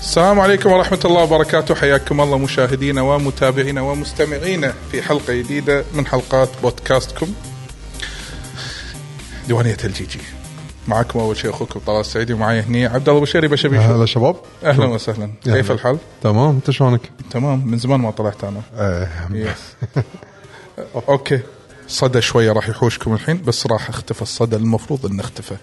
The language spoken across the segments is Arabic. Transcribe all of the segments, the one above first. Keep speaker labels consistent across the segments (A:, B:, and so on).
A: السلام عليكم ورحمة الله وبركاته حياكم الله مشاهدينا ومتابعينا ومستمعينا في حلقة جديدة من حلقات بودكاستكم ديوانية الجيجي معكم أول شيء أخوكم طلال السعيدي ومعي هني عبد الله بشيري بشبيش
B: هلا شباب
A: أهلا وسهلا كيف الحال؟
B: تمام انت شلونك؟
A: تمام من زمان ما طلعت أنا
B: ايه
A: يس اوكي صدى شويه راح يحوشكم الحين بس راح اختفى الصدى المفروض انه اختفى.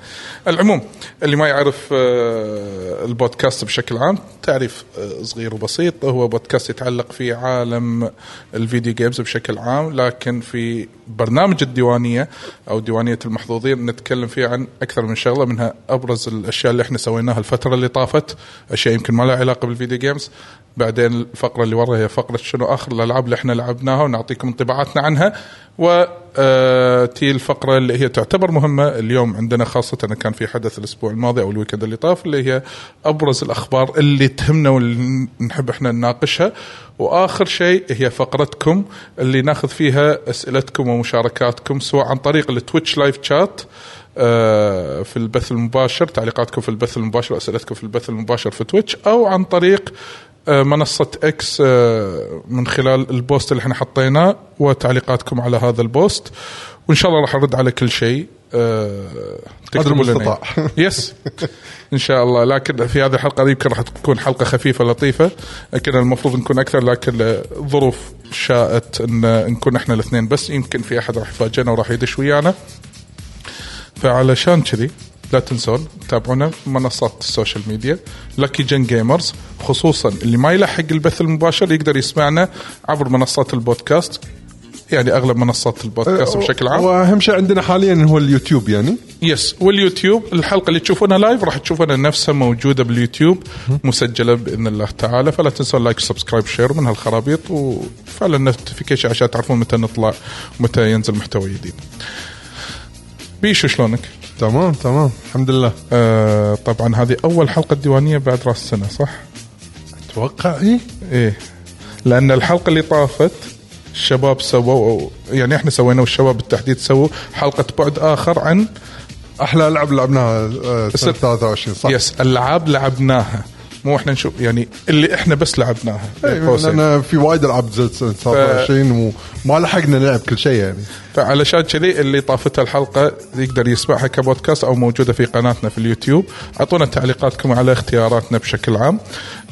A: العموم اللي ما يعرف آه، البودكاست بشكل عام تعريف آه، صغير وبسيط هو بودكاست يتعلق في عالم الفيديو جيمز بشكل عام لكن في برنامج الديوانيه او ديوانيه المحظوظين نتكلم فيه عن اكثر من شغله منها ابرز الاشياء اللي احنا سويناها الفتره اللي طافت اشياء يمكن ما لها علاقه بالفيديو جيمز بعدين الفقرة اللي وراها هي فقرة شنو آخر الألعاب اللي احنا لعبناها ونعطيكم انطباعاتنا عنها وتي الفقرة اللي هي تعتبر مهمة اليوم عندنا خاصة كان في حدث الأسبوع الماضي أو الويكند اللي طاف اللي هي أبرز الأخبار اللي تهمنا واللي نحب احنا نناقشها وآخر شيء هي فقرتكم اللي ناخذ فيها أسئلتكم ومشاركاتكم سواء عن طريق التويتش لايف شات آه، في البث المباشر تعليقاتكم في البث المباشر اسئلتكم في البث المباشر في تويتش او عن طريق آه، منصة اكس آه، من خلال البوست اللي احنا حطيناه وتعليقاتكم على هذا البوست وان شاء الله راح ارد على كل شيء آه، تكتبوا لنا.
B: المستطاع.
A: يس ان شاء الله لكن في هذه الحلقه يمكن راح تكون حلقه خفيفه لطيفه كنا المفروض نكون اكثر لكن آه، ظروف شاءت ان نكون احنا الاثنين بس يمكن في احد راح يفاجئنا وراح يدش ويانا فعلشان كذي لا تنسون تابعونا في منصات السوشيال ميديا لكي جن جيمرز خصوصا اللي ما يلحق البث المباشر يقدر يسمعنا عبر منصات البودكاست يعني اغلب منصات
B: أه،
A: البودكاست بشكل عام
B: واهم شيء عندنا حاليا هو اليوتيوب يعني
A: يس واليوتيوب الحلقه اللي تشوفونها لايف راح تشوفونها نفسها موجوده باليوتيوب مسجله باذن الله تعالى فلا تنسوا لايك سبسكرايب شير من هالخرابيط وفعلا النوتيفيكيشن عشان تعرفون متى نطلع ومتى ينزل محتوى جديد. بيشو شلونك؟
B: تمام تمام الحمد لله
A: آه طبعا هذه اول حلقه ديوانيه بعد راس السنه صح؟
B: اتوقع اي
A: ايه لان الحلقه اللي طافت الشباب سووا يعني احنا سوينا والشباب بالتحديد سووا حلقه بعد اخر عن
B: احلى العاب لعبناها آه، سنه 23 صح؟
A: يس العاب لعبناها مو احنا نشوف يعني اللي احنا بس لعبناها
B: إيه، لان في وايد العاب نزلت سنه 23 وما لحقنا نلعب كل شيء يعني
A: فعلشان كذي اللي طافتها الحلقه يقدر يسمعها كبودكاست او موجوده في قناتنا في اليوتيوب اعطونا تعليقاتكم على اختياراتنا بشكل عام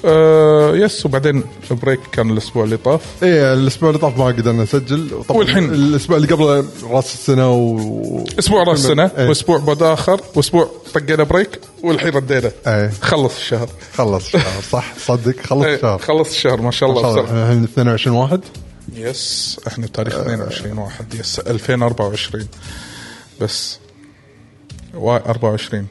A: آه يس وبعدين بريك كان الاسبوع اللي طاف
B: ايه الاسبوع اللي طاف ما قدرنا نسجل طبعاً
A: والحين؟
B: الاسبوع اللي قبله راس السنه و
A: اسبوع راس سنه
B: إيه.
A: واسبوع بعد اخر واسبوع طقينا بريك والحين ردينا
B: إيه.
A: خلص الشهر
B: خلص الشهر صح صدق خلص
A: إيه،
B: الشهر
A: خلص الشهر ما شاء
B: ما شاء
A: الله
B: الله، إيه.
A: بسرعه
B: إحنا الحين 22 واحد
A: يس احنا بتاريخ 22 واحد يس 2024 بس و 24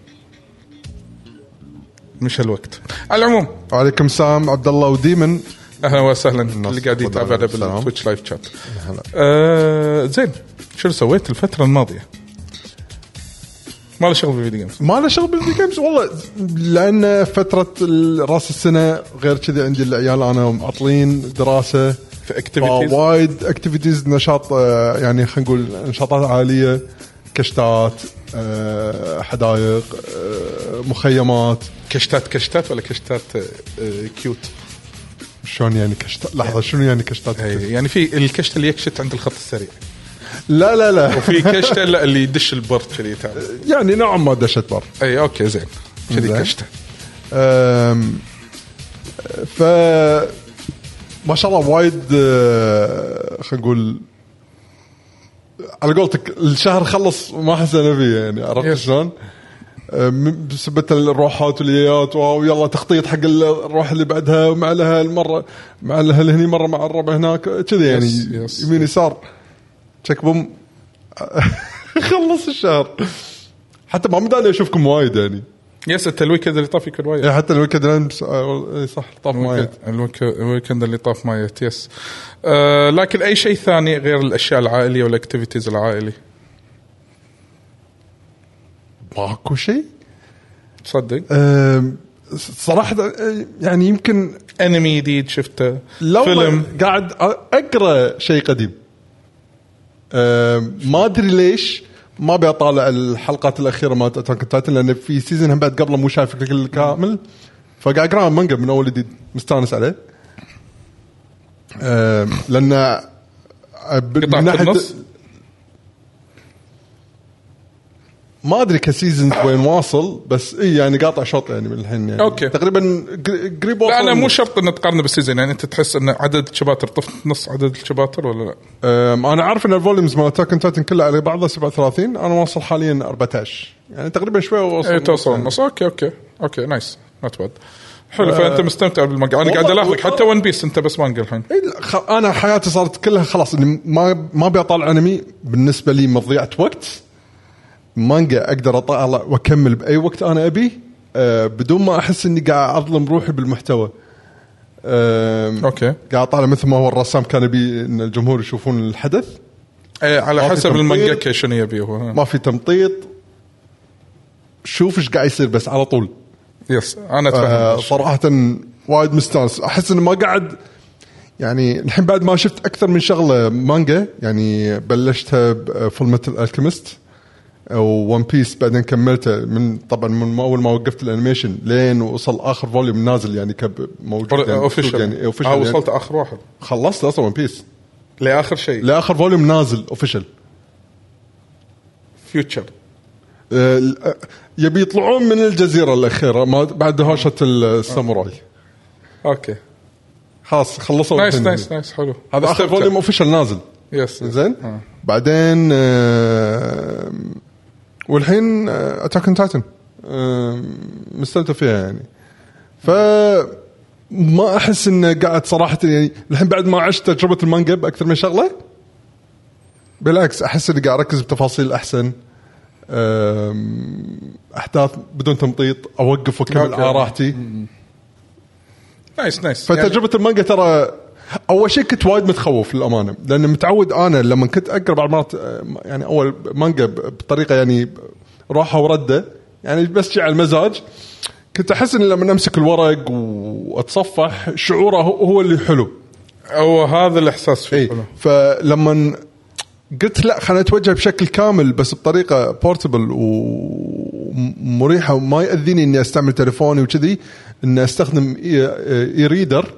A: مش الوقت على العموم
B: وعليكم السلام عبد الله وديمن
A: اهلا وسهلا اللي
B: النص
A: قاعد
B: والله
A: يتابعنا
B: السلام.
A: بالتويتش لايف شات
B: هلا.
A: آه زين شو سويت الفتره الماضيه ما له شغل بالفيديو جيمز
B: ما له شغل بالفيديو جيمز والله لان فتره ال- راس السنه غير كذي عندي العيال انا معطلين دراسه
A: في activities.
B: وايد اكتيفيتيز نشاط آه، يعني خلينا نقول نشاطات عاليه كشتات آه، حدائق آه، مخيمات
A: كشتات كشتات ولا كشتات آه، آه، كيوت
B: شلون يعني كشتات لحظه شنو يعني كشتات
A: هي. يعني في الكشت اللي يكشت عند الخط السريع
B: لا لا لا
A: في كشت لا اللي يدش البر كذي تعرف
B: يعني نوعا ما دشت بر
A: اي اوكي إيه، زين كذي
B: آه، زين.
A: كشته
B: أم، ف ما شاء الله وايد أه، خلينا نقول على قولتك الشهر خلص ما حسنا فيه يعني عرفت
A: Yes.
B: شلون؟ أم، بسبة الروحات واليات واو يلا تخطيط حق ال- الروح اللي بعدها ومع لها المره مع الاهل هني مره مع الربع هناك كذي يعني
A: Yes, yes.
B: يمين يسار تشيك بوم خلص الشهر حتى ما مداني اشوفكم وايد يعني
A: يس انت الويكند اللي طاف يكون وايد
B: إيه، حتى الويكند امس آه، إيه، صح طاف وايد
A: الويكند- الويك- الويكند اللي طاف ما جت يس آه لكن اي شيء ثاني غير الاشياء العائليه والاكتيفيتيز العائلي
B: ماكو شيء
A: تصدق
B: أم، صراحة أه، يعني يمكن
A: انمي جديد شفته
B: لو
A: فيلم
B: فيلم. قاعد اقرا شيء قديم أم، ما ادري ليش ما ابي اطالع الحلقات الاخيره مالت اتاك تايتن لان في سيزون هم بعد قبله مو شايف الكل كامل فقاعد اقرا مانجا من اول جديد مستانس عليه أم، لان ب-
A: قطعت
B: من ناحية-
A: النص
B: ما ادري كسيزون وين واصل بس اي يعني قاطع شوط يعني من الحين يعني
A: أوكي.
B: تقريبا قر- قريب
A: لا
B: واصل
A: انا مو شرط ان تقارنه بالسيزون يعني انت تحس ان عدد الشباتر طفت نص عدد الشباتر ولا لا؟
B: أم، انا عارف ان الفوليومز مال تاكن تايتن كلها على بعضها 37 انا واصل حاليا 14 يعني تقريبا شوي
A: اي
B: واصل
A: إيه، توصل النص اوكي اوكي اوكي نايس نوت باد حلو فانت مستمتع بالمانجا انا قاعد
B: والله-
A: الاحظك حتى ون بيس انت بس مانجا الحين
B: إي لا، خ- انا حياتي صارت كلها خلاص اني ما ما ابي اطالع انمي بالنسبه لي مضيعه وقت مانجا اقدر اطالع واكمل باي وقت انا ابي أه، بدون ما احس اني قاعد اظلم روحي بالمحتوى أم،
A: أوكي.
B: قاعد اطالع مثل ما هو الرسام كان يبي ان الجمهور يشوفون الحدث
A: اي إيه، على
B: ما في
A: حسب
B: تمطير.
A: المانجا شنو يبي هو ها.
B: ما في تمطيط شوف ايش قاعد يصير بس على طول
A: يس انا
B: آه،
A: اتفهم
B: صراحه وايد مستانس احس انه ما قاعد يعني الحين بعد ما شفت اكثر من شغله مانجا يعني بلشتها آه، بفول ميتال الكيمست وون بيس بعدين كملته من طبعا من اول ما وقفت الانيميشن لين وصل اخر فوليوم نازل يعني كب موجود يعني
A: اوفشل
B: يعني,
A: يعني
B: official
A: اه
B: يعني
A: وصلت اخر واحد
B: خلصت اصلا ون بيس
A: لاخر شيء
B: لاخر فوليوم نازل اوفشل
A: فيوتشر
B: آه، يبي يطلعون من الجزيره الاخيره ما- بعد هوشه الساموراي
A: اوكي
B: خلاص خلصوا
A: نايس
B: الحين.
A: نايس نايس حلو
B: هذا اخر
A: استمتع.
B: فوليوم اوفشل نازل
A: يس
B: زين
A: آه.
B: بعدين آه، والحين آه، اتاك اون تايتن مستمتع فيها يعني ف ما احس انه قاعد صراحه يعني الحين بعد ما عشت تجربه المانجا باكثر من شغله بالعكس احس اني قاعد اركز بتفاصيل احسن آم، احداث بدون تمطيط اوقف واكمل
A: أوكي.
B: على راحتي
A: نايس نايس يعني
B: فتجربه المانجا ترى اول شيء كنت وايد متخوف للامانه لان متعود انا لما كنت اقرا بعض مرات آه، يعني اول مانجا ب- بطريقه يعني ب- راحه ورده يعني بس شيء على المزاج كنت احس ان لما امسك الورق واتصفح شعوره هو هو اللي حلو
A: يعني هو هذا الاحساس فيه
B: اي
A: حلو.
B: فلما قلت لا خلينا نتوجه بشكل كامل بس بطريقه بورتبل ومريحه وما ياذيني اني استعمل تليفوني وكذي اني استخدم اي, إي ريدر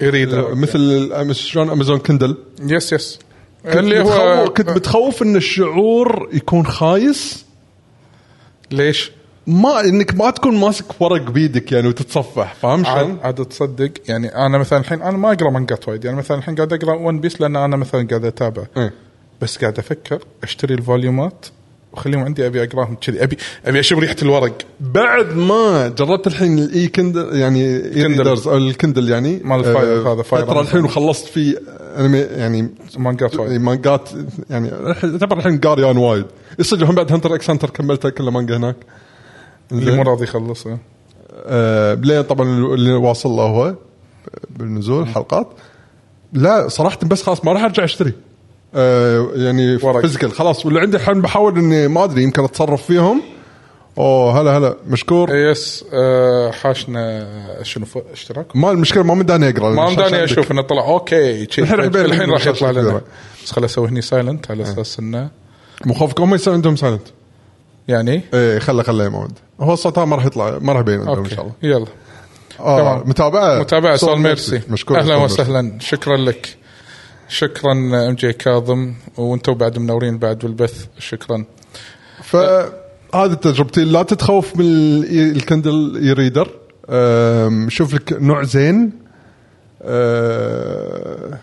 A: يريد
B: مثل الأمز- شلون امازون كندل
A: يس يس
B: كنت
A: اللي هو
B: متخوف- كنت متخوف ان الشعور يكون خايس
A: ليش؟
B: ما انك ما تكون ماسك ورق بيدك يعني وتتصفح فاهم شلون؟
A: عاد عاد تصدق يعني انا مثلا الحين انا ما اقرا مانجات وايد يعني مثلا الحين قاعد اقرا ون بيس لان انا مثلا قاعد اتابع
B: إيه.
A: بس قاعد افكر اشتري الفوليومات وخليهم عندي ابي اقراهم كذي ابي ابي اشم ريحه الورق
B: بعد ما جربت الحين الاي كندل يعني اي
A: كندل.
B: ريدرز او الكندل يعني
A: مال الفاير هذا، فاير
B: فتره الحين وخلصت فيه انمي يعني
A: مانجات وايد
B: مانجات يعني الحين- يعتبر الحين قاريان وايد يصدق هم بعد هنتر اكس هنتر كملته كله مانجا هناك
A: اللي مو راضي إيه. يخلصها
B: آه، لين طبعا اللي واصل له هو آه، بالنزول حلقات لا صراحه بس خلاص ما راح ارجع اشتري آه، يعني
A: ورق.
B: فيزيكال خلاص واللي عندي الحين بحاول اني ما ادري يمكن اتصرف فيهم اوه هلا هلا مشكور
A: يس آه، حاشنا شنو ف- اشتراك
B: ما المشكله ما مداني اقرا
A: ما
B: الشاشة
A: مداني
B: عندك.
A: اشوف انه طلع اوكي شي.
B: الحين إيه. عبالي
A: الحين راح
B: الشاشة
A: يطلع لنا
B: كبيرة.
A: بس خل اسوي هني سايلنت على اساس انه
B: مو خوفك هم يصير عندهم سايلنت
A: يعني
B: ايه خله خله يا مواد هو الصوت ما راح يطلع ما راح يبين عندهم ان شاء
A: اوكي
B: الله
A: يلا
B: آه
A: تمام.
B: متابعه
A: متابعة سول ميرسي
B: مشكور
A: اهلا
B: سول ميرسي.
A: وسهلا شكرا لك شكرا ام جي كاظم وانتم بعد منورين بعد بالبث شكرا
B: فهذه تجربتي لا تتخوف من ال- الكندل اي ريدر أم، شوف لك نوع زين أه،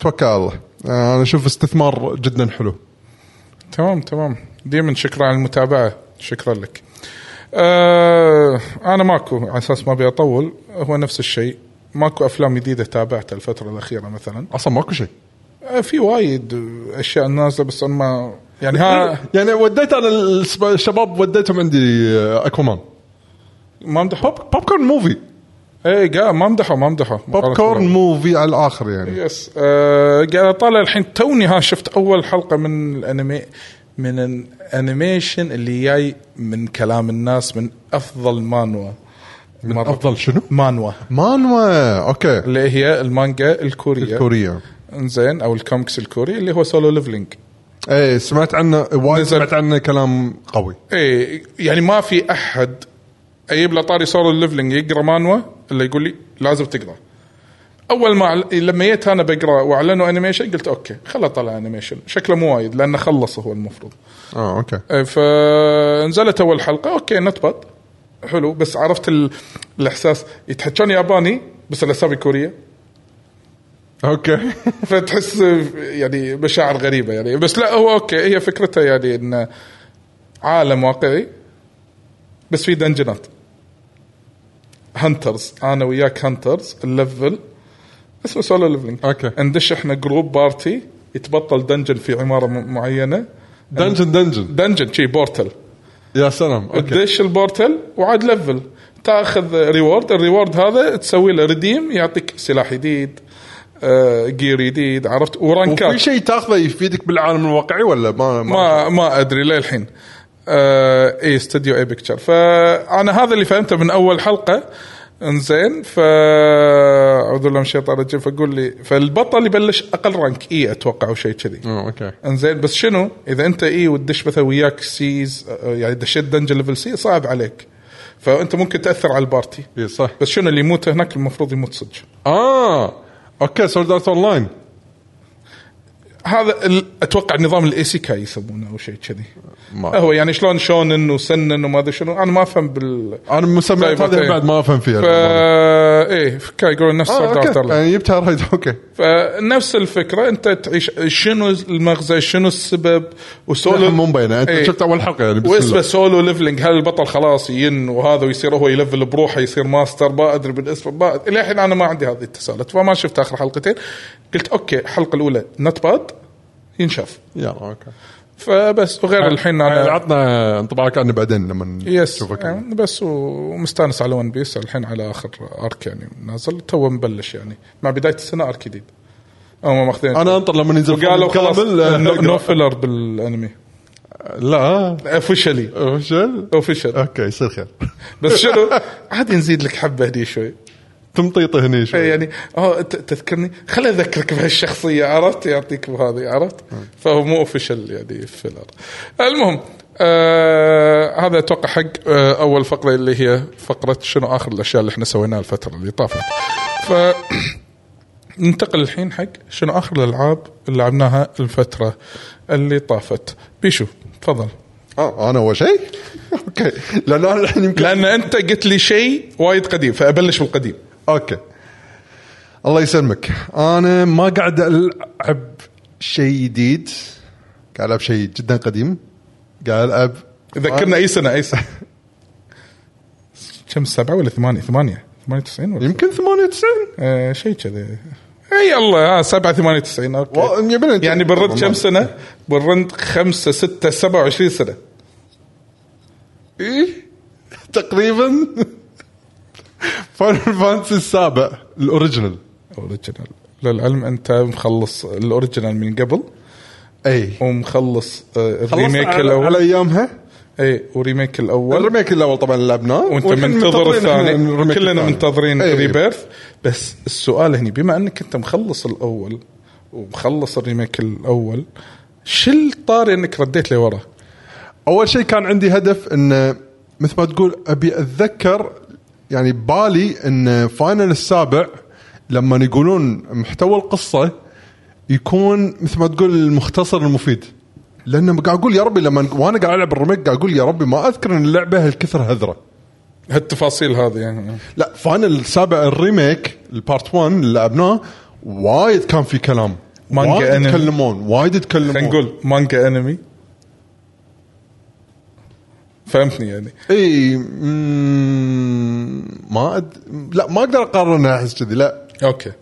B: توكل على الله أه، انا اشوف استثمار جدا حلو
A: تمام تمام دائما شكرا على المتابعه شكرا لك آه انا ماكو على اساس ما ابي اطول هو نفس الشيء ماكو افلام جديده تابعتها الفتره الاخيره مثلا
B: اصلا ماكو شيء
A: آه في وايد اشياء نازله بس انا ما يعني ها
B: يعني وديت انا السب- الشباب وديتهم عندي أه، اكوامان
A: ما مدحوا
B: بوب كورن موفي
A: اي إيه، قا- ما مدحوا ما مدحوا
B: بوب كورن موفي على الاخر يعني
A: يس آه، قاعد اطالع الحين توني ها شفت اول حلقه من الانمي من الانيميشن اللي جاي من كلام الناس من افضل مانوا
B: من
A: مرة.
B: افضل شنو؟
A: مانوا
B: مانوا اوكي
A: اللي هي المانجا الكوريه
B: كوريا
A: انزين او الكوميكس الكوري اللي هو سولو ليفلينج
B: ايه سمعت عنه وايد
A: نزل. إيه،
B: سمعت عنه كلام قوي
A: اي يعني ما في احد اجيب له طاري سولو ليفلنج يقرا مانوا اللي يقول لي لازم تقرا اول ما أعل- لما جيت انا بقرا واعلنوا انيميشن قلت اوكي خله طلع انيميشن شكله مو وايد لانه خلص هو المفروض
B: اه اوكي
A: إيه، فنزلت اول حلقه اوكي نت باد حلو بس عرفت ال... الاحساس يتحكون ياباني بس الاسامي كوريه
B: اوكي
A: فتحس يعني مشاعر غريبه يعني بس لا هو اوكي هي فكرته يعني ان عالم واقعي بس في دنجنات هانترز انا وياك هانترز الليفل اسمه سولو ليفلينج
B: أوكي.
A: ندش احنا جروب بارتي يتبطل دنجن في عماره م- معينه
B: دنجن دنجن
A: دنجن شي بورتل
B: يا سلام اوكي
A: تدش البورتل وعاد ليفل تاخذ ريورد الريورد هذا تسوي له ريديم يعطيك سلاح جديد آه، جير جديد عرفت
B: وفي
A: ورانكات
B: شيء تاخذه يفيدك بالعالم الواقعي ولا ما
A: ما ما ادري للحين آه اي استوديو اي بكتشر فانا هذا اللي فهمته من اول حلقه انزين ف اعوذ بالله من الشيطان الرجيم فقول لي فالبطل يبلش اقل رانك اي اتوقع او شيء كذي
B: آه، اوكي
A: انزين بس شنو اذا انت اي وتدش مثلا وياك سيز آه، يعني دشيت دنجن ليفل سي صعب عليك فانت ممكن تاثر على البارتي
B: اي صح
A: بس شنو اللي يموت هناك المفروض يموت صدق
B: اه اوكي سولد ارت اون لاين
A: هذا ال- اتوقع نظام الايسيكاي يسمونه او شيء كذي
B: ما-
A: هو يعني شلون شونن وسنن وما ادري شنو انا ما افهم بال
B: انا المسميات
A: طيب،
B: هذه
A: أوكي.
B: بعد ما افهم فيها
A: ف ايه كان يقولون نفس
B: آه،
A: سولد
B: أوكي.
A: آرت أونلاين.
B: يعني جبتها رايد اوكي
A: فنفس الفكره انت تعيش شنو المغزى شنو السبب وسولو
B: للحين مو مبينه انت
A: إيه.
B: شفت اول حلقه يعني بسم
A: واسمه
B: الله.
A: سولو ليفلنج هل البطل خلاص ين وهذا ويصير هو يلفل بروحه يصير ماستر ما ادري بالاسم ما الحين انا ما عندي هذه التساؤلات فما شفت اخر حلقتين قلت اوكي الحلقه الاولى نت باد ينشاف
B: يلا اوكي
A: فبس وغير الحين
B: يعني
A: انا
B: عطنا انطباعك عنه بعدين لما
A: يس
B: نشوفك
A: يعني بس ومستانس على ون بيس الحين على اخر ارك يعني نازل تو مبلش يعني مع بدايه السنه ارك جديد هم ماخذين
B: انا انطر لما ينزل
A: قالوا خلاص
B: كامل، آه،
A: نو-
B: أقرأ.
A: نو فيلر بالانمي
B: لا
A: اوفشلي
B: وش ال-
A: اوفشل
B: اوكي يصير خير
A: بس شنو عادي نزيد لك حبه هدي شوي
B: تمطيط هني
A: إيه
B: شوي
A: يعني اه ت- تذكرني خل اذكرك بهالشخصيه عرفت يعطيك بهذه عرفت فهو مو اوفيشال يعني فيلر المهم آه هذا اتوقع حق آه اول فقره اللي هي فقره شنو اخر الاشياء اللي احنا سويناها الفتره اللي طافت ف ننتقل الحين حق شنو اخر الالعاب اللي لعبناها الفتره اللي طافت بيشو تفضل
B: اه انا اول شيء اوكي لان انا الحين يمكن
A: لان انت قلت لي شيء وايد قديم فابلش بالقديم
B: اوكي الله يسلمك انا ما قاعد العب شيء جديد قاعد العب شيء جدا قديم قاعد العب آه.
A: ذكرنا اي سنه اي سنه كم سبعه ولا ثمانيه؟ ثمانيه 98 ولا
B: يمكن 98
A: آه شيء كذا اي الله آه سبعه 98 اوكي
B: و- يبين أنت-
A: يعني بالرد كم
B: والله.
A: سنه؟ بالرد خمسه سته 27 سنه
B: إيه؟ تقريبا فاينل فانتسي السابع الاوريجنال
A: اوريجينال للعلم انت مخلص الاوريجينال من قبل
B: اي
A: ومخلص آه،
B: إيه. خلصنا
A: الريميك
B: على, على
A: الاول
B: ايامها
A: اي وريميك الاول
B: الريميك الاول طبعا لعبناه
A: وانت
B: والحين
A: منتظر
B: منتظرين إحنا
A: الثاني
B: الريميك
A: كلنا
B: الثاني.
A: منتظرين
B: إيه.
A: ريبيرث بس السؤال هني بما انك انت مخلص الاول ومخلص الريميك الاول شل طاري انك رديت لورا
B: اول شيء كان عندي هدف ان مثل ما تقول ابي اتذكر يعني بالي ان فاينل السابع لما يقولون محتوى القصه يكون مثل ما تقول المختصر المفيد لان قاعد اقول يا ربي لما وانا قاعد العب الريميك قاعد اقول يا ربي ما اذكر ان اللعبه هالكثر هذره
A: هالتفاصيل هذه يعني
B: لا فاينل السابع الريميك البارت 1 اللي لعبناه وايد كان في كلام
A: مانجا
B: وايد
A: أنمي.
B: يتكلمون وايد يتكلمون
A: خلينا نقول مانجا انمي فهمتني يعني
B: اي إيه، مم، ما أد... لا ما اقدر اقارنها احس كذي لا
A: اوكي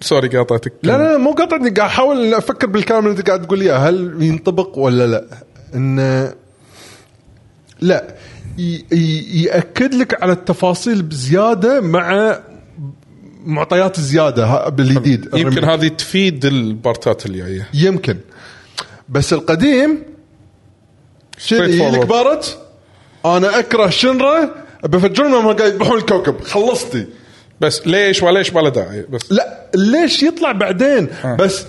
A: سوري قاطعتك
B: لا لا لا، مو قاطعني قاعد احاول افكر بالكلام اللي انت قاعد تقول اياه هل ينطبق ولا لا؟ انه لا ي... ي... ياكد لك على التفاصيل بزياده مع معطيات زياده ها- بالجديد
A: يمكن
B: الريميك.
A: هذه تفيد البارتات اللي جايه
B: يمكن بس القديم شنو
A: Straight forward.
B: لك بارت انا اكره شنرا بفجرهم لما قاعد يذبحون الكوكب خلصتي
A: بس ليش وليش بلا داعي بس
B: لا ليش يطلع بعدين
A: آه.
B: بس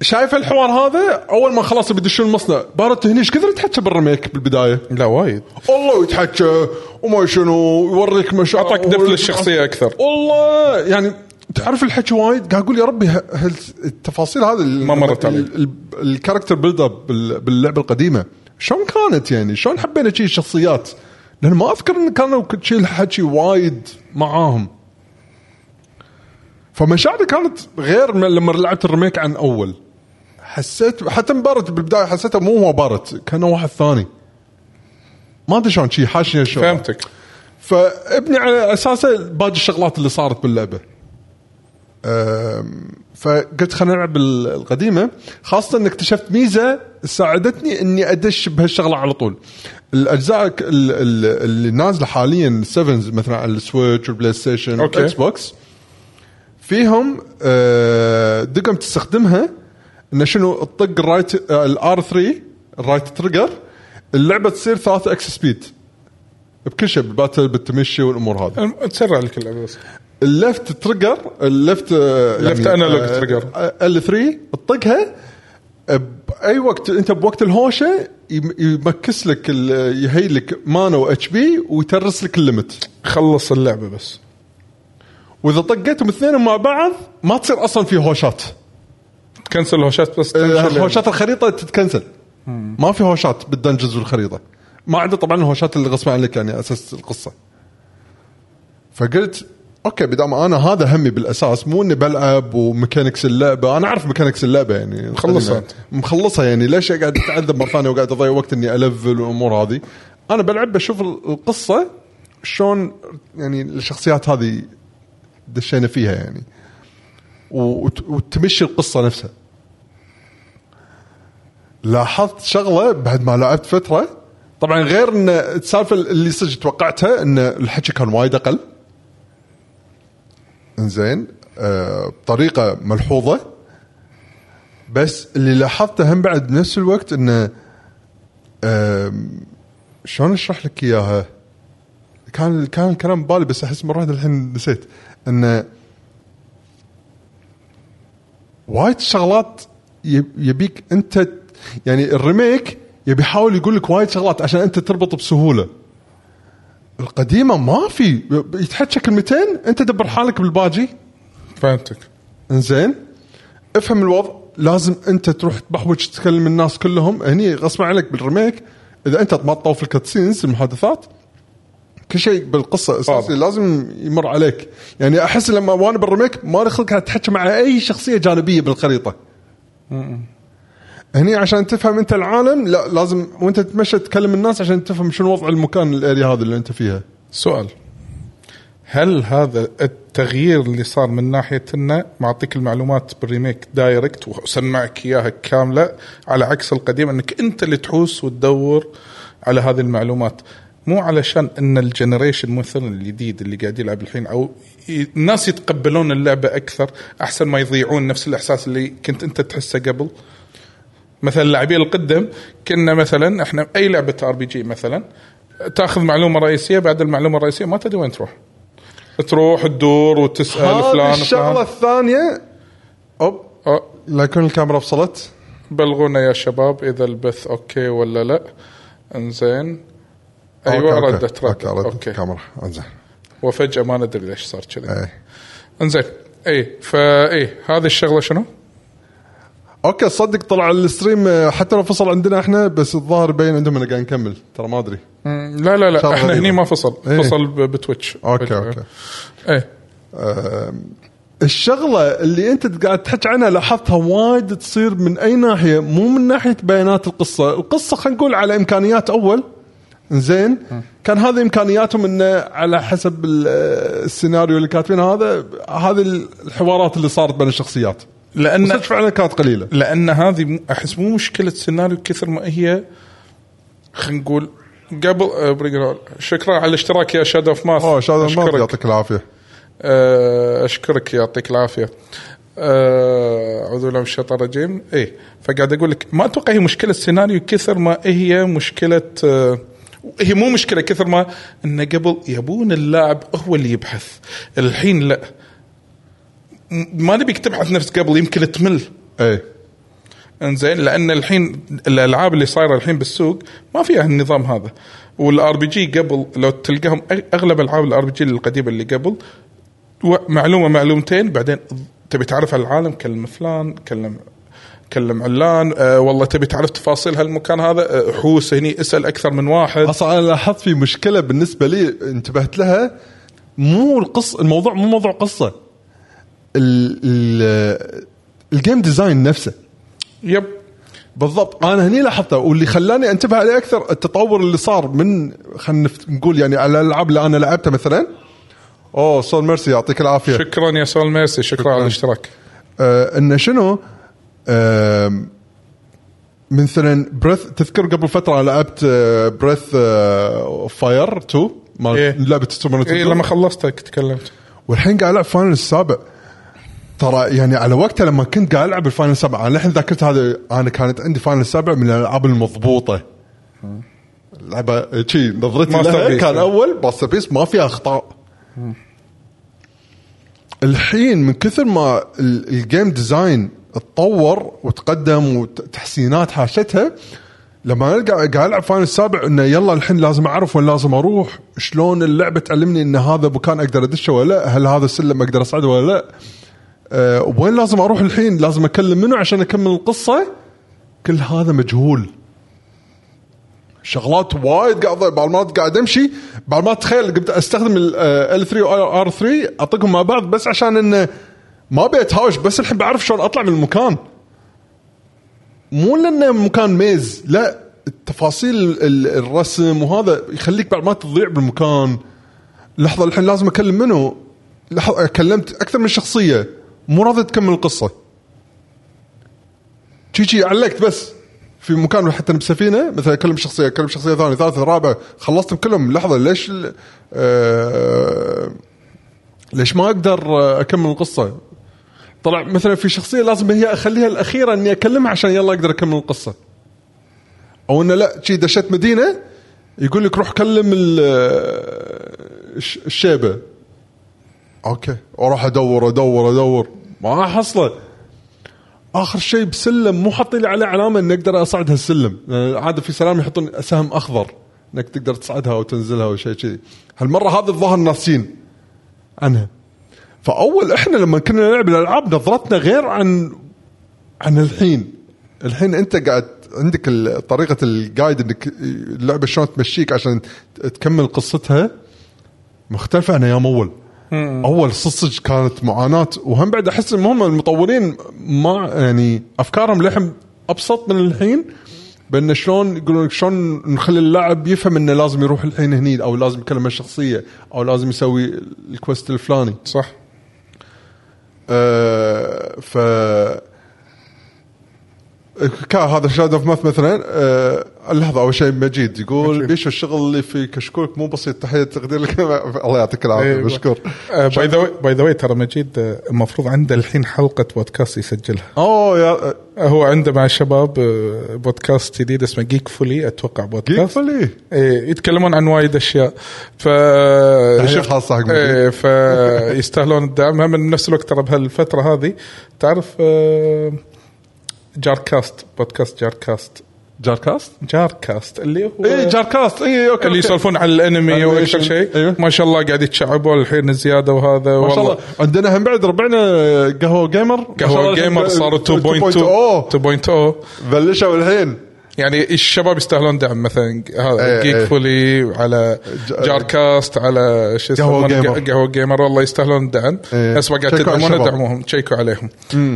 B: شايف الحوار هذا اول ما خلاص بيدشون المصنع بارت هني ايش كثر يتحكى بالرميك بالبدايه
A: لا وايد
B: الله يتحكى وما شنو يوريك مشاعر
A: أعطاك دبل الشخصية أكثر.
B: والله يعني تعرف الحكي وايد قاعد اقول يا ربي ه- هل التفاصيل هذه
A: ما مرت علي.
B: الكاركتر بيلد اب باللعبه القديمه شلون كانت يعني شلون حبينا شي الشخصيات لان ما اذكر ان كانوا كل شي الحكي وايد معاهم فمشاعري كانت غير ما- لما لعبت الريميك عن اول حسيت حتى مبارت بالبدايه حسيته مو هو بارت كانه واحد ثاني ما ادري شلون شي حاشني الشغل
A: فهمتك
B: فابني على اساسه باقي الشغلات اللي صارت باللعبه. أم، فقلت خلينا نلعب ال- القديمه خاصه ان اكتشفت ميزه ساعدتني اني ادش بهالشغله على طول. الاجزاء ك- ال- ال- اللي نازله حاليا 7 مثلا على السويتش والبلاي ستيشن
A: أوكي.
B: والاكس بوكس فيهم أه، دقم تستخدمها انه شنو تطق الرايت آه، الار 3 الرايت تريجر اللعبه تصير ثلاثة اكس سبيد بكل شيء بالباتل بالتمشي والامور هذه
A: الم- تسرع لك اللعبه بس
B: اللفت تريجر اللفت آه،
A: Left
B: اللفت
A: analog trigger.
B: آه، ال 3 تطقها باي وقت انت بوقت الهوشه يم- يمكس لك ال- يهيل لك مانا واتش بي ويترس لك الليمت
A: خلص اللعبه بس
B: واذا طقيتهم الاثنين مع بعض ما تصير اصلا في هوشات
A: تكنسل الهوشات بس
B: آه، هوشات الخريطه تتكنسل ما في هوشات بالدنجز والخريطه ما عدا طبعا الهوشات اللي غصب عنك يعني اساس القصه فقلت اوكي بدام انا هذا همي بالاساس مو اني بلعب وميكانكس اللعبه انا اعرف ميكانكس اللعبه يعني
A: مخلصها.
B: القديمة. مخلصها يعني ليش قاعد اتعذب مره ثانيه وقاعد اضيع وقت اني الفل والامور هذه انا بلعب بشوف القصه شلون يعني الشخصيات هذه دشينا فيها يعني وت- وتمشي القصه نفسها لاحظت شغله بعد ما لعبت فتره طبعا غير ان السالفه اللي صدق توقعتها ان الحكي كان وايد اقل انزين آه بطريقه ملحوظه بس اللي لاحظته هم بعد بنفس الوقت انه آم، شلون اشرح لك اياها؟ كان كان الكلام ببالي بس احس مره واحده الحين نسيت انه وايد شغلات يب- يبيك انت ت- يعني الريميك يبي يحاول يقول لك وايد شغلات عشان انت تربط بسهوله القديمه ما في ب- يتحكى كلمتين انت دبر حالك بالباجي
A: فهمتك
B: انزين افهم الوضع لازم انت تروح تبحوج تتكلم الناس كلهم هني غصب عنك بالريميك اذا انت ما تطوف الكاتسينز المحادثات كل شيء بالقصه اساسي
A: واضح.
B: لازم يمر عليك يعني احس لما وانا بالريميك ما لي خلق اتحكى مع اي شخصيه جانبيه بالخريطه هني عشان تفهم انت العالم لا لازم وانت تتمشى تكلم الناس عشان تفهم شنو وضع المكان الاريا هذا اللي انت فيها
A: سؤال هل هذا التغيير اللي صار من ناحيه انه معطيك المعلومات بالريميك دايركت وسمعك اياها كامله على عكس القديم انك انت اللي تحوس وتدور على هذه المعلومات مو علشان ان الجنريشن مثلا الجديد اللي قاعد يلعب الحين او ي- الناس يتقبلون اللعبه اكثر احسن ما يضيعون نفس الاحساس اللي كنت انت تحسه قبل مثلا اللاعبين القدم كنا مثلا احنا اي لعبه ار بي جي مثلا تاخذ معلومه رئيسيه بعد المعلومه الرئيسيه ما تدري وين تروح تروح تدور وتسال فلان
B: هذه
A: الشغله
B: الشغله الثانيه اوب لا يكون الكاميرا فصلت
A: بلغونا يا شباب اذا البث اوكي ولا لا انزين
B: أوكي،
A: ايوه
B: أوكي.
A: ردت ردت
B: أوكي،
A: اوكي, أوكي.
B: الكاميرا انزين
A: وفجاه ما ندري ليش صار كذي
B: ايه
A: انزين اي فاي إيه، هذه الشغله شنو؟
B: اوكي صدق طلع الستريم آه، حتى لو فصل عندنا احنا بس الظاهر باين عندهم انه قاعد نكمل ترى ما ادري
A: مم، لا لا لا
B: شغلة
A: احنا
B: غريبة.
A: هني ما فصل
B: إيه.
A: فصل ب- بتويتش إيه.
B: اوكي اوكي
A: اي
B: آم، الشغله اللي انت قاعد تحكي عنها لاحظتها وايد تصير من اي ناحيه مو من ناحيه بيانات القصه، القصه خلينا نقول على امكانيات اول زين كان هذه امكانياتهم انه على حسب ال- آه، السيناريو اللي كاتبينه هذا هذه الحوارات اللي صارت بين الشخصيات
A: لان
B: صدق فعلا كانت قليله
A: لان هذه مو- احس مو مشكله سيناريو كثر ما هي خلينا نقول قبل آه، بريجرال. شكرا على الاشتراك يا شاد اوف ماث
B: اوه شادو ما يعطيك العافيه
A: آه، اشكرك يعطيك العافيه آه، اعوذ بالله من الشيطان الرجيم اي فقاعد اقول لك ما اتوقع هي مشكله سيناريو كثر ما هي مشكله آه، هي مو مشكله كثر ما انه قبل يبون اللاعب هو اللي يبحث الحين لا م- ما نبيك تبحث نفس قبل يمكن تمل
B: ايه
A: انزين لان الحين الالعاب اللي صايره الحين بالسوق ما فيها النظام هذا والار بي جي قبل لو تلقاهم أغ- اغلب العاب الار بي جي القديمه اللي قبل و- معلومه معلومتين بعدين تبي تعرف على العالم كلم فلان كلم كلم علان أه والله تبي تعرف تفاصيل هالمكان هذا أه، حوس هني اسال اكثر من واحد
B: اصلا انا لاحظت في مشكله بالنسبه لي انتبهت لها مو القص الموضوع مو موضوع قصه ال ال الجيم ديزاين نفسه
A: يب
B: بالضبط انا هني لاحظته واللي خلاني انتبه عليه اكثر التطور اللي صار من خلينا نقول يعني على الالعاب اللي انا لعبتها مثلا اوه سول ميرسي يعطيك العافيه
A: شكرا يا سول ميرسي شكرا على الاشتراك
B: آه انه شنو آم، مثلا بريث تذكر قبل فتره أنا لعبت آه، بريث فاير 2 مال
A: إيه.
B: لعبه السوبر نتندو
A: إيه لما خلصتك تكلمت
B: والحين قاعد العب فاينل السابع ترى يعني على وقتها لما كنت قاعد العب الفاينل السابع انا الحين ذاكرت هذا انا كانت عندي فاينل السابع من الالعاب المضبوطه لعبه شي نظرتي لها
A: Masterpiece.
B: كان اول ماستر بيس ما فيها اخطاء الحين من كثر ما ال- الجيم ديزاين اتطور وتقدم وتحسينات حاشتها لما أنا قاعد قاعد العب فاينل السابع انه يلا الحين لازم اعرف وين لازم اروح شلون اللعبه تعلمني ان هذا مكان اقدر ادشه ولا لا هل هذا السلم اقدر اصعده ولا لا أه وين لازم اروح الحين لازم اكلم منه عشان اكمل القصه كل هذا مجهول شغلات وايد قاعد بعد ما قاعد امشي بعد ما تخيل قمت استخدم ال آه، 3 وار 3 اطقهم مع بعض بس عشان انه ما ابي اتهاوش بس الحين بعرف شلون اطلع من المكان مو لانه مكان ميز لا التفاصيل ال- الرسم وهذا يخليك بعد ما تضيع بالمكان لحظه الحين لازم اكلم منو لحظه كلمت اكثر من شخصيه مو راضي تكمل القصه شي شي علقت بس في مكان حتى بسفينه مثلا اكلم شخصيه اكلم شخصيه ثانيه ثالثه رابعه خلصتهم كلهم لحظه ليش ال- آه ليش ما اقدر آه، اكمل القصه؟ طلع مثلا في شخصيه لازم هي اخليها الاخيره اني اكلمها عشان يلا اقدر اكمل القصه. او انه لا شي دشت مدينه يقول لك روح كلم ال- آه، الش- الشيبه. اوكي واروح ادور ادور ادور ما حصله. اخر شيء بسلم مو حاطين لي عليه علامه ان اقدر اصعد هالسلم لأن عاده يعني في سلام يحطون سهم اخضر انك تقدر تصعدها او تنزلها او شيء كذي هالمره هذا الظاهر ناسين عنها فاول احنا لما كنا نلعب الالعاب نظرتنا غير عن عن الحين الحين انت قاعد عندك ال- طريقه الجايد انك اللعبه شلون تمشيك عشان ت- تكمل قصتها مختلفه عن ايام اول اول صدق صدق كانت معاناه وهم بعد احس انهم المطورين ما يعني افكارهم لحم ابسط من الحين بان شلون يقولون لك شلون نخلي اللاعب يفهم انه لازم يروح الحين هني او لازم يكلم الشخصيه او لازم يسوي الكويست الفلاني
A: صح
B: آه، ف كان هذا شاد اوف ماث مثلا آه، لحظه اول شيء مجيد يقول بيشو الشغل اللي في كشكوك مو بسيط تحيه تقدير لك الله يعطيك
A: إيه،
B: العافيه مشكور
A: باي ذا باي ذا ترى مجيد آه، المفروض عنده الحين حلقه بودكاست يسجلها
B: اوه يا
A: آه، هو عنده مع الشباب آه، بودكاست جديد اسمه جيك فولي اتوقع
B: جيك
A: بودكاست
B: فلي
A: إيه يتكلمون عن وايد اشياء ف
B: خاصة حق مجيد.
A: ايه فيستاهلون الدعم هم من نفس الوقت ترى بهالفتره هذه تعرف آه، جاركاست بودكاست جاركاست
B: جاركاست
A: جاركاست اللي هو
B: اي جاركاست اي اوكي
A: اللي
B: أوكي.
A: يسولفون عن الانمي
B: إيه، Animation.
A: واكثر شيء
B: أيوه.
A: ما شاء الله قاعد يتشعبون الحين زياده وهذا
B: ما شاء الله عندنا هم بعد ربعنا قهوه جيمر ما شاء
A: قهوه
B: الله
A: جيمر
B: الحين
A: صاروا
B: 2.0
A: 2.0 2.0
B: بلشوا الحين
A: oh. يعني الشباب يستاهلون دعم مثلا هذا
B: إيه،
A: جيك
B: إيه.
A: فولي على
B: ج-
A: جاركاست على شو
B: قهوة
A: يسمونه
B: جيمر.
A: ق- قهوه جيمر والله يستاهلون الدعم
B: إيه.
A: اسمع قاعد
B: شيكوا على
A: تدعمون
B: الشباب.
A: دعموهم تشيكوا عليهم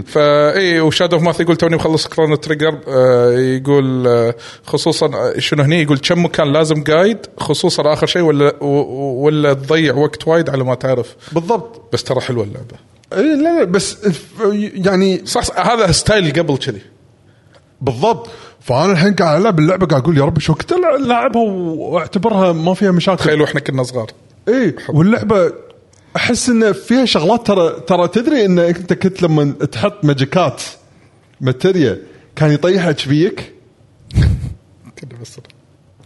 A: فا اي وشادو اوف ماث يقول توني مخلص كرونو تريجر آه، يقول آه، خصوصا آه، شنو هني يقول كم مكان لازم جايد خصوصا اخر شيء ولا و- و- ولا تضيع وقت وايد على ما تعرف
B: بالضبط
A: بس ترى حلوه اللعبه
B: اي لا لا بس الف- يعني
A: صح, صح هذا ستايل قبل كذي
B: بالضبط فانا الحين قاعد العب اللعبه قاعد اقول يا رب شو كنت ألع- العبها واعتبرها ما فيها مشاكل إيه،
A: تخيلوا احنا كنا صغار
B: اي واللعبه احس ان فيها شغلات ترى ترى تدري ان انت كنت لما تحط ماجيكات ماتيريا كان يطيحها شبيك
A: كنا بس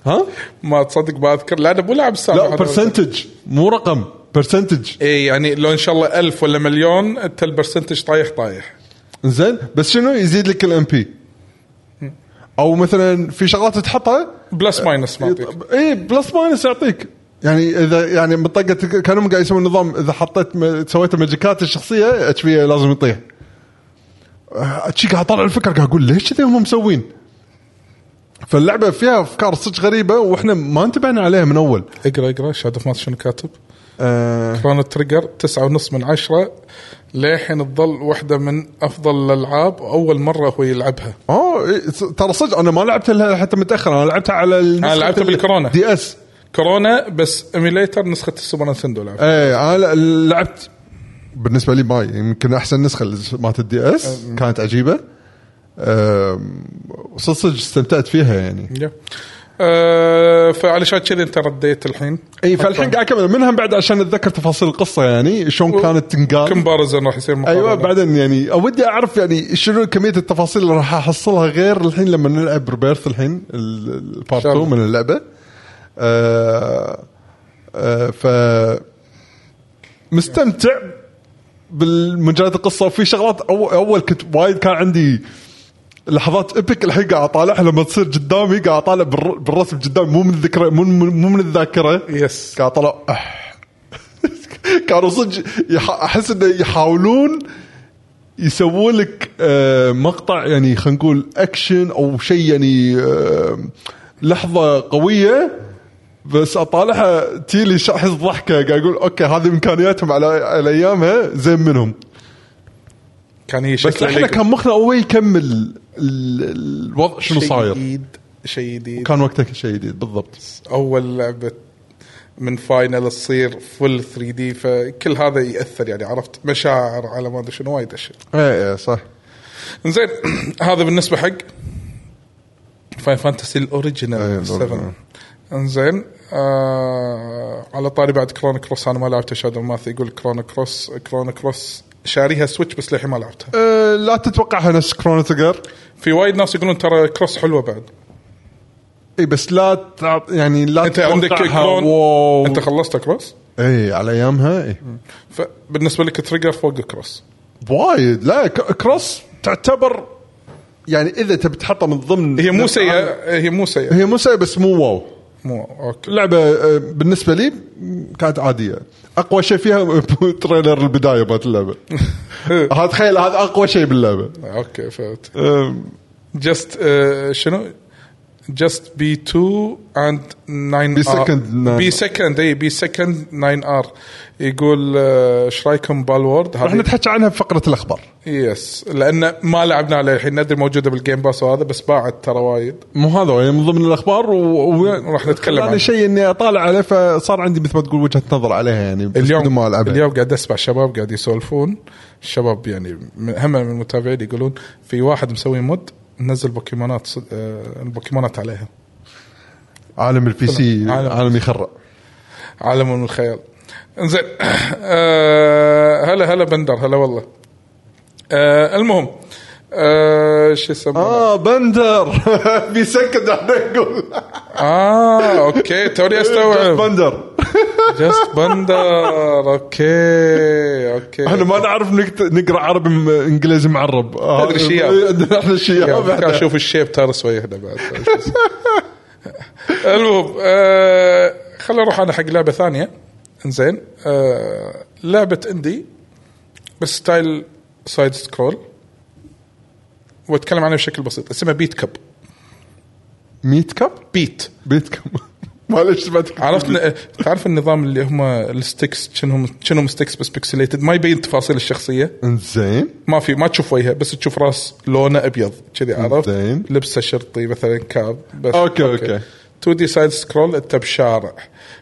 B: ها؟
A: ما تصدق ما اذكر لا انا مو لاعب سابع
B: لا
A: أنا-
B: برسنتج مو رقم برسنتج
A: اي يعني لو ان شاء الله ألف ولا مليون انت البرسنتج طايح طايح
B: زين بس شنو يزيد لك الام بي او مثلا في شغلات تحطها
A: بلس ماينس ما أعطيك.
B: اي بلس ماينس يعطيك يعني اذا يعني منطقه كانهم قاعد يسوون نظام اذا حطيت م- سويت ماجيكات الشخصيه اتش بي لازم يطيح شي قاعد اطلع الفكره قاعد اقول ليش كذا هم مسوين فاللعبه فيها افكار صدق غريبه واحنا ما انتبهنا عليها من اول
A: اقرا اقرا شاد اوف ماس شنو كاتب
B: آه
A: كرونو تريجر تسعة ونص من عشرة للحين تظل واحدة من أفضل الألعاب وأول مرة هو يلعبها
B: اوه إيه، ص- ترى صدق انا ما لعبتها لها حتى متاخر انا لعبتها على
A: أنا لعبتها بالكورونا.
B: دي اس
A: كورونا بس ايميليتر نسخة السوبر نتندو لعبها
B: ايه انا ل- لعبت بالنسبه لي باي يمكن احسن نسخه اللي مالت الدي اس كانت عجيبه أم، صدق صدق استمتعت فيها يعني
A: يا. آه، فعلشان كذي انت رديت الحين
B: اي إيه، فالحين قاعد اكمل منها بعد عشان اتذكر تفاصيل القصه يعني شلون كانت تنقال
A: كمبارزن راح يصير مقارنة.
B: ايوه بعدين يعني ودي اعرف يعني شنو كميه التفاصيل اللي راح احصلها غير الحين لما نلعب ريبيرث الحين ال- ال- البارت
A: شاء
B: 2
A: الله.
B: من اللعبه آه آه ف مستمتع بالمجالات القصه وفي شغلات أو اول كنت وايد كان عندي لحظات ايبك الحين قاعد اطالعها لما تصير قدامي قاعد اطالع بالر- بالرسم قدامي مو من الذكرى مو من مو من الذاكره
A: يس
B: قاعد طلع أح. كانوا صدق يح- احس انه يحاولون يسوون لك آه، مقطع يعني خلينا نقول اكشن او شيء يعني آه، لحظه قويه بس اطالعها تيلي ش- احس ضحكه قاعد اقول اوكي هذه امكانياتهم على على ايامها زين منهم
A: كان هي
B: بس
A: شكله
B: احنا
A: ليجو.
B: كان مخنا اول يكمل ال- ال- الوضع شنو
A: شيء
B: صاير
A: جديد شيء جديد
B: كان وقتها شيء جديد بالضبط
A: اول لعبه من فاينل تصير فل 3 دي فكل هذا ياثر يعني عرفت مشاعر على ما ادري شنو وايد اشياء
B: ايه إيه، صح
A: زين هذا بالنسبه حق فاين فانتسي
B: إيه،
A: الاوريجينال
B: الأوريجينال.
A: 7 انزين آه على طاري بعد كرون كروس انا ما لعبته شادو ماث يقول كرون كروس كرون كروس شاريها سويتش بس للحين ما لعبتها
B: أه، لا تتوقعها نفس كرونو تريجر
A: في وايد ناس يقولون ترى كروس حلوه بعد
B: اي إيه، بس لا تعط يعني لا
A: انت عندك
B: تتوقعها
A: كرون
B: واو.
A: انت خلصت كروس
B: اي على إيه. ايامها اي
A: فبالنسبه لك تريجر فوق كروس
B: وايد لا ك- كروس تعتبر يعني اذا تبي تحطها من ضمن
A: هي مو سيئه هي مو سيئه
B: هي مو سيئه بس مو واو
A: مو اوكي
B: اللعبه أه، بالنسبه لي كانت عاديه اقوى شيء فيها تريلر البدايه مالت اللعبه هذا تخيل هذا اقوى شيء باللعبه
A: اوكي فهمت
B: أم،
A: جاست شنو جاست بي 2 اند 9
B: Be second nine.
A: بي سكند اي بي سكند 9 ار يقول آه، ايش رايكم بالورد
B: راح
A: هذه
B: نتحكى عنها بفقره الاخبار
A: يس لان ما لعبنا عليه الحين ندري موجوده بالجيم باس وهذا بس باعت ترى وايد
B: مو هذا هو، يعني من ضمن الاخبار وراح
A: راح نتكلم
B: عنه
A: عنه.
B: يعني شيء اني اطالع عليه فصار عندي مثل ما تقول وجهه نظر عليها يعني بس بدون
A: اليوم
B: ما العبها
A: اليوم قاعد اسمع شباب قاعد يسولفون الشباب يعني من- هم من المتابعين يقولون في واحد مسوي مود نزل بوكيمونات صد- آه، البوكيمونات عليها
B: عالم البي سي
A: عالم-
B: عالم يخرع
A: عالم من الخيال انزين آه، هلا هلا بندر هلا والله آه، المهم آه، شو يسمونه
B: اه بندر بيسكت احنا نقول
A: اه اوكي توني استوعب
B: بندر
A: جاست بندر اوكي اوكي
B: احنا ما نعرف نكت- نقرا عربي م- انجليزي معرب آه،
A: أدري شياب.
B: إيه، عندنا احنا شياب
A: كان
B: احنا.
A: اشوف الشيب ترى هنا بعد المهم آه خلينا نروح انا حق لعبه ثانيه انزين آه لعبه اندي بس ستايل سايد سكرول واتكلم عنها بشكل بسيط اسمها بيت كب
B: ميت كاب
A: بيت
B: بيت كاب معلش سمعتك
A: عرفت ن- تعرف النظام اللي هم الستكس شنهم شنهم ستكس بس بيكسليتد ما يبين تفاصيل الشخصيه
B: انزين
A: ما في ما تشوف وجهها بس تشوف راس لونه ابيض كذي عرفت
B: زين.
A: لبسه شرطي مثلا كاب بس
B: أوكي، أوكي.
A: 2 دي سايد سكرول انت بشارع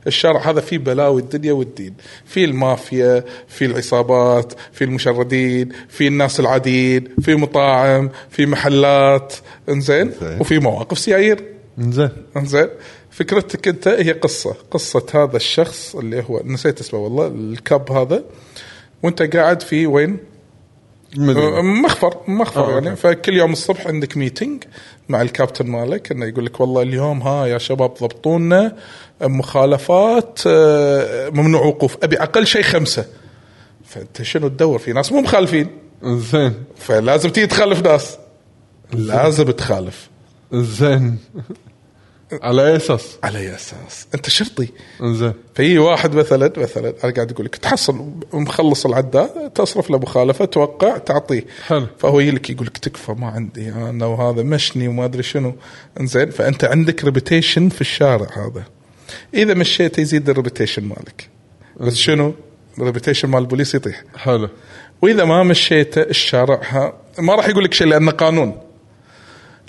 A: الشارع هذا فيه بلاوي الدنيا والدين في المافيا في العصابات في المشردين في الناس العاديين في مطاعم في محلات انزين
B: زين.
A: وفي مواقف سيايير
B: انزين
A: انزين فكرتك انت هي قصه قصه هذا الشخص اللي هو نسيت اسمه والله الكاب هذا وانت قاعد في وين؟
B: مدري.
A: مخفر مخفر
B: آه،
A: آه أه، يعني
B: أوكي.
A: فكل يوم الصبح عندك ميتنج مع الكابتن مالك انه يقول لك والله اليوم ها يا شباب ضبطونا مخالفات آه، ممنوع وقوف ابي اقل شيء خمسه فانت شنو تدور في ناس مو مخالفين
B: انزين
A: فلازم تيجي تخالف ناس لازم تخالف
B: زين على اي اساس؟
A: على اي اساس؟ انت شرطي
B: زين
A: فيجي واحد مثلا مثلا انا قاعد اقول لك تحصل مخلص العداد تصرف له مخالفه توقع تعطيه
B: حلو.
A: فهو يجي لك يقول لك تكفى ما عندي انا وهذا مشني وما ادري شنو انزين فانت عندك ريبيتيشن في الشارع هذا اذا مشيت يزيد الريبيتيشن مالك بس شنو؟ الريبيتيشن مال البوليس يطيح
B: حلو
A: واذا ما مشيت الشارع ها ما راح يقول لك شيء لانه قانون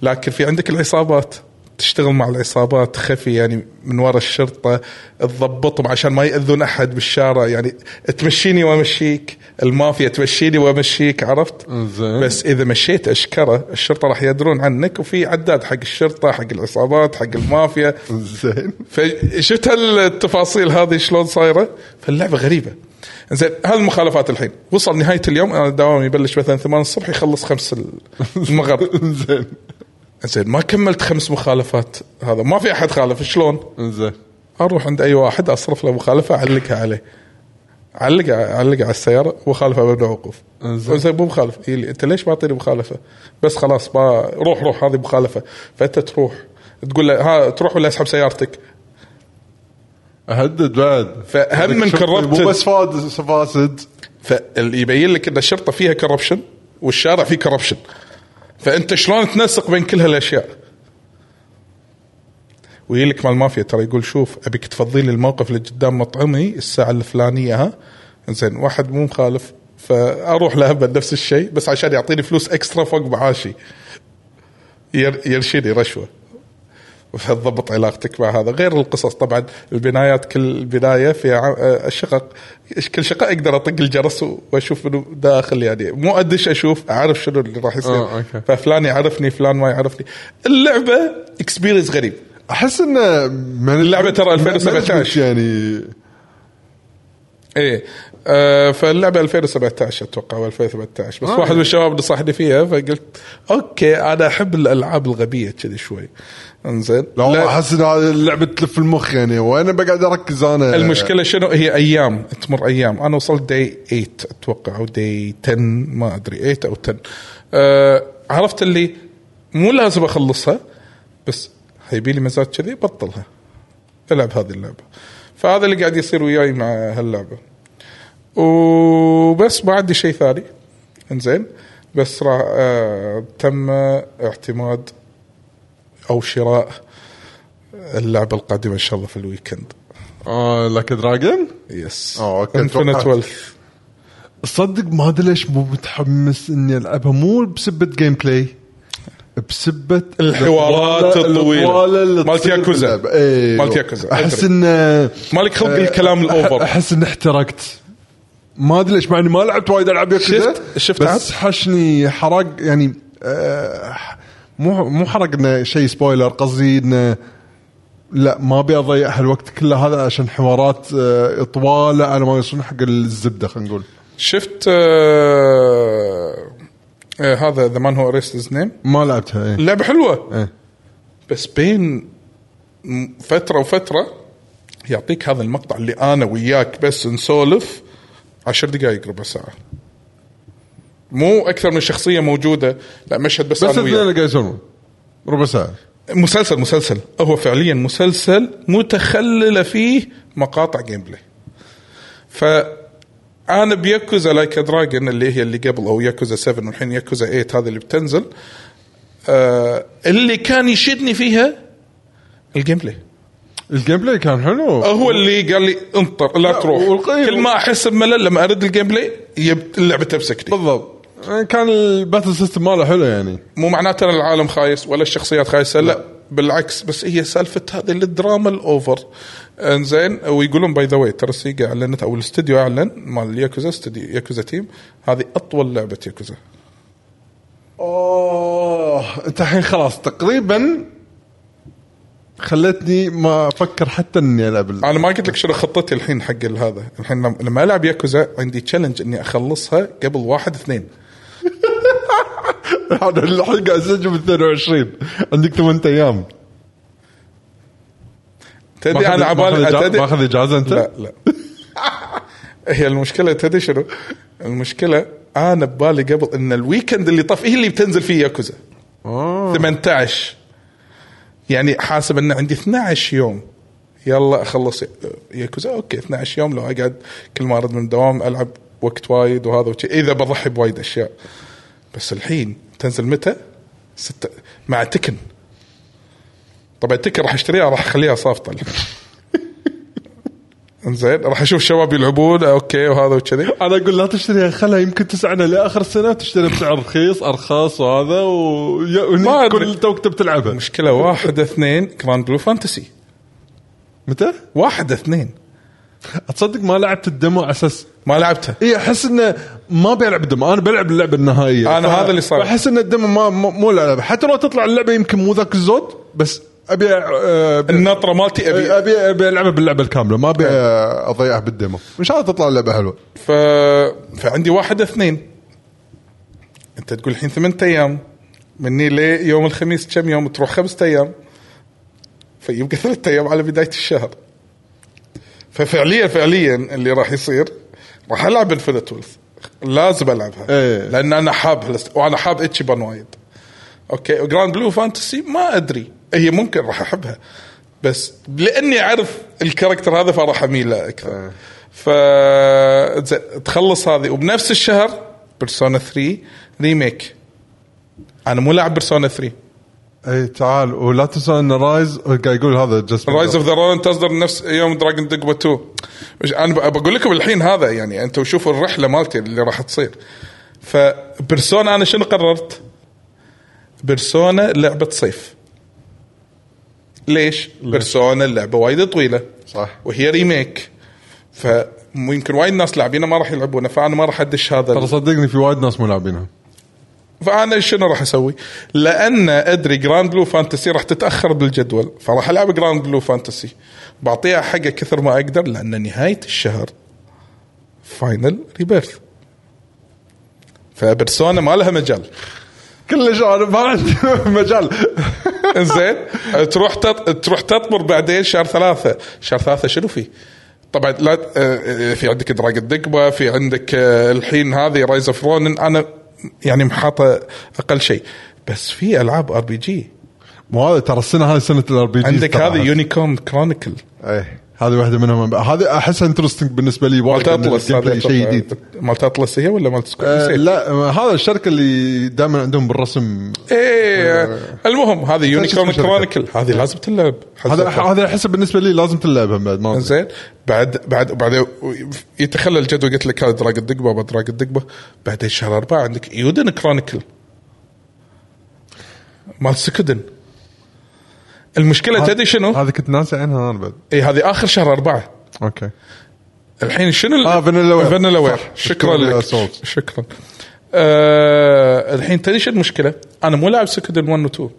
A: لكن في عندك العصابات تشتغل مع العصابات خفي يعني من وراء الشرطه تضبطهم عشان ما ياذون احد بالشارع يعني تمشيني وامشيك المافيا تمشيني وامشيك عرفت؟
B: زين.
A: بس اذا مشيت اشكره الشرطه راح يدرون عنك وفي عداد حق الشرطه حق العصابات حق المافيا
B: زين
A: فشفت هالتفاصيل هذه شلون صايره؟ فاللعبه غريبه. زين هالمخالفات الحين وصل نهايه اليوم انا دوامي يبلش مثلا 8 الصبح يخلص 5 المغرب.
B: زين
A: زين ما كملت خمس مخالفات هذا ما في احد خالف شلون؟
B: زين
A: اروح عند اي واحد اصرف له مخالفه اعلقها عليه. علقها علقها على السياره مخالفه ممنوع وقوف.
B: إنزين.
A: زين مو مخالف إيه لي، انت ليش ما اعطيني مخالفه؟ بس خلاص ما روح روح هذه مخالفه فانت تروح تقول له ها تروح ولا اسحب سيارتك؟
B: اهدد بعد
A: فهم من
B: شوف،
A: corrupted.
B: مو بس فاسد فاسد
A: فيبين لك ان الشرطه فيها كربشن والشارع فيه كربشن فانت شلون تنسق بين كل هالاشياء ويجي لك مال المافيا ترى يقول شوف ابيك تفضي لي الموقف اللي قدام مطعمي الساعه الفلانيه ها زين واحد مو مخالف فاروح له بعد نفس الشيء بس عشان يعطيني فلوس اكسترا فوق معاشي ير- يرشيني رشوه فتضبط علاقتك مع هذا غير القصص طبعا البنايات كل بنايه فيها ع- آه، شقق كل شقه اقدر اطق الجرس و- واشوف منو داخل يعني مو ادش اشوف اعرف شنو اللي راح يصير
B: آه، أوكي.
A: ففلان يعرفني فلان ما يعرفني اللعبه اكسبيرينس غريب
B: احس انه من
A: اللعبة ترى 2017.
B: يعني
A: ايه آه فاللعبه 2017 اتوقع او 2018 بس
B: آه.
A: آه. واحد من الشباب نصحني فيها فقلت اوكي انا احب الالعاب الغبيه كذي شوي انزين
B: لا والله احس ان هذه اللعبه تلف المخ يعني وانا بقعد اركز انا
A: المشكله شنو هي ايام تمر ايام انا وصلت داي 8 اتوقع او داي 10 ما ادري 8 او 10 أه عرفت اللي مو لازم اخلصها بس هيبي لي مزاج كذي بطلها العب هذه اللعبه فهذا اللي قاعد يصير وياي مع هاللعبه وبس ما عندي شيء ثاني انزين بس را أه تم اعتماد او شراء اللعبه القادمه ان شاء الله في الويكند
B: اه لك دراجون
A: يس
B: آه، أوكي،
A: انفنت
B: توقعت.
A: ويلث
B: صدق ما ادري ليش مو متحمس اني العبها مو بسبه جيم بلاي بسبه
A: الحوارات الطويلة. مالت ياكوزا. مالت
B: مالت
A: ياكوزا.
B: احس
A: أدري.
B: انه
A: مالك خلق الكلام
B: أح-
A: الاوفر
B: احس اني احترقت ما ادري ليش مع اني ما لعبت وايد العاب ياكوزا
A: شفت- شفت
B: بس حشني حرق يعني آه، مو مو حرق انه شيء سبويلر قصدي انه لا ما ابي اضيع هالوقت كله هذا عشان حوارات آه، طواله على ما يوصلون حق الزبده خلينا نقول
A: شفت آه آه هذا ذا مان هو اريست نيم
B: ما لعبتها ايه
A: اللعبه حلوه
B: إيه.
A: بس بين م- فتره وفتره يعطيك هذا المقطع اللي انا وياك بس نسولف عشر دقائق ربع ساعه مو اكثر من شخصيه موجوده لا مشهد بس,
B: بس
A: انا
B: اثنين
A: وياك
B: اللي قاعد يسولفون ربع ساعه
A: مسلسل مسلسل هو فعليا مسلسل متخلله فيه مقاطع جيم بلاي ف انا بياكوزا لايك دراجون اللي هي اللي قبل او ياكوزا 7 والحين ياكوزا 8 هذه اللي بتنزل آه اللي كان يشدني فيها الجيم بلاي
B: الجيم بلاي كان حلو
A: هو اللي قال لي انطر لا تروح
B: والقيم-
A: كل ما احس بملل لما ارد الجيم بلاي يب- اللعبه تمسكني
B: بالضبط آه، كان الباتل سيستم ماله حلو يعني
A: مو معناته ان العالم خايس ولا الشخصيات خايسه لا, بالعكس بس هي سالفه هذه الدراما الاوفر انزين ويقولون باي ذا واي ترى سيجا اعلنت او الاستوديو اعلن مال ياكوزا استوديو ياكوزا تيم هذه اطول لعبه ياكوزا
B: اوه انت الحين خلاص تقريبا خلتني ما افكر حتى اني العب ال-
A: انا ما قلت لك شنو خطتي الحين حق هذا الحين لما- لما العب ياكوزا عندي تشالنج اني اخلصها قبل واحد اثنين
B: انا الحين قاعد اسجل 22 عندك 8 ايام
A: تدري انا عبالي
B: عبالي
A: تدري-
B: ماخذ اجازه انت؟
A: لا لا هي المشكله تدري شنو؟ المشكله انا ببالي قبل ان الويكند اللي طاف هي اللي بتنزل فيه ياكوزا
B: آه.
A: 18 يعني حاسب ان عندي 12 يوم يلا اخلص ياكوزا اوكي 12 يوم لو اقعد كل ما ارد من الدوام العب وقت وايد وهذا وشي اذا بضحي بوايد اشياء بس الحين تنزل متى؟ ستة مع تكن طبعا تكن راح اشتريها راح اخليها صافطه انزين راح اشوف شباب يلعبون اوكي وهذا وكذي
B: انا اقول لا تشتريها خلها يمكن تسعنا لاخر سنه تشتري بسعر رخيص ارخص وهذا
A: ما
B: و
A: أدري.
B: كل توك تب تلعبها
A: مشكله واحد اثنين جراند بلو فانتسي
B: متى؟
A: واحد اثنين
B: اتصدق ما لعبت الدمو على اساس
A: ما لعبتها
B: اي احس انه إيه، ما بيلعب دمو انا بلعب اللعبه النهائيه
A: أنا هذا اللي صار.
B: احس ان الدمو ما مو- مو لعبه حتى لو تطلع اللعبه يمكن مو ذاك الزود بس ابي آه، ابي
A: النطره مالتي ابي
B: ابي ابي العبها باللعبه الكامله ما ابي
A: إيه.
B: آه، اضيعها بالدمو ان شاء الله تطلع اللعبه حلوه
A: ف... فعندي واحد اثنين انت تقول الحين ثمانية ايام مني ليه يوم الخميس كم يوم تروح خمسة ايام فيبقى ثلاثة ايام على بدايه الشهر ففعليا فعليا اللي راح يصير راح العب انفنت ويلث لازم العبها
B: إيه.
A: لان انا حاب هالست... وانا حاب اتشيبان وايد اوكي جراند بلو فانتسي ما ادري هي ممكن راح احبها بس لاني اعرف الكاركتر هذا فراح اميل له اكثر ف زين، تخلص هذه وبنفس الشهر بيرسونا 3 ريميك انا مو لاعب بيرسونا 3
B: اي إيه، تعال ولا تنسى ان رايز قاعد يقول هذا جست
A: رايز اوف ذا رون تصدر نفس يوم دراجون دوغما 2 وش- انا ب- بقول لكم الحين هذا يعني انتم شوفوا الرحله مالتي اللي راح تصير فبرسونا انا شنو قررت؟ برسونا لعبه صيف ليش؟ برسونا اللعبه وايد طويله
B: صح.
A: وهي ريميك فيمكن وايد ناس لاعبينها ما راح يلعبونها فانا ما راح ادش هذا
B: ترى صدقني في وايد ناس مو لاعبينها
A: فانا شنو راح اسوي؟ لان ادري جراند بلو فانتسي راح تتاخر بالجدول فراح العب جراند بلو فانتسي بعطيها حقه كثر ما اقدر لان نهايه الشهر فاينل ريبيرث فبرسونا ما لها مجال
B: كلش انا ما عندي مجال
A: زين تروح تط... تروح تطمر بعدين شهر ثلاثة شهر ثلاثة شنو فيه طبعا لا آه، آه، في عندك دراج الدقبة في عندك آه، الحين هذه رايز اوف رونن انا يعني محاطة اقل شيء بس في العاب ار بي جي
B: مو هذا ترى السنه هذه سنه الار بي جي
A: عندك هذه يونيكورن كرونيكل
B: ايه هذه واحده منهم هذه احسها انترستنج بالنسبه لي
A: مالت
B: وايد لأن
A: اطلس
B: الجيم بلاي شيء جديد
A: مالت اطلس هي ولا مالت سكوير؟
B: آه،
A: نسيت.
B: لا ما هذا الشركه اللي دائما عندهم بالرسم
A: ايه آه، المهم هذه
B: اسم
A: يونيكورن
B: الشركة.
A: كرونيكل هذه لازم تلعب
B: آه. هذا
A: حزتها.
B: هذا احسه بالنسبه لي لازم تلعبها بعد ما أدري.
A: زين بعد بعد بعد يتخلى الجدول قلت لك هذا دراج الدقبه بعد دراج الدقبه بعدين شهر اربعه عندك يودن كرونيكل مال سكدن المشكله تدري شنو؟
B: هذا كنت ناسي عنها انا بعد
A: اي هذه اخر شهر اربعه
B: اوكي
A: الحين شنو ال-
B: آه، فانيلا وير.
A: فانيلا وير
B: صح.
A: شكرا
B: فانيلا
A: لك
B: سولت.
A: شكرا آه الحين تدري شو المشكله؟ انا مو لاعب سكدن 1 و 2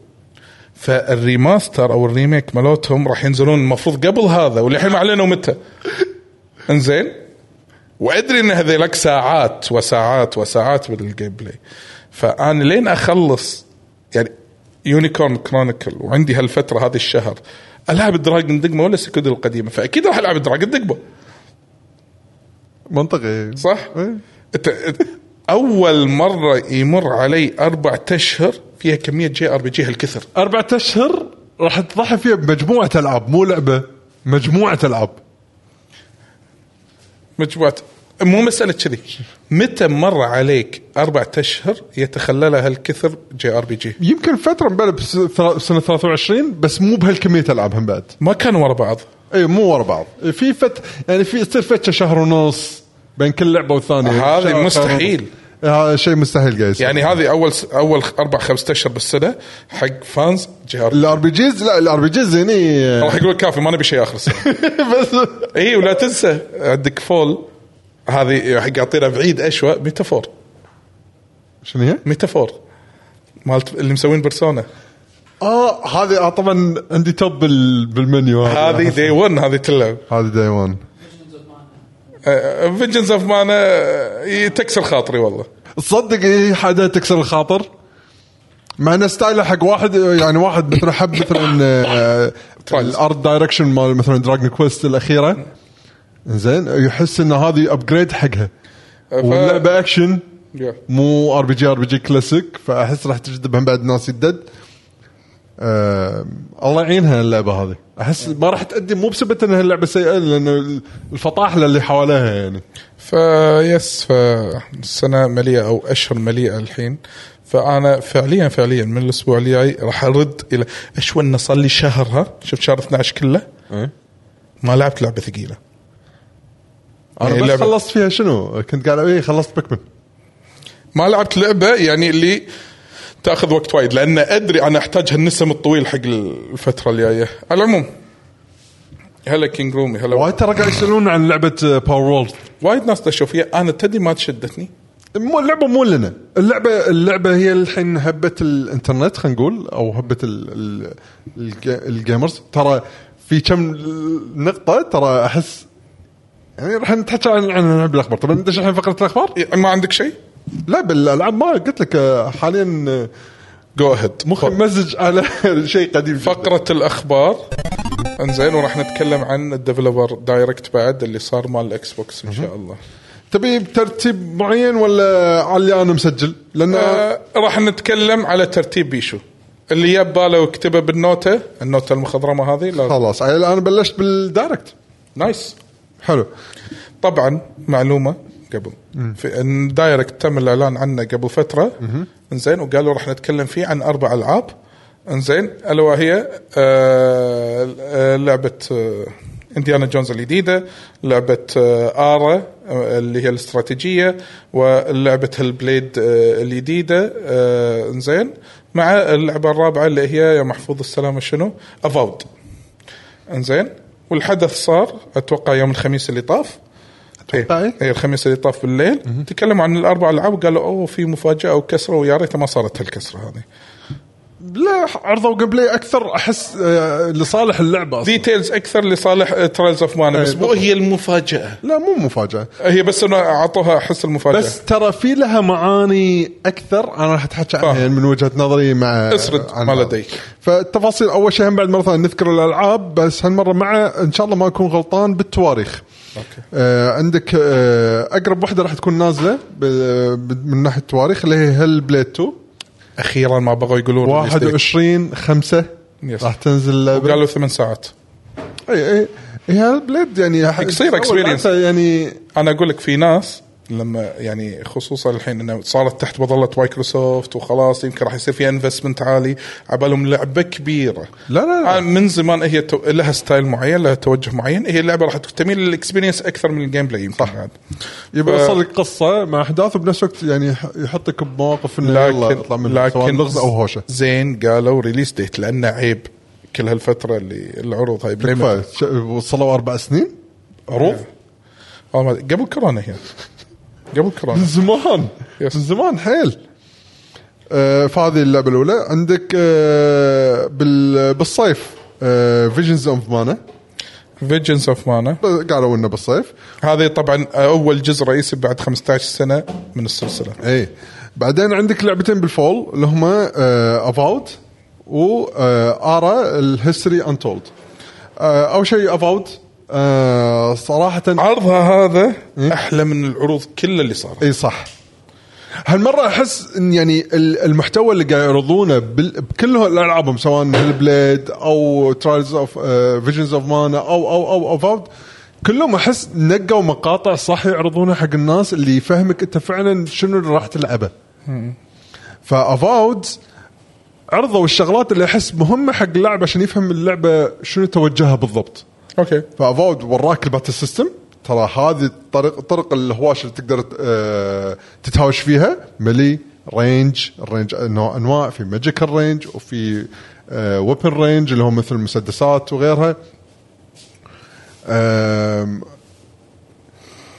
A: فالريماستر او الريميك مالتهم راح ينزلون المفروض قبل هذا والحين ما اعلنوا متى انزين وادري ان هذيلك ساعات وساعات وساعات بالجيم بلاي فانا لين اخلص يعني يونيكورن كرونيكل وعندي هالفتره هذه الشهر العب دراجون دقمه ولا سكود القديمه فاكيد راح العب دراجون دقمه
B: منطقي
A: صح؟
B: إيه.
A: انت انت- اول مره يمر علي اربع اشهر فيها كميه جي ار بي جي هالكثر
B: اربعة اشهر راح تضحي فيها بمجموعه العاب مو لعبه مجموعه العاب
A: مجموعه مو مساله كذي متى مر عليك اربع اشهر يتخللها هالكثر جي ار بي جي
B: يمكن فتره مبالغ بس- ثلا- سنه 23 بس مو بهالكميه العاب هم بعد
A: ما كانوا ورا بعض
B: اي مو ورا بعض في فت يعني في تصير فتشه شهر ونص بين كل لعبه والثانيه
A: هذه
B: شهر-
A: مستحيل.
B: شهر ونص. هذا شيء مستحيل قاعد يصير.
A: يعني هذه اول س- اول اربع خمس اشهر بالسنه حق فانز جي ار
B: الار بي جيز لا الار بي جيز هني آه،
A: راح يقول كافي ما نبي شيء اخر السنه
B: بس
A: اي إيه، ولا تنسى عندك فول هذه حق اعطينا بعيد اشوى ميتافور
B: شنو هي؟
A: ميتافور مالت اللي مسوين بيرسونا
B: اه هذه آه طبعا عندي توب بال- بالمنيو
A: هذه دي 1 هذه تلعب
B: هذه داي 1
A: فيجنز اوف مانا تكسر خاطري والله
B: تصدق هي حدا تكسر الخاطر مع انه ستايله حق واحد يعني واحد مثلا حب مثلا آه،
A: ترايلز.
B: الارت دايركشن مال مثلا دراجون كويست الاخيره زين يحس ان هذه ابجريد حقها
A: ف-
B: واللعبه اكشن
A: يا.
B: مو ار بي جي ار بي جي كلاسيك فاحس راح تجذب هم بعد ناس يدد آم، الله يعينها اللعبه هذه احس ما راح تقدم مو بسبب انها اللعبه سيئه لان الفطاحله اللي حواليها يعني
A: فيس فالسنه مليئه او اشهر مليئه الحين فانا فعليا فعليا من الاسبوع الجاي راح ارد الى اشون صار لي شهر ها شفت شهر 12 كله ما لعبت لعبه ثقيله
B: انا
A: يعني
B: بس
A: اللعبة-
B: خلصت فيها شنو كنت قاعد اي خلصت بيكمن
A: ما لعبت لعبه يعني اللي تاخذ وقت وايد لان ادري انا احتاج هالنسم الطويل حق الفتره الجايه على العموم هلا كينج رومي هلا
B: وايد ترى قاعد يسالون عن آه، لعبه باور وورلد
A: وايد ناس دشوا فيها انا تدري ما شدتني
B: مو اللعبه مو لنا اللعبه اللعبه هي الحين هبه الانترنت خلينا نقول او هبه ال ال الج- الجيمرز ترى في كم نقطه ترى احس يعني راح نتحكى عن عن نلعب الاخبار طبعا ندش الحين فقره الاخبار
A: يعني ما عندك شيء؟
B: لا بالالعاب ما قلت لك آه، حاليا آه،
A: جو اهيد
B: مخي مزج على شيء قديم جداً.
A: فقرة الأخبار انزين وراح نتكلم عن الديفلوبر دايركت بعد اللي صار مال الإكس بوكس إن شاء الله
B: تبي بترتيب معين ولا على اللي انا مسجل؟ لان
A: آه راح نتكلم على ترتيب بيشو اللي يب باله وكتبه بالنوتة النوتة المخضرمة هذه لا
B: خلاص انا بلشت بالدايركت
A: نايس
B: حلو
A: طبعا معلومة قبل في الدايركت تم الإعلان عنه قبل فترة انزين وقالوا راح نتكلم فيه عن أربع ألعاب انزين ألا وهي آه آه، لعبة آه انديانا جونز الجديدة لعبة آه آرا آه، اللي هي الاستراتيجية ولعبة البليد آه الجديدة آه انزين مع اللعبة الرابعة اللي هي يا محفوظ السلامة شنو افاود انزين والحدث صار اتوقع يوم الخميس اللي طاف
B: أتوقع
A: إيه.
B: إيه.
A: إيه، الخميس اللي طاف بالليل تكلموا عن الاربع العاب وقالوا اوه في مفاجاه وكسره ويا ريت ما صارت هالكسره هذه
B: لا عرضوا جيم بلاي اكثر احس آه، لصالح اللعبه أصلاً.
A: ديتيلز اكثر لصالح آه، ترايلز اوف مانا بس مو
B: بالضبط.
A: هي المفاجاه
B: لا مو مفاجاه
A: هي بس انه اعطوها احس المفاجاه بس
B: بس ترى في لها معاني اكثر انا راح اتحكى عنها
A: فاهم.
B: يعني من وجهه نظري مع
A: آه. اسرد
B: عن
A: ما
B: هذا.
A: لديك.
B: فالتفاصيل اول شيء هم بعد مره ثانيه نذكر الالعاب بس هالمره مع ان شاء الله ما اكون غلطان بالتواريخ
A: أوكي.
B: آه عندك آه اقرب واحده راح تكون نازله ب- ب- من ناحيه التواريخ اللي هي هل بليد 2
A: اخيرا ما بغوا يقولون release date.
B: 21 5
A: Yes.
B: راح تنزل إيه، اللعبه
A: قالوا ثمان ساعات
B: اي اي هي هل بليد يعني
A: يصير
B: أول
A: experience.
B: لعبة يعني
A: انا اقول لك في ناس لما يعني خصوصا الحين انه صارت تحت مظله مايكروسوفت وخلاص يمكن راح يصير فيها انفستمنت عالي عبالهم لعبه كبيره
B: لا لا لا.
A: آه، من زمان هي تو... لها ستايل معين لها توجه معين هي اللعبه راح تميل للاكسبيرينس اكثر من الجيم بلاي يمكن صح
B: يبي يوصل لك قصه مع احداث وبنفس الوقت يعني يح- يحطك بمواقف انه يلا اطلع
A: لكن
B: منه لكن سواء لغز او هوشه
A: زين قالوا ريليس ديت لانه عيب كل هالفتره اللي العروض هاي بلاي متى؟
B: ف- ش- وصلوا اربع سنين
A: عروض؟ آه، ما- قبل كورونا هي قبل
B: من
A: كورونا
B: زمان من
A: Yes.
B: زمان حيل آه، فهذه اللعبه الاولى عندك آه، بال- بالصيف آه، فيجنز اوف مانا
A: فيجنز اوف مانا
B: قالوا انه بالصيف
A: هذه طبعا اول جزء رئيسي بعد 15 سنه من السلسله
B: اي إيه. بعدين عندك لعبتين بالفول اللي هما افاوت و آه، ارا الهيستوري انتولد اول آه، شيء آه، افاوت صراحه
A: عرضها هذا احلى من العروض كلها اللي صارت
B: اي صح هالمره احس ان يعني ال- المحتوى اللي قاعد يعرضونه بال- بكل العابهم سواء بليد او ترايلز اوف فيجنز اوف مانا او او او اوف اوت كلهم احس نقوا مقاطع صح يعرضونها حق الناس اللي يفهمك انت فعلا شنو اللي راح تلعبه. فافاود عرضوا الشغلات اللي احس مهمه حق اللاعب عشان يفهم اللعبه شنو توجهها بالضبط.
A: اوكي
B: فافاود وراك الباتل سيستم ترى هذه الطريق طرق الهواش اللي تقدر آه، تتهاوش فيها ملي رينج الرينج انواع انواع في ماجيكال رينج وفي ويبن رينج اللي هو مثل المسدسات وغيرها آم،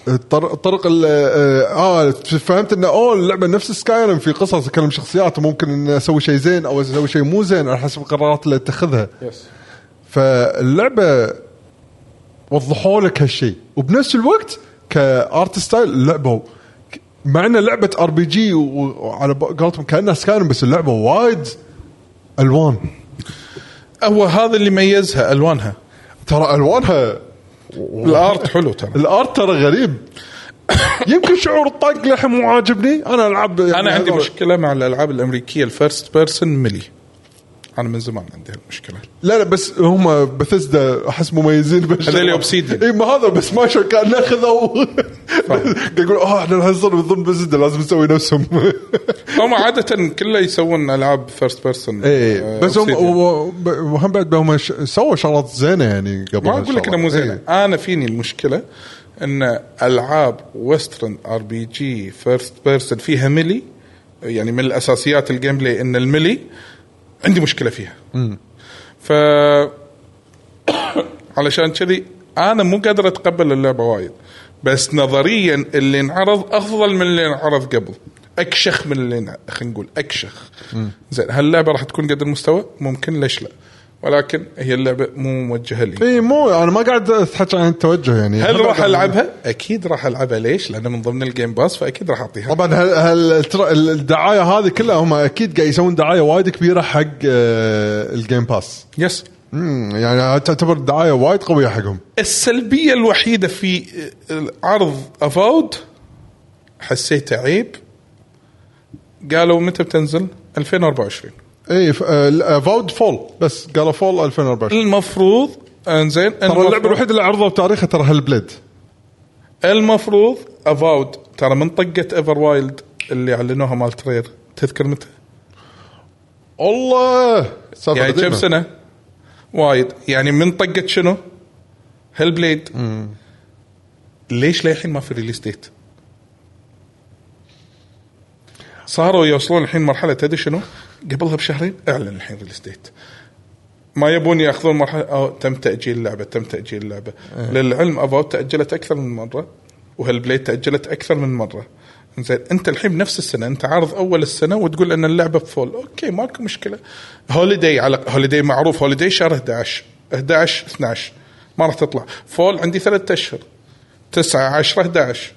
B: الطرق الطرق ال- اه آه، فهمت انه اوه اللعبه نفس سكايرم في قصص اكلم شخصيات وممكن ان اسوي شيء زين او اسوي شيء مو زين على حسب القرارات اللي اتخذها
A: يس
B: فاللعبه وضحوا لك هالشيء وبنفس الوقت كارت ستايل اللعبه ك- مع انها لعبه ار بي جي وعلى ب- قولتهم كانها سكان بس اللعبه وايد الوان
A: هو هذا اللي ميزها الوانها
B: ترى الوانها
A: الارت حلو ترى
B: الارت ترى غريب يمكن شعور الطق لحم مو عاجبني انا العب يعني
A: انا عندي
B: هذول-
A: مشكله مع الالعاب الامريكيه الفيرست بيرسون ملي انا من زمان عندي هالمشكله
B: لا لا بس هم بثزدا احس مميزين بهالشغلة.
A: هذول Obsidian.
B: اي ما هذا بس ما شو كان ناخذوا يقول اه احنا الحين صرنا ضمن بثزدا لازم نسوي نفسهم
A: هم عاده كله يسوون العاب فيرست بيرسون
B: اي إيه. بس هم وهم بعد هم ش- سووا شغلات زينه يعني قبل
A: ما اقول لك انها مو زينه
B: إيه.
A: انا فيني المشكله ان العاب ويسترن ار بي جي فيرست بيرسون فيها ملي يعني من الاساسيات الجيم بلاي ان الملي عندي مشكله فيها ف علشان كذي انا مو قادر اتقبل اللعبه وايد بس نظريا اللي انعرض افضل من اللي انعرض قبل اكشخ من اللي انع- خلينا نقول اكشخ زين هل اللعبه راح تكون قد المستوى؟ ممكن ليش لا؟ ولكن هي اللعبه مو موجهه لي
B: اي مو انا ما قاعد اتحكى عن التوجه يعني
A: هل
B: أنا
A: راح
B: قاعد-
A: العبها؟ اكيد راح العبها ليش؟ لانه من ضمن الجيم باس فاكيد راح اعطيها
B: طبعا هل هل ترى الدعايه هذه كلها هم اكيد قاعد يسوون دعايه وايد كبيره حق آه، الجيم باس
A: يس
B: مم، يعني تعتبر دعايه وايد قويه حقهم
A: السلبيه الوحيده في عرض افاود حسيته عيب قالوا متى بتنزل؟ 2024
B: اي ف- آه، فاود فول بس قالوا فول 2024
A: المفروض انزين
B: ترى
A: المفروض-
B: اللعبه الوحيده اللي عرضوا بتاريخها ترى هالبليد
A: المفروض افاود ترى من طقه ايفر وايلد اللي اعلنوها مال ترير تذكر متى؟
B: الله سالفة
A: يعني
B: قديمة.
A: كم سنه؟ وايد يعني من طقه شنو؟ هيل بليد ليش للحين ما في ريليس ديت؟ صاروا يوصلون الحين مرحله تدري شنو؟ قبلها بشهرين اعلن الحين ريليس ديت. ما يبون ياخذون مرحله أو تم تاجيل اللعبه تم تاجيل اللعبه أه. للعلم اباوت تاجلت اكثر من مره وهالبليد تاجلت اكثر من مره زين انت الحين بنفس السنه انت عارض اول السنه وتقول ان اللعبه بفول اوكي ماكو مشكله هوليداي على هوليداي معروف هوليداي شهر 11 11 12 ما راح تطلع فول عندي ثلاثة اشهر 9 10 11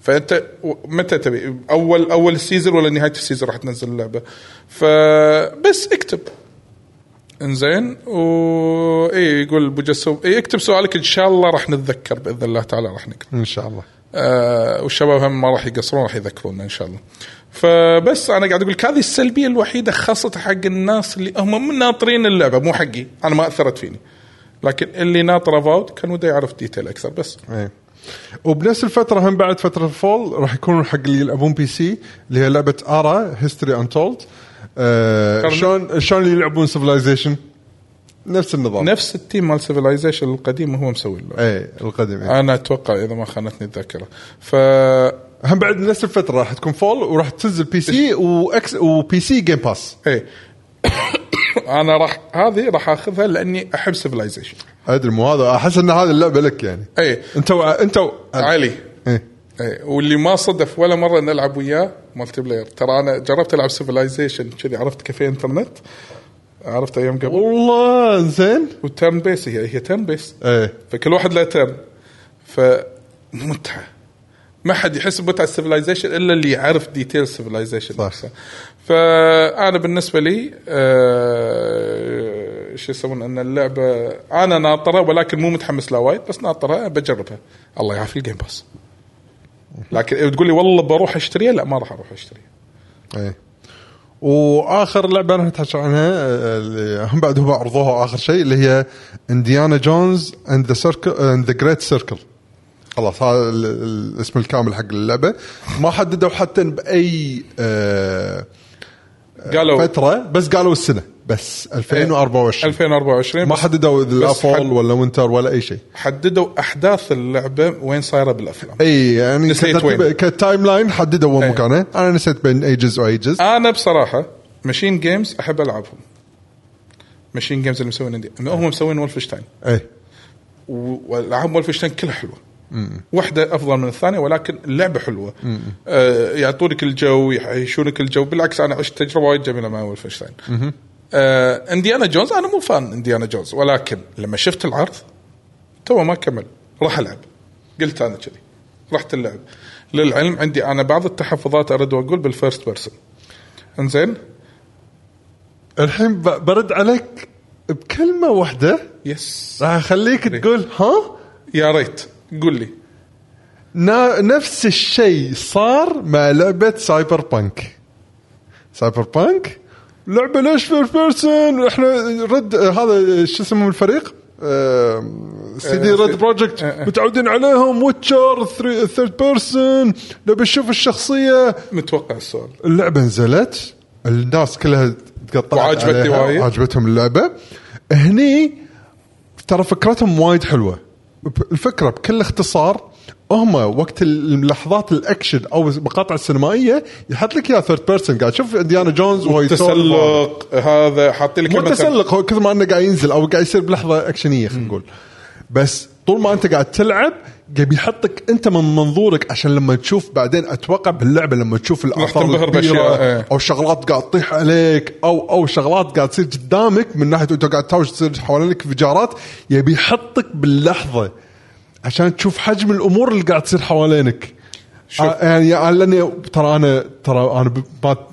A: فانت و- متى تبي اول اول السيزون ولا نهايه السيزون راح تنزل اللعبه فبس اكتب انزين و اي يقول ابو جسوم اي اكتب سؤالك ان شاء الله راح نتذكر باذن الله تعالى راح نقرا
B: ان شاء الله
A: آه والشباب هم ما راح يقصرون راح يذكرونا ان شاء الله فبس انا قاعد اقول لك هذه السلبيه الوحيده خاصه حق الناس اللي هم من ناطرين اللعبه مو حقي انا ما اثرت فيني لكن اللي ناطر افاوت كان وده يعرف ديتيل اكثر بس
B: اي إيه. وبنفس الفترة هم بعد فترة الفول راح يكونون حق اللي يلعبون بي سي اللي هي لعبة ارا هيستوري انتولد آه
A: كرن-
B: شلون شلون اللي يلعبون سيفلايزيشن نفس النظام نفس
A: نفس التيم مال سيفلايزيشن القديم هو مسوي له
B: اي القديم آه.
A: انا اتوقع اذا ما خانتني الذاكره ف
B: هم بعد نفس الفترة راح تكون فول وراح تنزل بي سي واكس وبي سي جيم باس
A: ايه انا راح هذه راح اخذها لاني احب سيفلايزيشن
B: ادري مو هذا احس ان هذه اللعبة لك يعني
A: ايه
B: انت وع- انت و...
A: علي
B: إيه.
A: ايه واللي ما صدف ولا مره نلعب وياه مالتي بلاير ترى انا جربت العب سيفلايزيشن كذي عرفت كافيه انترنت عرفت ايام قبل
B: والله زين
A: وترن بيس هي هي ترن بيس
B: ايه
A: فكل واحد له ترن ف متعه ما حد يحس بمتعه السيفلايزيشن الا اللي يعرف ديتيل سيفلايزيشن
B: صح.
A: فانا بالنسبه لي آه شو يسمون ان اللعبه انا ناطره ولكن مو متحمس لها وايد بس ناطره بجربها الله يعافي الجيم باس لكن تقول لي والله بروح اشتريها لا ما راح اروح اشتريها إيه.
B: ايه واخر لعبه انا اتحكى عنها آه، اللي هم بعد هم عرضوها اخر شيء اللي هي انديانا جونز اند ذا سيركل اند ذا جريت سيركل خلاص هذا ال- ال- الاسم الكامل حق اللعبه ما حددوا حتى باي آه،
A: قالوا
B: فتره بس قالوا السنه بس 2024
A: 2024
B: ما
A: ما
B: حددوا اذا
A: إيه. بس حد-
B: فول ولا وينتر ولا اي شيء
A: حددوا احداث اللعبه وين صايره بالافلام
B: اي يعني
A: نسيت
B: كترتيب-
A: وين.
B: كتايم لاين حددوا وين
A: إيه.
B: مكانه انا نسيت بين اي جزء واي جزء
A: انا بصراحه ماشين جيمز احب العبهم ماشين جيمز اللي مسوين عندي هم مسوين ولفشتاين
B: اي
A: والعاب ولفشتاين كلها حلوه واحدة أفضل من الثانية ولكن اللعبة حلوة آه يعطونك الجو يعيشونك الجو بالعكس أنا عشت تجربة وايد جميلة مع ولفنشتاين آه انديانا جونز أنا مو فان انديانا جونز ولكن لما شفت العرض تو ما كمل راح ألعب قلت أنا كذي رحت اللعب للعلم عندي أنا بعض التحفظات أرد وأقول بالفيرست بيرسون انزين
B: الحين ب- برد عليك بكلمه واحده
A: يس
B: راح اخليك تقول ها
A: يا ريت قول لي
B: نا نفس الشيء صار مع لعبه سايبر بانك سايبر بانك لعبه ليش فيرست بيرسون احنا رد آه، هذا شو اسمه الفريق سي دي ريد بروجكت متعودين عليهم ويتشر ثيرد بيرسون نبي نشوف الشخصيه
A: متوقع السؤال
B: اللعبه نزلت الناس كلها تقطعت
A: وعجبتني
B: عليها،
A: وايد.
B: عجبتهم اللعبه هني ترى فكرتهم وايد حلوه ب- الفكره بكل اختصار هم وقت اللحظات الاكشن او المقاطع السينمائيه يحط لك اياها ثيرد بيرسون قاعد تشوف انديانا جونز وهو يتسولف.
A: تسلق هذا حاطين لك
B: مو
A: مثلاً-
B: تسلق هو كثر ما انه قاعد ينزل او قاعد يصير بلحظه اكشنيه خلينا نقول بس طول ما انت قاعد تلعب قاعد يحطك انت من منظورك عشان لما تشوف بعدين اتوقع باللعبه لما تشوف الاثار
A: تنبهر
B: الكبيره
A: بأشياء، ايه.
B: او شغلات قاعد تطيح عليك او او شغلات قاعد تصير قدامك من ناحيه انت قاعد تهاوش تصير حوالينك انفجارات يبي يحطك باللحظه عشان تشوف حجم الامور اللي قاعد تصير حوالينك
A: شوف.
B: آه، يعني على لاني ترى انا ترى انا ب-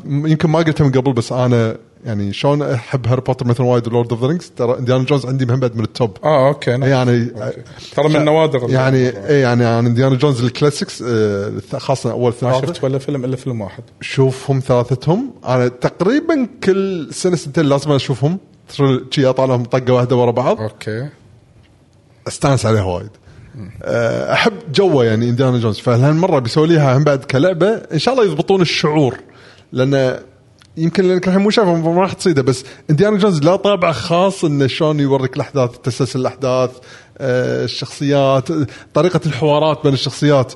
B: ما- يمكن ما قلتها من قبل بس انا يعني شلون احب هاري بوتر مثلا وايد لورد اوف ذا رينجز ترى انديانا جونز عندي مهم بعد من التوب
A: اه اوكي نعم.
B: يعني
A: ترى من النوادر
B: يعني اي يعني انا انديانا جونز الكلاسيكس آه، خاصه اول
A: ما
B: ثلاثه
A: شفت ولا فيلم الا فيلم واحد
B: شوفهم ثلاثتهم انا تقريبا كل سنه سنتين لازم اشوفهم ترى شي اطالعهم طقه واحده ورا بعض
A: اوكي
B: استانس عليها وايد أه، احب جوه يعني انديانا جونز فهالمره بيسوي ليها هم بعد كلعبه ان شاء الله يضبطون الشعور لان يمكن لانك الحين مو شايفه ما راح تصيده بس انديانا جونز لا طابع خاص انه شلون يوريك الاحداث تسلسل الاحداث أه، الشخصيات أه، طريقه الحوارات بين الشخصيات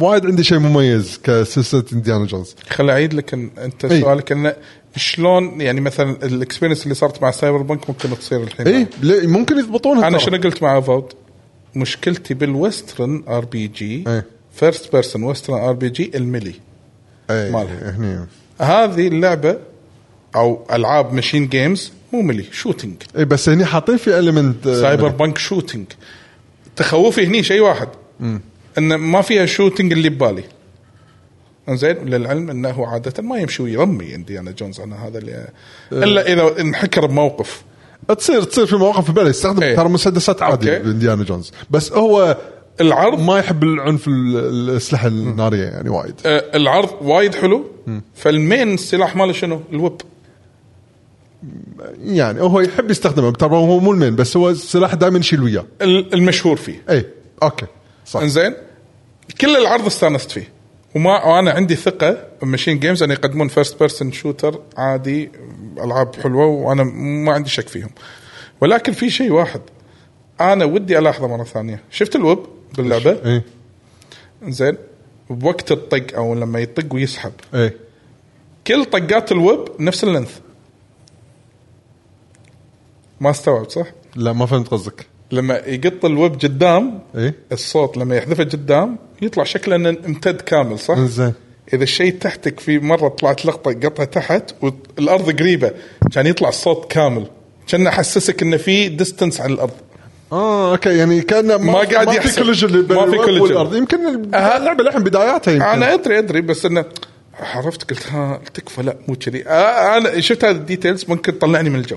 B: وايد عندي شيء مميز كسلسله انديانا جونز
A: خل اعيد لك إن انت
B: إي.
A: سؤالك انه شلون يعني مثلا الاكسبيرينس اللي صارت مع سايبر بنك ممكن تصير الحين
B: اي إيه، ليه؟ ممكن يضبطونها
A: انا
B: ترى.
A: شنو قلت مع فوت مشكلتي بالويسترن ار بي جي
B: إي.
A: فيرست بيرسون ويسترن ار بي جي الملي
B: إي،
A: مالها.
B: إيه، هني
A: هذه اللعبه او العاب ماشين جيمز مو ملي شوتنج
B: اي إيه، بس هني حاطين في آه، المنت
A: سايبر بنك شوتنج تخوفي هني شيء واحد ان ما فيها شوتنج اللي ببالي زين للعلم انه عاده ما يمشي ويرمي انديانا جونز انا هذا اللي الا اذا انحكر بموقف
B: تصير تصير في مواقف في بالي يستخدم
A: إيه.
B: ترى مسدسات عادي
A: أوكي.
B: بانديانا جونز بس هو
A: العرض
B: ما يحب العنف ال- الاسلحه الناريه يعني وايد
A: آه، العرض وايد حلو فالمين السلاح ماله شنو؟ الويب
B: يعني هو يحب يستخدمه ترى هو مو المين بس هو السلاح دائما يشيل وياه
A: ال- المشهور فيه
B: اي اوكي صح
A: انزين كل العرض استانست فيه وما وانا عندي ثقه بماشين جيمز ان يقدمون فيرست بيرسون شوتر عادي العاب حلوه وانا ما عندي شك فيهم ولكن في شيء واحد انا ودي الاحظه مره ثانيه شفت الويب باللعبه
B: اي
A: زين بوقت الطق او لما يطق ويسحب
B: اي
A: كل طقات الويب نفس اللينث ما استوعب صح؟
B: لا ما فهمت قصدك إيه.
A: لما يقط الويب قدام
B: اي
A: الصوت لما يحذفه قدام يطلع شكله انه امتد كامل صح؟
B: انزين
A: اذا الشيء تحتك في مره طلعت لقطه قطعه تحت والارض قريبه كان يطلع الصوت كامل كان احسسك انه في ديستنس عن الارض
B: اه اوكي يعني كانه
A: ما قاعد
B: ما في
A: يحصل.
B: كولجن اللي بين
A: ما في
B: الويب
A: كولجن.
B: والارض يمكن اللعبه لحن بداياتها يمكن
A: انا ادري ادري بس انه عرفت قلت ها تكفى لا مو كذي آه، انا شفت هذه الديتيلز ممكن تطلعني من الجو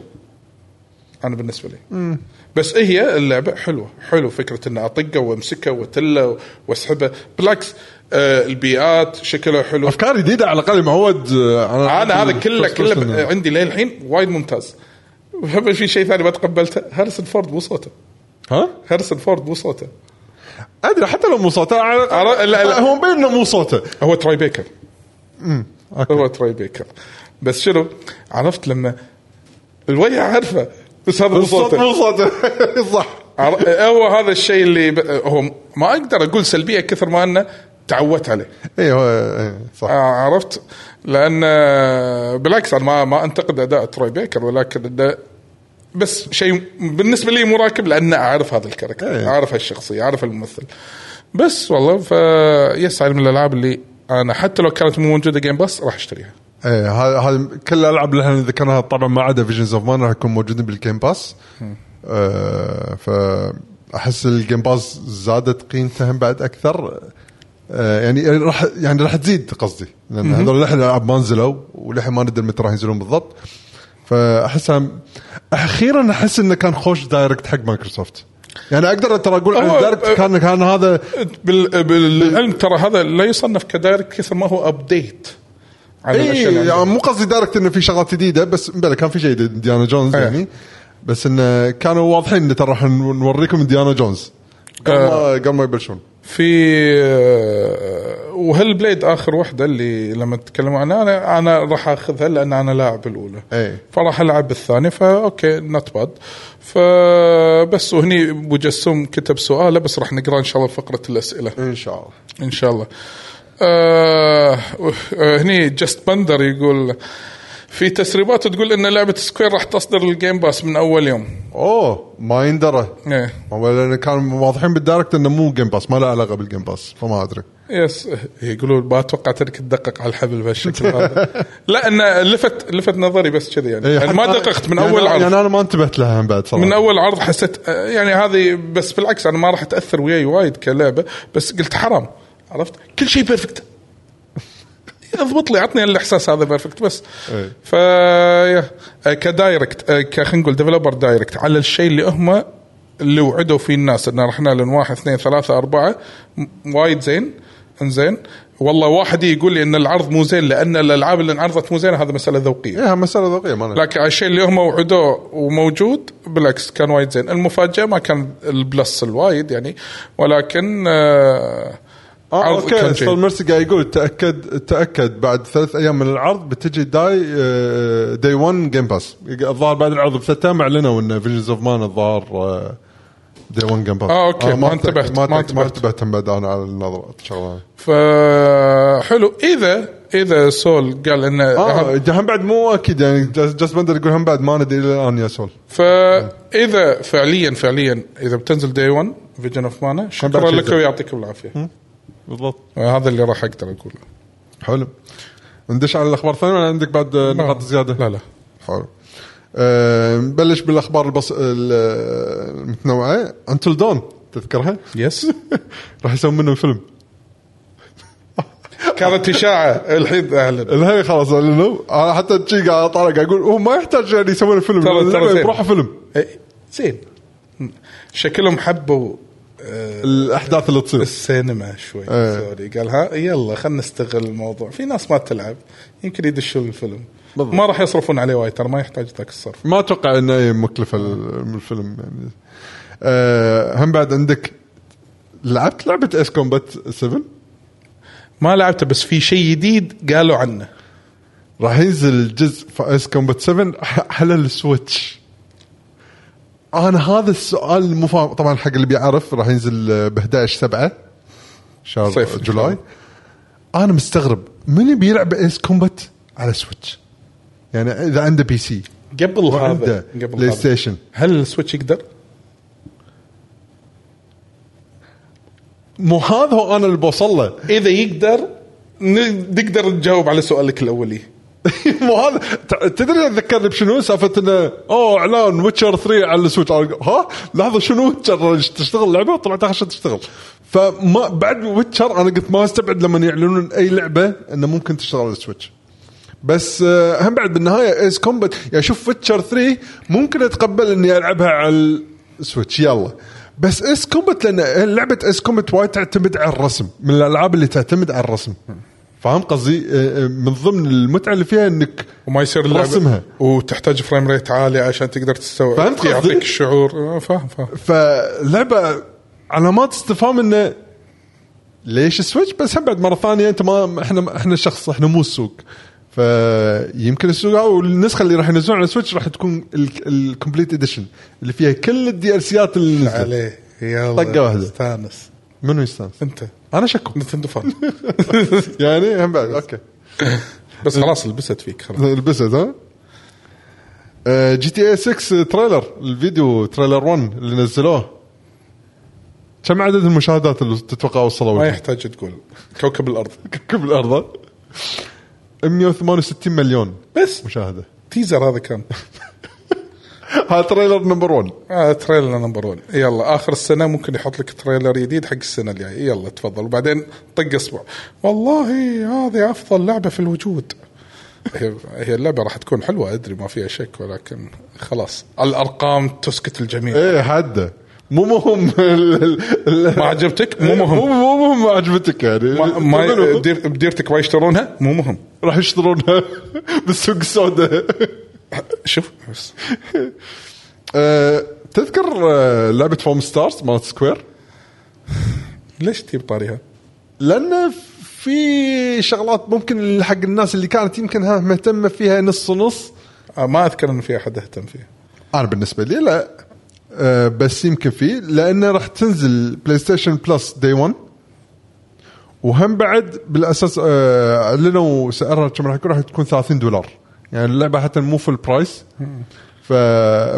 A: انا بالنسبه لي بس إيه هي اللعبه حلوه حلو فكره ان اطقه وامسكه وتله واسحبه بالعكس آه البيئات شكلها حلو
B: افكار جديده على الاقل معود آه،
A: انا هذا كله كله
B: First person.
A: ب- عندي للحين وايد ممتاز وهم في شيء ثاني ما تقبلته هاريسون فورد مو صوته
B: ها
A: هاريسون فورد مو صوته
B: ادري حتى لو مو صوته على
A: أرى- لا- لا.
B: هو مبين انه مو صوته
A: هو تراي بيكر
B: أوكي.
A: هو تراي بيكر بس شنو عرفت لما الوجه عارفه بس هذا مو
B: الصوت
A: صوته
B: مو صوته صح
A: عر- هو هذا الشيء اللي ب... هو ما اقدر اقول سلبيه كثر ما انه تعودت عليه
B: اي هو إيه، صح
A: آه، عرفت لان آه، بالعكس انا ما ما انتقد اداء تروي بيكر ولكن إنه بس شيء بالنسبه لي مراكب لان اعرف هذا الكاركتر
B: إيه.
A: اعرف هالشخصيه اعرف الممثل بس والله فيس هذه من الالعاب اللي انا حتى لو كانت مو موجوده جيم باس راح اشتريها
B: اي إيه، هذا هذا كل الالعاب اللي احنا ذكرناها طبعا ما عدا فيجنز اوف مان راح يكون موجودين بالجيم باس آه فاحس الجيم باس زادت قيمتها هم بعد اكثر آه يعني راح يعني راح تزيد قصدي لان هذول للحين الالعاب ما نزلوا وللحين ما ندري متى راح ينزلون بالضبط فاحسها اخيرا احس انه كان خوش دايركت حق مايكروسوفت يعني اقدر ترى اقول عن
A: هو-
B: الدايركت كان كان هذا
A: بال- بالعلم ترى هذا لا يصنف كدايركت كثر ما هو ابديت على الاشياء
B: اي
A: اللي
B: يعني
A: عندهم.
B: مو قصدي دايركت انه في شغلات جديده بس بلا كان في شيء جديد ديانا جونز
A: إيه.
B: يعني بس انه كانوا واضحين انه ترى راح نوريكم ديانا جونز قبل
A: إيه.
B: ما- قبل ما يبلشون
A: في آه، وهل بليد اخر وحده اللي لما تكلموا عنها انا انا راح اخذها لان انا لاعب الاولى
B: إيه.
A: فراح العب الثانيه فاوكي نوت باد فبس وهني ابو جسوم كتب سؤاله بس راح نقرا ان شاء الله فقره الاسئله
B: ان شاء الله
A: ان شاء الله آه آه، هني جست بندر يقول في تسريبات تقول ان لعبه سكوير راح تصدر الجيم باس من اول يوم
B: اوه ما يندرى
A: إيه.
B: لان كان واضحين بالدايركت انه مو جيم باس ما له علاقه بالجيم باس فما ادري
A: يس يقولون ما اتوقع ترك تدقق على الحبل بهالشكل هذا لا ان لفت لفت نظري بس كذي يعني,
B: إيه،
A: يعني ما
B: حتى-
A: دققت من
B: يعني
A: اول
B: يعني
A: عرض
B: انا ما انتبهت لها هم بعد صراحه
A: من اول عرض حسيت آه، يعني هذه بس بالعكس انا ما راح تاثر وياي وايد كلعبه بس قلت حرام عرفت كل شيء بيرفكت اضبط لي عطني الاحساس هذا بيرفكت بس
B: إيه.
A: ف كدايركت آه، ك- خلينا نقول ديفلوبر دايركت على الشيء اللي هم اللي وعدوا فيه الناس ان راح نعلن واحد اثنين ثلاثه اربعه م- وايد زين انزين والله واحد يقول لي ان العرض مو زين لان الالعاب اللي انعرضت مو زينه هذا مساله ذوقيه
B: ايه مساله ذوقيه ما أنا-
A: لكن على الشيء اللي هم وعدوه وموجود بالعكس كان وايد زين المفاجاه ما كان البلس الوايد يعني ولكن آه
B: اه
A: عرض كان
B: اوكي ستار
A: جيد.
B: ميرسي قاعد يقول تاكد تاكد بعد ثلاث ايام من العرض بتجي داي آه، داي 1 جيم باس الظاهر بعد العرض بثلاث ايام اعلنوا ان فيجنز اوف مان الظاهر آه، داي 1 جيم باس
A: آه، أوكي، ما
B: تأك-
A: انتبهت، ما
B: ما انتبهت ما
A: انتبهت.
B: انتبهت هم بعد انا على النظره شغله
A: فحلو اذا اذا سول قال انه
B: اه
A: آه
B: هم بعد مو اكيد يعني جاست بندر يقول هم بعد ما ندري الى الان يا سول
A: فاذا فعليا فعليا اذا بتنزل دي 1 فيجن اوف مانا شكرا
B: بعد شيء
A: لك
B: زين.
A: ويعطيكم العافيه
B: بالضبط
A: هذا اللي راح اقدر اقوله
B: حلو ندش على الاخبار الثانيه ولا عندك بعد آه، نقاط زياده؟
A: لا لا
B: حلو آه، نبلش بالاخبار البص... ال- المتنوعه انتل دون تذكرها؟
A: يس
B: راح يسوون منه فيلم
A: كانت اشاعه الحين اعلن
B: الهي خلاص اعلنوا انا حتى شي قاعد اطالع قاعد اقول هو ما يحتاج يعني يسوون فيلم
A: ترى- ترى زين.
B: بروحه فيلم
A: إيه، زين شكلهم حبوا آه،
B: الاحداث اللي تصير
A: السينما شوي
B: إيه.
A: سوري قال ها يلا خلينا نستغل الموضوع في ناس ما تلعب يمكن يدشون الفيلم
B: بالضبط.
A: ما راح يصرفون عليه وايد ترى ما يحتاج ذاك الصرف
B: ما اتوقع انه مكلفه ال- الفيلم يعني آه، هم بعد عندك لعبت لعبه اس كومبات 7
A: ما لعبته بس في شيء جديد قالوا عنه
B: راح ينزل جزء في اس كومبات 7 على السويتش انا هذا السؤال المو فاهم طبعا حق اللي بيعرف راح ينزل آه، ب 11 7 شهر
A: صيف.
B: جولاي انا مستغرب من بيلعب اس كومبات على سويتش يعني اذا عنده بي سي
A: قبل هذا
B: وعنده
A: قبل
B: بلاي
A: هذا.
B: ستيشن.
A: هل السويتش يقدر؟
B: مو هذا هو انا اللي بوصل له
A: اذا يقدر ن- نقدر نجاوب على سؤالك الاولي
B: مو هذا ت- تدري اتذكرني بشنو سالفه انه اوه اعلان ويتشر 3 على السويتش أنا- ها لحظه شنو ويتشر تشتغل لعبه وطلعت اخر شيء تشتغل فما بعد ويتشر انا قلت ما استبعد لما يعلنون اي لعبه انه ممكن تشتغل على السويتش بس آه، هم بعد بالنهايه ايس كومبات يعني شوف ويتشر 3 ممكن اتقبل اني العبها على السويتش يلا بس اس كومبات لان لعبه اس كومبات وايد تعتمد على الرسم من الالعاب اللي تعتمد على الرسم فاهم قصدي آه، آه، من ضمن المتعه اللي فيها انك
A: وما يصير اللعبة-
B: رسمها.
A: وتحتاج فريم ريت عالي عشان تقدر تستوعب
B: فهمت قصدي؟
A: يعطيك الشعور آه، فاهم فاهم
B: فلعبه علامات استفهام انه ليش السويتش بس هم بعد مره ثانيه انت ما احنا احنا شخص احنا مو السوق فيمكن السوق او النسخه اللي راح ينزلون على السويتش راح تكون الكومبليت اديشن اللي فيها كل الدي ال سيات اللي نزلت.
A: عليه يلا
B: طقة واحدة.
A: استانس
B: منو يستانس؟
A: انت
B: انا شكو
A: نتندو فان
B: يعني هم بعد اوكي
A: بس خلاص لبست فيك خلاص
B: لبست ها آه، جي تي اي 6 تريلر الفيديو تريلر 1 اللي نزلوه كم عدد المشاهدات اللي تتوقع وصلوا
A: ما
B: لها؟
A: يحتاج تقول كوكب الارض
B: كوكب الارض 168 مليون
A: بس
B: مشاهده
A: تيزر هذا كان
B: هذا تريلر نمبر 1
A: آه تريلر نمبر 1 يلا اخر السنه ممكن يحط لك تريلر جديد حق السنه الجايه يلا تفضل وبعدين طق اصبع والله هذه افضل لعبه في الوجود هي هي اللعبه راح تكون
B: إيه،
A: حلوه ادري ما فيها شك ولكن خلاص الارقام تسكت الجميع
B: ايه حده مو مهم ال- ال- ال-
A: ما عجبتك مو
B: مو
A: مهم
B: مو مهم عجبتك يعني
A: ما- ما
B: يعملوا.
A: دير- بديرتك ما يشترونها مو مهم
B: راح يشترونها بالسوق السوداء
A: شوف بس.
B: آه، تذكر آه، لعبه فوم ستارز مالت سكوير
A: ليش تجيب طاريها؟
B: لان في شغلات ممكن حق الناس اللي كانت يمكن ها مهتمه فيها نص ونص
A: آه، ما اذكر انه في احد اهتم فيها
B: انا بالنسبه لي لا آه، بس يمكن في لانه راح تنزل بلاي ستيشن بلس دي 1 وهم بعد بالاساس آه، اعلنوا سعرها كم راح يكون راح تكون 30 دولار يعني اللعبه حتى مو فول برايس ف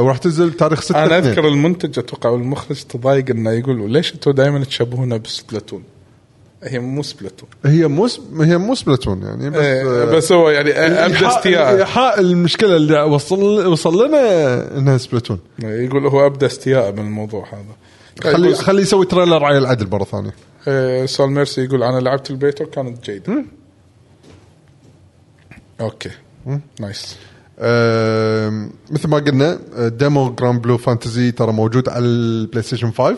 B: وراح تنزل تاريخ 6
A: انا
B: اثنين.
A: اذكر المنتج اتوقع والمخرج تضايق انه يقول ليش انتم دائما تشبهونها بسبلاتون؟ هي مو سبلاتون
B: هي مو سب- هي مو سبلاتون يعني بس
A: إيه،
B: آه،
A: بس هو يعني آه، ابدى
B: إيحاء-
A: استياء
B: إيحاء المشكله اللي وصل وصل لنا انها سبلاتون
A: يقول هو ابدى استياء من الموضوع هذا
B: إيه، خلي خلي يسوي تريلر على العدل مره ثانيه
A: آه، سول ميرسي يقول انا لعبت البيتر كانت جيده اوكي نايس
B: أم، مثل ما قلنا أه، ديمو جراند بلو فانتزي ترى موجود على البلاي ستيشن 5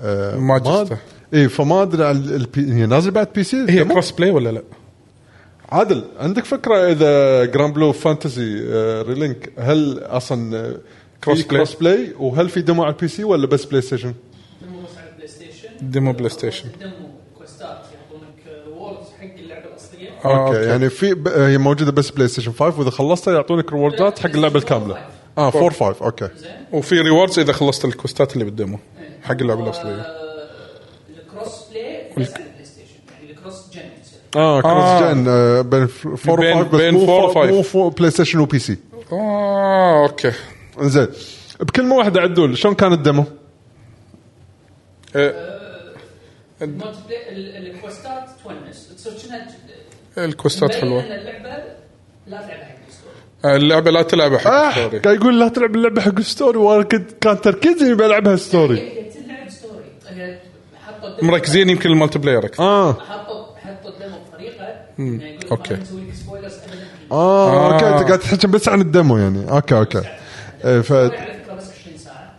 B: أه،
A: ما جسته.
B: اي إيه، فما ادري على البي... هي نازل بعد بي سي
A: هي
B: الديمو؟
A: كروس بلاي ولا لا؟
B: عادل عندك فكره اذا جراند بلو فانتزي أه، ريلينك هل اصلا أه،
A: كروس
B: في
A: بلاي؟
B: كروس بلاي وهل في ديمو على البي سي ولا بس بلاي ستيشن؟
C: ديمو بس على البلاي ستيشن
A: ديمو بلاي ستيشن.
C: ديمو كوستات يعني يعطونك ووردز حق اللعبه الاصليه
A: آه،
B: اوكي يعني في ب... أه، هي موجوده بس بلاي ستيشن 5 واذا خلصتها يعطونك ريوردات حق اللعبه الكامله اه 4 5 اوكي
C: زين
A: وفي ريوردز اذا خلصت الكوستات اللي بالديمو حق اللعبه الاصليه
C: و- الكروس بلاي بس على البلاي ستيشن يعني الكروس جن يصير
B: اه كروس
A: آه.
B: آه. جن آه، بين
A: بين-
B: 4 و 5 بس
A: بين
B: مو
A: four و
B: فور-
A: five.
B: مو فور بلاي ستيشن وبي سي
A: اه اوكي
B: زين بكلمه واحده عدول شلون كان الدمو؟
A: آه،
C: المالتي بلاي ال- الكوستات تونس تصير كأنها
A: الكوستات
C: مبين
A: حلوه
C: ان اللعبه لا تلعب حق الستوري
A: آه، اللعبه لا تلعبها حق
B: آه
A: الستوري
B: قاعد يقول لا تلعب اللعبه حق ستوري وانا كنت كان تركيزي اني بلعبها ستوري
C: هي هي تلعب ستوري هي حطوا الديمو-
A: مركزين يمكن المالتي بلاير اكثر
B: اه
C: حطوا حطوا الديمو بطريقه يعني يقول
A: أوكي.
C: ما نسوي لك سبويلرز ابدا
B: اه
A: آه.
B: اوكي انت قاعد تحكي بس عن الدمو يعني اوكي اوكي آه، ف
C: على فكره بس 20 ساعه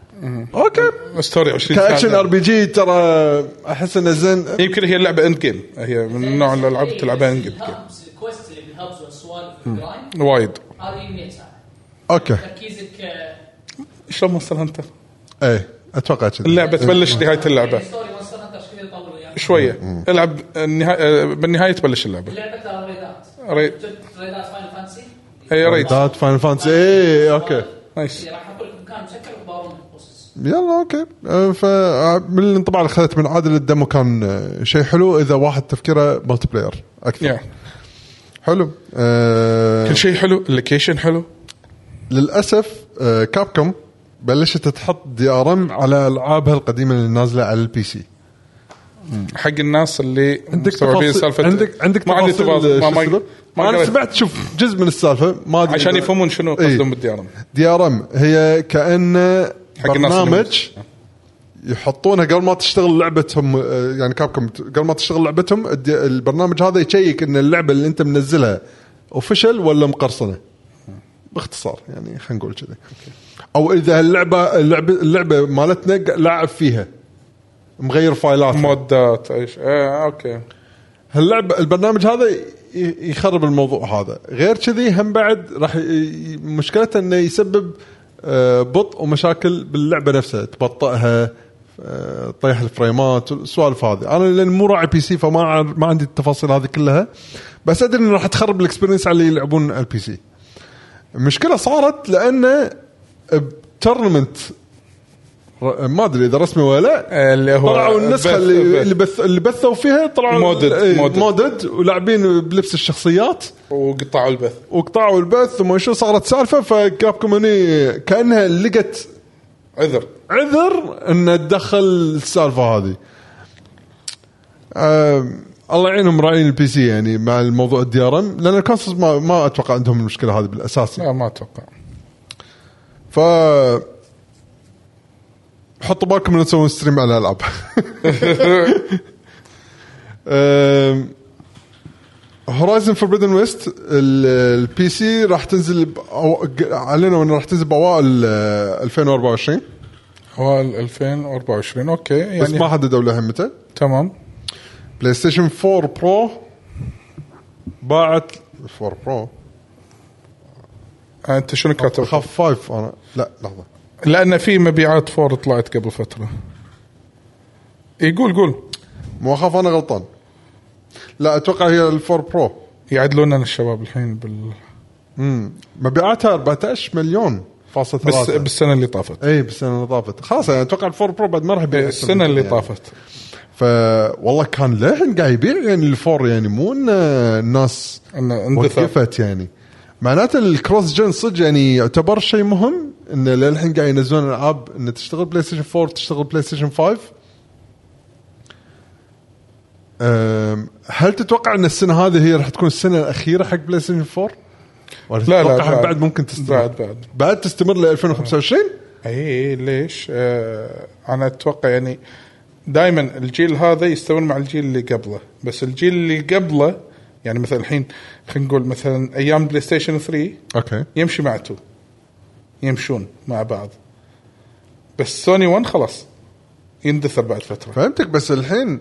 B: اوكي
A: ستوري 20
B: كاكشن ار
A: ساعه
B: بي جي ترى احس انه زين
A: يمكن هي لعبه اند جيم هي من نوع الالعاب
C: إيه،
A: تلعبها اند
C: بس
A: جيم
C: الهبز الكويست اللي بالهبز والسوالف والجرايند
A: وايد
C: هذه 100 ساعه
B: اوكي
C: تركيزك آه،
A: شلون مونستر هانتر؟
B: ايه اتوقع كذا
A: اللعبه تبلش نهايه اللعبه
C: يعني ستوري مونستر هانتر ايش كثير يطول وياك
A: شويه العب النهايه بالنهايه تبلش اللعبه
C: اللعبه ترى ريدات
A: ري-
C: جبت ريدات فاينل فانسي
A: هي ريت
B: دات فاين فانسي ايه اوكي
A: نايس.
C: إيه، راح اقول لك مكان مسكر وبارون قصص
B: يلا اوكي أه، ف من الانطباع اللي اخذت من عادل الدمو كان أه، شيء حلو اذا واحد تفكيره مالتي بلاير اكثر
A: يا.
B: حلو أه
A: كل شيء حلو اللوكيشن حلو
B: للاسف أه كابكوم بلشت تحط دي ار ام على العابها القديمه اللي نازله على البي سي
A: حق الناس اللي
B: عندك
A: مستوعبين
B: تفاصيل
A: سالفه
B: عندك عندك
A: ما عندي تفاصيل
B: تفاصيل،
A: ما
B: شو اسمه؟
A: ما ما
B: انا
A: قريت.
B: سمعت شوف جزء من السالفه ما ادري
A: عشان
B: إذا-
A: يفهمون شنو
B: إيه.
A: قصدهم بالدي ار ام
B: دي ار ام هي كانه
A: حق الناس اللي
B: برنامج يحطونه قبل ما تشتغل لعبتهم آه، يعني كابكم قبل ما تشتغل لعبتهم الد- البرنامج هذا يشيك ان اللعبه اللي انت منزلها اوفشل ولا مقرصنه باختصار يعني خلينا نقول كذا او اذا اللعبه اللعبه اللعبه مالتنا ق- لاعب فيها مغير فايلات
A: مودات ايش آه اوكي
B: هاللعبه البرنامج هذا ي- يخرب الموضوع هذا غير كذي هم بعد راح ي- ي- مشكلته انه يسبب آه، بطء ومشاكل باللعبه نفسها تبطئها آه، تطيح الفريمات السوالف هذه انا لان مو راعي بي سي فما أعرف- ما عندي التفاصيل هذه كلها بس ادري انه راح تخرب الاكسبيرينس على اللي يلعبون على البي سي المشكله صارت لانه بتورنمنت ر- ما ادري اذا رسمي ولا لا
A: اللي هو
B: طلعوا النسخه
A: بث-
B: اللي
A: بث.
B: اللي, بث اللي بثوا فيها طلعوا
A: مودد-
B: إيه،
A: مودد.
B: مودد ولاعبين بلبس الشخصيات
A: وقطعوا البث
B: وقطعوا البث وما شو صارت سالفه فكابكم هني كانها لقت
A: عذر
B: عذر ان تدخل السالفه هذه. أم، الله يعينهم راعين البي سي يعني مع الموضوع الدي ار ام لان الكونسولز ما, ما اتوقع عندهم المشكله هذه بالاساس
A: لا ما اتوقع
B: ف حطوا بالكم انه تسوون ستريم على الالعاب هورايزن فوربيدن ويست البي سي راح تنزل بأو- اعلنوا انه راح تنزل باوائل آه، 2024
A: هو ال- 2024 اوكي
B: بس
A: يعني
B: ما حددوا له متى
A: تمام
B: بلاي ستيشن 4 برو باعت 4 برو
A: انت شنو كاتب؟
B: اخاف 5 انا لا لحظه
A: لان في مبيعات فور طلعت قبل فتره يقول قول
B: مو اخاف انا غلطان لا اتوقع هي الفور برو
A: يعدلوننا الشباب الحين بال
B: مبيعاتها 14 مليون فاصلة
A: بس
B: ثلاثة.
A: بالسنه اللي طافت
B: اي بالسنه اللي إيه، طافت خلاص انا اتوقع الفور برو بعد ما راح يبيع أكثر من
A: السنه اللي
B: كذا يعني.
A: طافت
B: ف والله كان للحين قاعد يبيع يعني الفور يعني مو ان الناس
A: انه اندثر
B: وقفت يعني معناته الكروس جن صدق يعني يعتبر شيء مهم انه للحين قاعد ينزلون العاب انه تشتغل بلاي ستيشن 4 تشتغل بلاي ستيشن 5 أم، هل تتوقع ان السنه هذه هي راح تكون السنه الاخيره حق بلاي ستيشن 4؟ ولا
A: لا، لا،
B: تتوقعها
A: بعد.
B: بعد ممكن تستمر
A: بعد، آه. بعد.
B: بعد تستمر ل 2025
A: اي إيه، ليش؟ آه انا اتوقع يعني دائما الجيل هذا يستمر مع الجيل اللي قبله، بس الجيل اللي قبله يعني مثلا الحين خلينا نقول مثلا ايام بلاي ستيشن 3
B: اوكي
A: يمشي مع 2 يمشون مع بعض بس سوني 1 خلاص يندثر بعد فتره
B: فهمتك بس الحين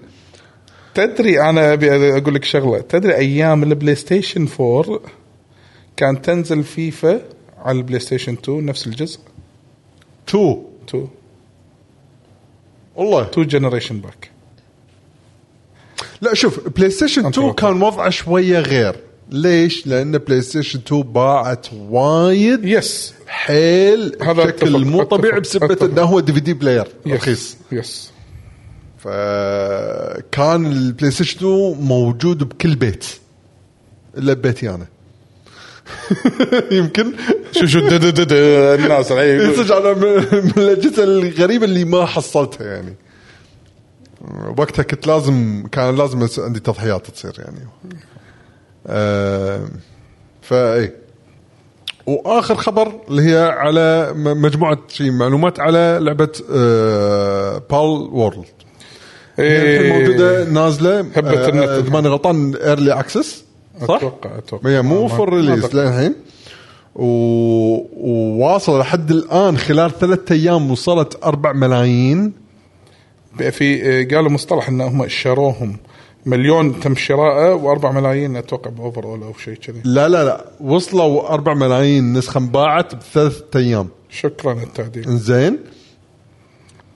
A: تدري انا ابي اقول لك شغله تدري ايام البلاي ستيشن 4 كان تنزل فيفا على البلاي ستيشن 2 نفس الجزء
B: 2
A: 2
B: والله
A: 2 جنريشن باك
B: لا شوف بلاي ستيشن
A: أنت
B: 2
A: وقتها.
B: كان وضعه شويه غير ليش؟ لان بلاي ستيشن 2 باعت وايد
A: يس
B: حيل
A: هذا
B: بشكل
A: أتفق،
B: مو طبيعي
A: أتفق،
B: بسبه
A: أتفق.
B: انه هو دي في دي بلاير رخيص
A: يس يس
B: فكان البلاي ستيشن 2 موجود بكل بيت الا ببيتي انا يمكن
A: شو شو دد- دد- دد- الناس علي يقول.
B: صدق انا من من الاجهزه الغريبه اللي ما حصلتها يعني وقتها كنت لازم كان لازم أس- عندي تضحيات تصير يعني آه فاي واخر خبر اللي هي على م- مجموعه شي معلومات على لعبه آه بال وورلد
A: إيه.
B: الحين موجوده نازله
A: هبة النت.
B: آه، اذا ماني غلطان ايرلي اكسس صح؟
A: اتوقع اتوقع
B: هي مو
A: آه، ما-
B: فور
A: ما
B: ريليس
A: أتوقع.
B: للحين و... وواصل لحد الان خلال ثلاثة ايام وصلت 4 ملايين
A: في آه، قالوا مصطلح ان هم شروهم مليون تم شراءه و4 ملايين اتوقع باوفر اول او شيء كذي
B: لا لا لا وصلوا 4 ملايين نسخه انباعت بثلاثة ايام
A: شكرا التعديل
B: زين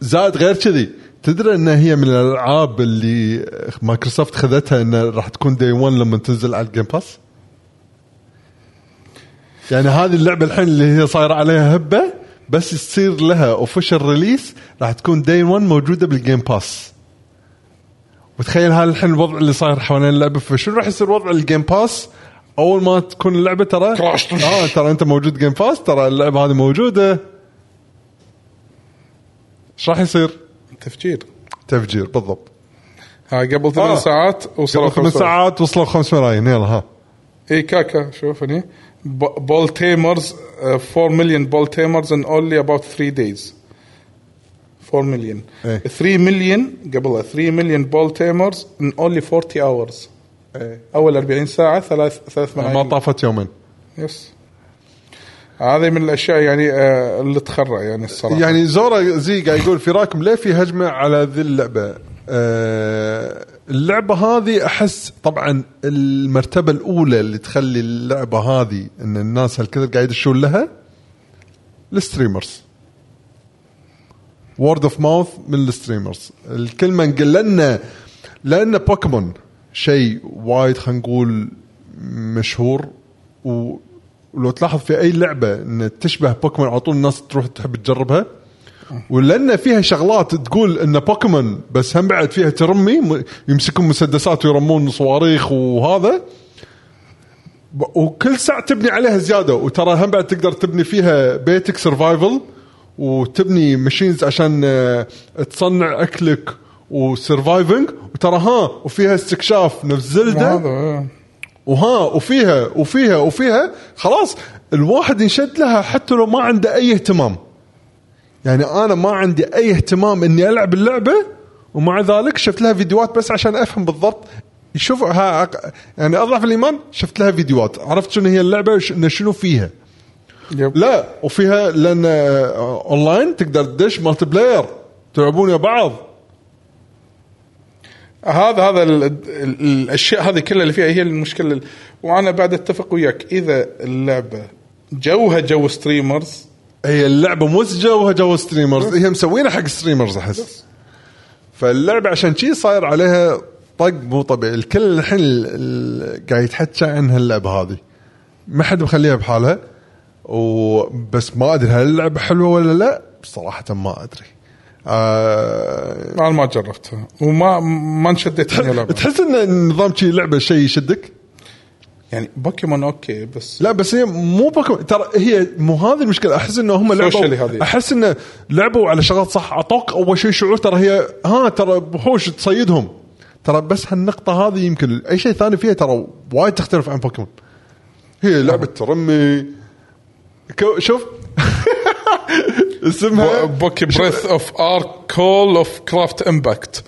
B: زائد غير كذي تدري ان هي من الالعاب اللي مايكروسوفت خذتها انها راح تكون دي 1 لما تنزل على الجيم باس يعني هذه اللعبه الحين اللي هي صايره عليها هبه بس يصير لها اوفيشال ريليس راح تكون دي 1 موجوده بالجيم باس وتخيل هذا الحين الوضع اللي صاير حوالين اللعبه فشنو راح يصير وضع الجيم باس اول ما تكون اللعبه ترى
A: كراش.
B: اه ترى انت موجود جيم باس ترى اللعبه هذه موجوده ايش راح يصير؟
A: تفجير
B: تفجير بالضبط
A: ها قبل ثمان
B: آه.
A: ساعات وصلوا
B: قبل ثمان
A: خمسة.
B: ساعات وصلوا 5 ملايين يلا ها
A: اي كاكا إيه، شوف هني ب- بول تيمرز uh, 4 مليون بول تيمرز ان اونلي اباوت 3 دايز 4 مليون
B: إيه.
A: 3 مليون قبلها 3 مليون بول تيمرز ان اونلي 40 اورز
B: إيه.
A: اول 40 ساعه ثلاث ثلاث
B: ما
A: ملايين
B: طافت يومين
A: يس هذه من الاشياء يعني آه، اللي تخرع يعني الصراحه
B: يعني زورا زي قاعد يقول في راكم ليه في هجمه على ذي اللعبه؟ آه اللعبه هذه احس طبعا المرتبه الاولى اللي تخلي اللعبه هذه ان الناس هالكثر قاعد يدشون لها الستريمرز وورد اوف ماوث من الستريمرز الكلمه نقول لنا لان بوكيمون شيء وايد خلينا نقول مشهور و- ولو تلاحظ في اي لعبه ان تشبه بوكيمون على طول الناس تروح تحب تجربها ولان فيها شغلات تقول ان بوكيمون بس هم بعد فيها ترمي م- يمسكون مسدسات ويرمون صواريخ وهذا ب- وكل ساعه تبني عليها زياده وترى هم بعد تقدر تبني فيها بيتك سرفايفل وتبني ماشينز عشان آه، تصنع اكلك وسرفايفنج وترى ها وفيها استكشاف نفس زلده
A: هذا آه.
B: وها وفيها وفيها وفيها خلاص الواحد ينشد لها حتى لو ما عنده اي اهتمام يعني انا ما عندي اي اهتمام اني العب اللعبه ومع ذلك شفت لها فيديوهات بس عشان افهم بالضبط شوف ها يعني اضعف الايمان شفت لها فيديوهات عرفت شنو هي اللعبه وش- إن شنو فيها
A: يب.
B: لا وفيها لان آه، اونلاين تقدر تدش مالتي بلاير تلعبون يا بعض
A: هذا هذا ال- ال- الاشياء هذه كلها اللي فيها هي المشكله ال- وانا بعد اتفق وياك اذا اللعبه جوها جو ستريمرز
B: هي اللعبه مو جوها جو ستريمرز هي مسوينها حق ستريمرز احس فاللعبه عشان شي صاير عليها طق مو طبيعي الكل الحين ال- ال- قاعد يتحكى عن هاللعبه هذه ما حد مخليها بحالها وبس ما ادري هل اللعبه حلوه ولا لا صراحه ما ادري آه
A: انا ما جربتها وما ما انشدت إني ألعبها.
B: تحس ان النظام شي لعبه شيء يشدك
A: يعني بوكيمون اوكي بس
B: لا بس هي مو بوكيمون ترى هي مو هذه المشكله احس انه هم
A: Socially
B: لعبوا
A: هذه.
B: احس انه لعبوا على شغلات صح اعطوك اول شيء شعور ترى هي ها ترى وحوش تصيدهم ترى بس هالنقطه هذه يمكن اي شيء ثاني فيها ترى وايد تختلف عن بوكيمون هي لعبه ترمي كو- شوف اسمها
A: بوكي بريث اوف ارك كول اوف كرافت امباكت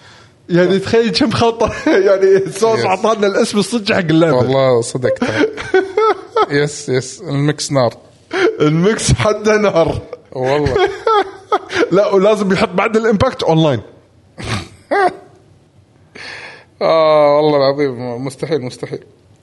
B: يعني تخيل كم خلطه يعني سوس
A: Yes.
B: اعطانا الاسم الصج حق اللعبه
A: والله صدقت يس يس المكس نار
B: الميكس حده نار
A: والله
B: لا ولازم يحط بعد الامباكت اونلاين
A: اه والله العظيم مستحيل مستحيل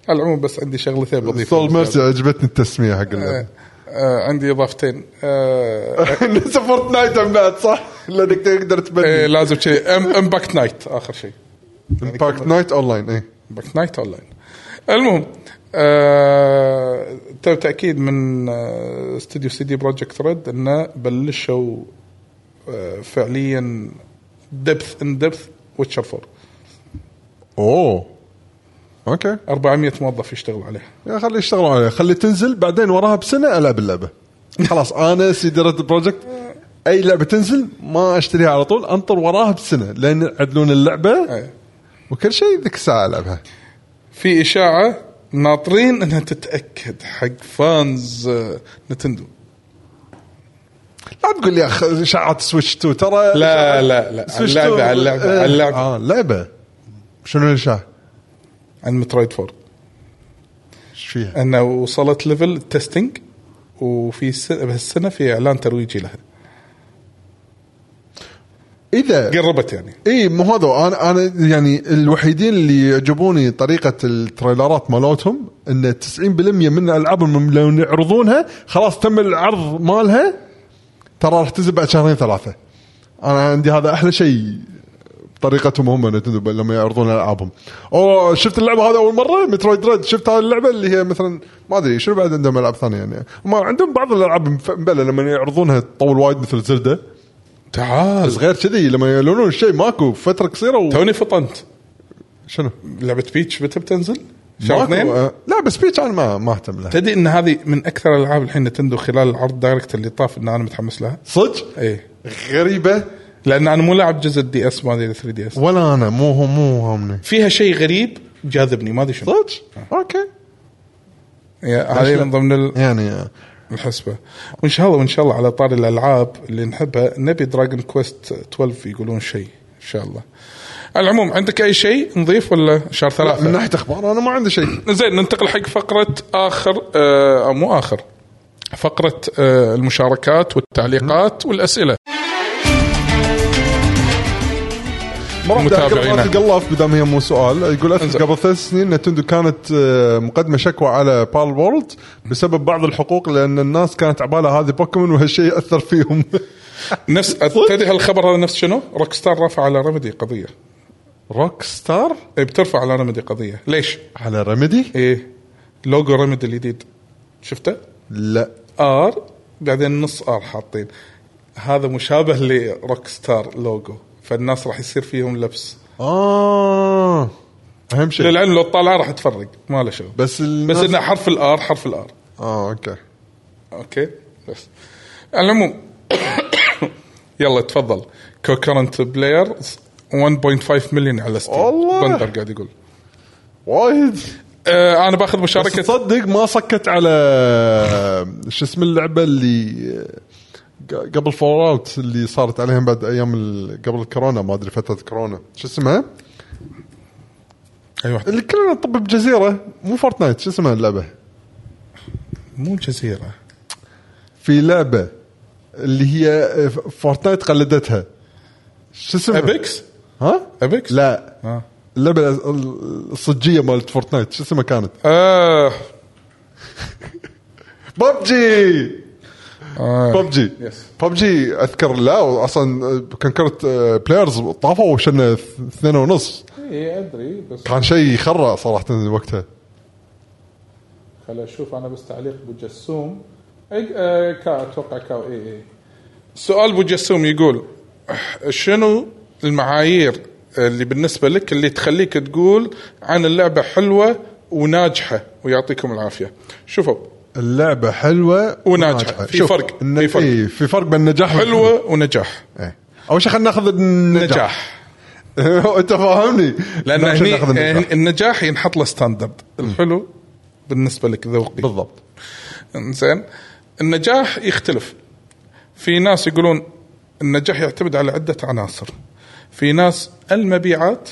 A: على العموم بس عندي شغلتين بضيفها
B: سول ميرسي عجبتني التسميه حق اللعبه
A: آه عندي اضافتين آه
B: نفس فورتنايت هم بعد صح؟ لانك تقدر
A: إيه،
B: تبدل
A: لازم شيء امباكت نايت اخر شيء
B: امباكت نايت اونلاين اي
A: امباكت نايت اون لاين المهم آه تو تاكيد من آه، استوديو سي دي بروجكت ريد انه بلشوا آه فعليا دبث ان دبث ويتشر 4
B: اوه اوكي
A: 400 موظف يشتغلوا عليه
B: يا خلي يشتغلوا عليها خلي تنزل بعدين وراها بسنه العب اللعبه خلاص انا سيدي ريد بروجكت اي لعبه تنزل ما اشتريها على طول انطر وراها بسنه لين يعدلون اللعبه
A: إيه.
B: وكل شيء ذيك الساعه العبها
A: في اشاعه ناطرين انها تتاكد حق فانز آه، نتندو
B: لا تقول لي أخ- اشاعات سويتش 2 ترى
A: لا لا لا على
B: سويتش
A: اللعبه
B: 2
A: على اللعبه
B: إيه.
A: على اللعبه
B: اه لعبه شنو الاشاعه؟
A: عن مترويد 4
B: ايش فيها؟
A: انه وصلت ليفل تيستنج وفي س- بهالسنه في اعلان ترويجي لها
B: اذا
A: قربت يعني
B: اي مو هذا انا انا يعني الوحيدين اللي يعجبوني طريقه التريلرات مالتهم ان 90% من العابهم لو يعرضونها خلاص تم العرض مالها ترى راح تنزل بعد شهرين ثلاثه انا عندي هذا احلى شيء طريقتهم هم نتندو لما يعرضون العابهم اوه شفت اللعبه هذه اول مره مترويد ريد شفت هذه اللعبه اللي هي مثلا ما ادري شنو بعد عندهم العاب ثانيه يعني ما عندهم بعض الالعاب مف- مبلى لما يعرضونها تطول وايد مثل زلده بس
A: تعال
B: غير كذي لما يعلنون الشيء ماكو فتره قصيره و...
A: توني فطنت
B: شنو؟
A: لعبه بيتش متى بتنزل؟ شهر
B: ماكو
A: اثنين
B: آه، لا بس بيتش انا ما ما اهتم لها
A: تدري ان هذه من اكثر الالعاب الحين نتندو خلال العرض دايركت اللي طاف ان انا متحمس لها
B: صدق
A: ايه
B: غريبه
A: لان انا مو لاعب جزء الدي اس ما ادري 3 دي اس
B: ولا انا مو هو مو همني
A: فيها شيء غريب جاذبني ما ادري شنو
B: صدق اوكي
A: يا- هذه من ضمن ال-
B: يعني آه،
A: الحسبه وان شاء الله وان شاء الله على طار الالعاب اللي نحبها نبي دراجون كويست 12 يقولون شيء ان شاء الله على العموم عندك اي شيء نضيف ولا شهر
B: من
A: ثلاثة
B: ناحيه اخبار انا ما عندي شيء
A: زين ننتقل حق فقرة آخر آه مو آخر فقرة آه المشاركات والتعليقات والأسئلة
B: ما راح أذكر
A: متابعينا.
B: مرات القلاف بدام هي مو سؤال يقول أذكر
A: انزين.
B: قبل ثلاث سنين نتندو كانت آه، مقدمه شكوى على بال وورلد بسبب بعض الحقوق لان الناس كانت عبالها هذه بوكيمون وهالشيء اثر فيهم
A: نفس تدري هالخبر هذا نفس شنو؟ روك ستار رافع على رمدي قضية
B: روك ستار
A: إيه، بترفع على رمدي قضية ليش؟
B: على رمدي؟
A: إيه لوجو رمدي الجديد شفته؟
B: لا
A: ار بعدين نص ار حاطين هذا مشابه لروك ستار لوجو فالناس راح يصير فيهم لبس
B: اه اهم شيء
A: للعلم لو طالعه راح تفرق ما له شغل
B: بس
A: بس
B: الناس...
A: انه حرف الار حرف الار
B: اه اوكي
A: اوكي بس على العموم يلا تفضل كو كرنت بلاير 1.5 مليون على ستيم
B: والله.
A: بندر قاعد يقول
B: وايد
A: آه انا باخذ
B: بس
A: مشاركه
B: تصدق ما صكت على شو اسم اللعبه اللي ق- قبل فول اوت اللي صارت عليهم بعد ايام ال- قبل الكورونا ما ادري فتره كورونا شو اسمها؟
A: اي واحد
B: اللي كلنا نطب بجزيره مو فورتنايت شو اسمها اللعبه؟
A: مو جزيره
B: في لعبه اللي هي فورتنايت قلدتها شو اسمها؟
A: ابيكس
B: ها؟
A: ابيكس
B: لا
A: آه.
B: اللعبه الأز- الصجيه مالت فورتنايت شو اسمها كانت؟
A: آه.
B: ببجي
A: آه.
B: ببجي
A: Yes.
B: ببجي اذكر لا اصلا كان كرت بلايرز طافوا وشلنا اث- اثنين ونص
A: اي ادري بس
B: كان شيء يخرع صراحه وقتها
A: خل اشوف انا بس تعليق ابو جسوم إيه، آه، كا إيه، اتوقع كاو اي اي سؤال ابو جسوم يقول شنو المعايير اللي بالنسبه لك اللي تخليك تقول عن اللعبه حلوه وناجحه ويعطيكم العافيه شوفوا
B: اللعبه حلوه
A: وناجحة. في
B: شوف،
A: فرق،
B: إن-
A: في فرق.
B: إيه، في فرق بين النجاح والحلوة.
A: حلوه ونجاح
B: إيه. اول شيء خلينا ناخذ النجاح
A: نجاح
B: انت فاهمني
A: لان
B: أول شيء ناخذ
A: هني
B: النجاح.
A: النجاح ينحط له ستاندرد الحلو بالنسبه لك ذوقي
B: بالضبط
A: زين النجاح يختلف في ناس يقولون النجاح يعتمد على عدة عناصر في ناس المبيعات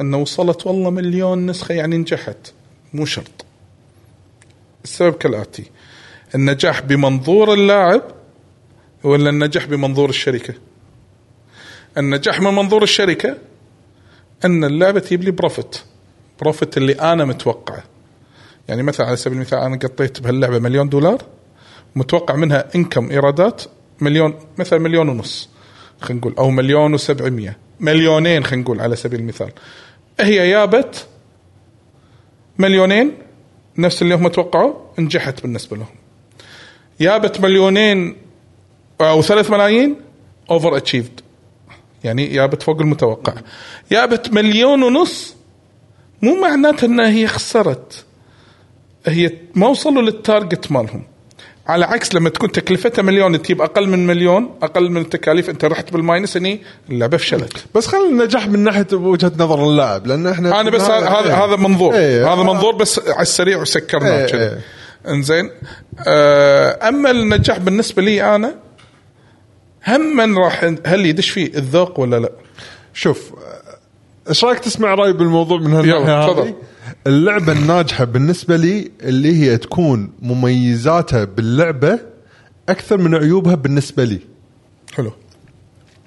A: أنه وصلت والله مليون نسخة يعني نجحت مو شرط السبب كالآتي النجاح بمنظور اللاعب ولا النجاح بمنظور الشركة النجاح من منظور الشركة أن اللعبة تجيب لي بروفت بروفت اللي أنا متوقعه يعني مثلا على سبيل المثال انا قطيت بهاللعبه مليون دولار متوقع منها انكم ايرادات مليون مثلا مليون ونص خلينا نقول او مليون و700 مليونين خلينا نقول على سبيل المثال هي يابت مليونين نفس اللي هم توقعوا نجحت بالنسبه لهم يابت مليونين او ثلاث ملايين اوفر اتشيفد يعني يابت فوق المتوقع يابت مليون ونص مو معناته انها هي خسرت هي ما وصلوا للتارجت مالهم على عكس لما تكون تكلفتها مليون تجيب اقل من مليون اقل من التكاليف انت رحت بالماينس هني اللعبه فشلت
B: بس خلينا النجاح من ناحيه وجهه نظر اللاعب لان احنا
A: انا بس هذا هذا هذا منظور
B: إيه.
A: هذا منظور بس على السريع وسكرناه
B: إيه،
A: كذي
B: إيه.
A: انزين آه، اما النجاح بالنسبه لي انا هم من راح هل يدش فيه الذوق ولا لا؟
B: شوف ايش رايك تسمع راي بالموضوع من
A: يلا،
B: هالناحيه
A: تفضل.
B: هذه؟ اللعبه الناجحه بالنسبه لي اللي هي تكون مميزاتها باللعبه اكثر من عيوبها بالنسبه لي
A: حلو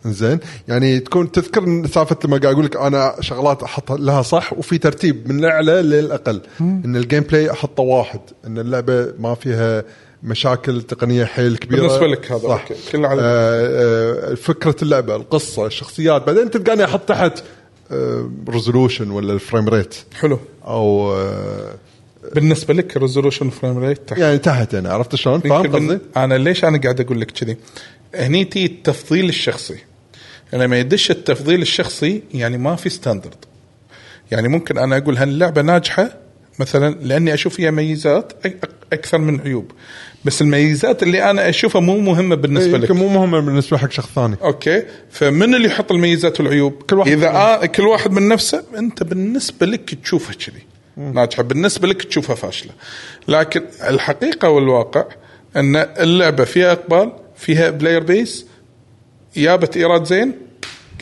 B: زين يعني تكون تذكر سالفه لما قاعد اقول لك انا شغلات احط لها صح وفي ترتيب من الاعلى للاقل ان الجيم بلاي احطه واحد ان اللعبه ما فيها مشاكل تقنيه حيل كبيره
A: بالنسبة لك هذا،
B: صح
A: أوكي. كله على-
B: آه، آه، فكره اللعبه القصه الشخصيات بعدين تلقاني احط تحت ريزولوشن ولا الفريم ريت
A: حلو
B: او آه،
A: بالنسبه لك ريزولوشن فريم ريت
B: يعني تحت انا عرفت شلون فاهم
A: يمكن
B: قصدي؟
A: بن- انا ليش انا قاعد اقول لك كذي؟ هني تي التفضيل الشخصي لما يدش التفضيل الشخصي يعني ما في ستاندرد يعني ممكن انا اقول هاللعبه ناجحه مثلا لاني اشوف فيها ميزات أك- أك- اكثر من عيوب بس الميزات اللي انا اشوفها مو مهمه بالنسبه لك
B: إيه، يمكن مو مهم بالنسبه حق شخص ثاني
A: اوكي فمن اللي يحط الميزات والعيوب كل
B: واحد
A: اذا آه كل واحد من نفسه انت بالنسبه لك تشوفها كذي ناجحه بالنسبه لك تشوفها فاشله لكن الحقيقه والواقع ان اللعبه فيها اقبال فيها بلاير بيس جابت ايراد زين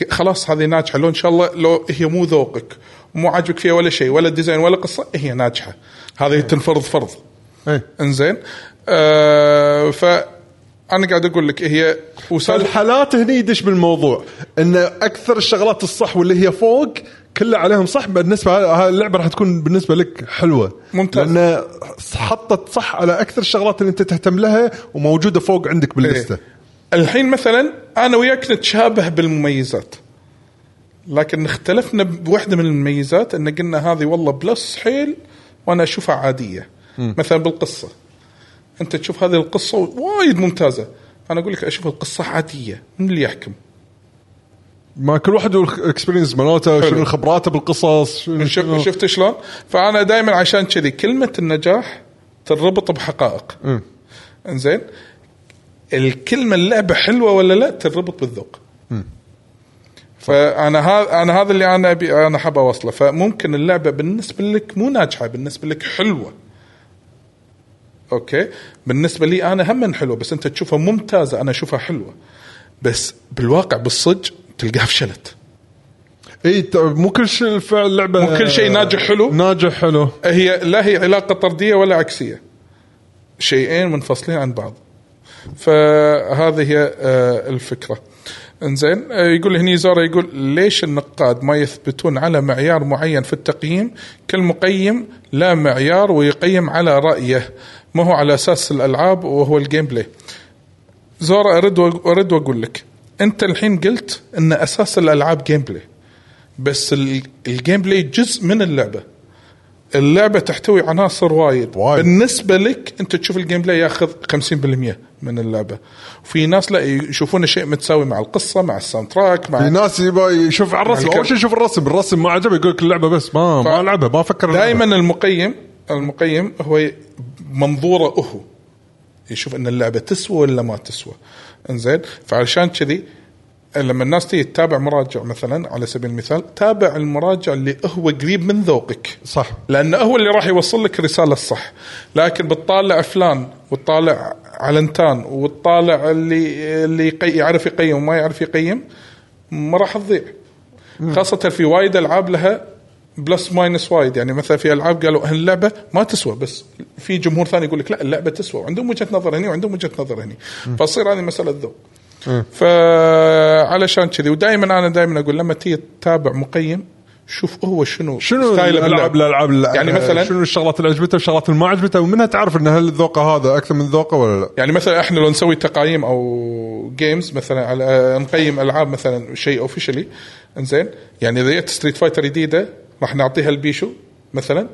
A: ك- خلاص هذه ناجحه لو ان شاء الله لو هي مو ذوقك مو عاجبك فيها ولا شيء ولا ديزاين ولا قصه هي ناجحه هذه تنفرض فرض
B: إيه.
A: انزين آه ف انا قاعد اقول لك هي
B: طيب.
A: وسالفه
B: فالحالات هني يدش بالموضوع ان اكثر الشغلات الصح واللي هي فوق كلها عليهم صح بالنسبه هاي اللعبه راح تكون بالنسبه لك حلوه
A: ممتاز.
B: لان حطت صح على اكثر الشغلات اللي انت تهتم لها وموجوده فوق عندك باللسته
A: إيه. الحين مثلا انا وياك نتشابه بالمميزات لكن اختلفنا بوحده من المميزات ان قلنا هذه والله بلس حيل وانا اشوفها عاديه مثلا بالقصه انت تشوف هذه القصه وايد ممتازه انا اقول لك اشوف القصه عاديه من اللي يحكم
B: ما كل واحد والاكسبيرينس مالته شنو خبراته بالقصص شنو
A: شف-
B: شنو-
A: شفت شلون؟ فانا دائما عشان كذي كلمه النجاح تربط بحقائق
B: مم.
A: انزين الكلمه اللعبه حلوه ولا لا تربط بالذوق فانا ها انا هذا اللي انا أبي انا حاب اوصله فممكن اللعبه بالنسبه لك مو ناجحه بالنسبه لك حلوه اوكي بالنسبه لي انا هم حلوه بس انت تشوفها ممتازه انا اشوفها حلوه بس بالواقع بالصج تلقاها فشلت
B: اي إيه، ت- مو كل شيء الفعل اللعبه
A: مو كل شيء ناجح حلو.
B: ناجح حلو
A: هي لا هي علاقه طرديه ولا عكسيه شيئين منفصلين عن بعض فهذه هي آه، الفكره انزين آه، يقول هني زارة يقول ليش النقاد ما يثبتون على معيار معين في التقييم كالمقيم لا معيار ويقيم على رايه ما هو على اساس الالعاب وهو الجيم بلاي زورا ارد وأق- ارد واقول لك انت الحين قلت ان اساس الالعاب جيم بلاي بس ال- الجيم بلاي جزء من اللعبه اللعبه تحتوي عناصر وايد
B: وايد.
A: بالنسبه لك انت تشوف الجيم بلاي ياخذ 50% من اللعبه في ناس لا يشوفونه شيء متساوي مع القصه مع الساوند تراك مع
B: في يعني ناس يبغى يشوف على الرسم
A: الكل.
B: اول شيء يشوف الرسم الرسم ما عجبه يقول لك اللعبه بس ما
A: ف-
B: ما العبها ما افكر ألعبها.
A: دائما المقيم المقيم هو ي- منظوره هو يشوف ان اللعبه تسوى ولا ما تسوى انزين فعشان كذي لما الناس تيجي تتابع مراجع مثلا على سبيل المثال تابع المراجع اللي هو قريب من ذوقك
B: صح
A: لانه هو اللي راح يوصل لك الرساله الصح لكن بتطالع فلان وتطالع علنتان وتطالع اللي اللي يقي- يعرف يقيم وما يعرف يقيم ما راح تضيع خاصه في وايد العاب لها بلس ماينس وايد يعني مثلا في العاب قالوا هاللعبه ما تسوى بس في جمهور ثاني يقول لك لا اللعبه تسوى وعندهم وجهه نظر هني وعندهم وجهه نظر هني فتصير هذه مساله ذوق فعلشان كذي ودائما انا دائما اقول لما تيجي تتابع مقيم شوف هو شنو
B: شنو
A: ستايله
B: الالعاب
A: باللعب.
B: الالعاب اللي-
A: يعني مثلاً-
B: شنو الشغلات اللي عجبته والشغلات اللي ما عجبته ومنها تعرف ان هل ذوقه هذا اكثر من ذوقه ولا لا
A: يعني مثلا احنا لو نسوي تقايم او جيمز مثلا على آه، نقيم العاب مثلا شيء اوفشلي انزين يعني اذا جت ستريت فايتر جديده راح نعطيها البيشو مثلا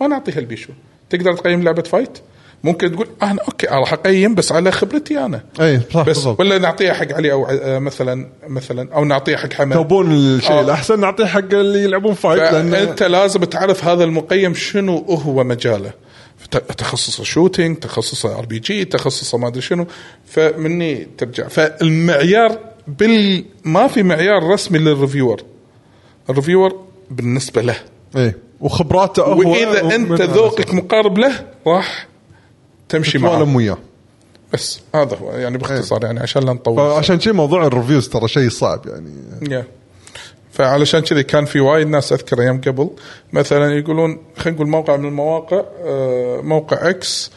A: ما نعطيها البيشو تقدر تقيم لعبه فايت ممكن تقول انا اوكي راح اقيم بس على خبرتي انا
B: اي صح
A: بس
B: بالضبط
A: ولا نعطيها حق علي او آه، مثلا مثلا او نعطيها حق حمد
B: تبون الشيء
A: آه.
B: الاحسن نعطيه حق اللي يلعبون فايت لان
A: انت لازم تعرف هذا المقيم شنو هو مجاله ت- تخصصه شوتينج تخصصه ار بي جي تخصصه ما ادري شنو فمني ترجع فالمعيار بال ما في معيار رسمي للريفيور الريفيور بالنسبه له
B: اي إيه، وخبراته هو
A: واذا انت ذوقك مقارب له راح تمشي
B: تتوالم
A: معه
B: وياه
A: بس هذا هو يعني
B: إيه.
A: باختصار يعني عشان لا نطول
B: فعشان شيء موضوع الريفيوز ترى شيء صعب يعني
A: يا فعلشان كذي كان في وايد ناس اذكر ايام قبل مثلا يقولون خلينا نقول موقع من المواقع آه، موقع اكس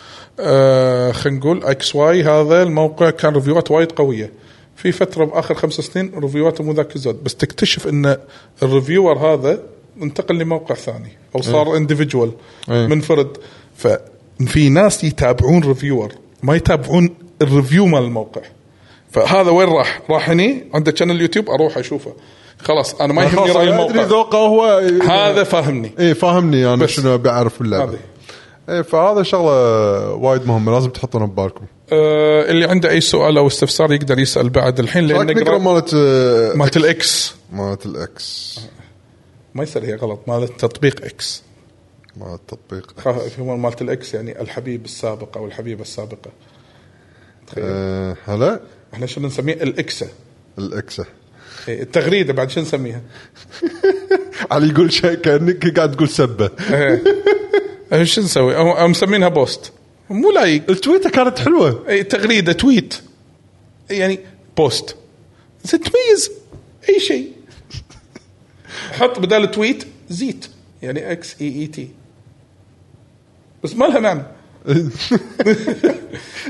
A: خلينا نقول اكس واي هذا الموقع كان ريفيوات وايد قويه في فتره باخر خمس سنين ريفيواته مو ذاك الزود بس تكتشف ان الريفيور هذا انتقل لموقع ثاني او صار اندفجوال
B: إيه.
A: منفرد ففي ناس يتابعون ريفيور ما يتابعون الريفيو مال الموقع فهذا وين راح؟ راح هني عنده شانل اليوتيوب اروح اشوفه خلاص انا ما يهمني
B: خلاص
A: راي
B: أنا ادري
A: الموقع
B: ذوقه هو
A: هذا فاهمني
B: اي فاهمني انا
A: بس.
B: شنو بعرف اللعبه
A: هذه.
B: اي إيه، فهذا شغله وايد مهمه لازم تحطونها ببالكم
A: آه اللي عنده اي سؤال او استفسار يقدر يسال بعد الحين لان
B: راك نقرا
A: قرأ-
B: مالت
A: مالت الاكس
B: مالت الاكس
A: ما يصير هي غلط مالت تطبيق اكس
B: مالت تطبيق
A: خا- هو مالت الاكس يعني الحبيب السابق او الحبيبه السابقه تخيل
B: آه، هلا
A: احنا شنو نسميه الاكسه
B: الاكسه
A: إيه، التغريده بعد شنو نسميها؟
B: علي يقول شيء كانك قاعد تقول سبه
A: إيه، شو نسوي؟ أو- أو مسمينها بوست مو لايق
B: التويته كانت حلوه
A: إيه، تغريده تويت يعني بوست زين تميز اي شيء حط بدال تويت زيت يعني اكس اي اي تي بس ما لها معنى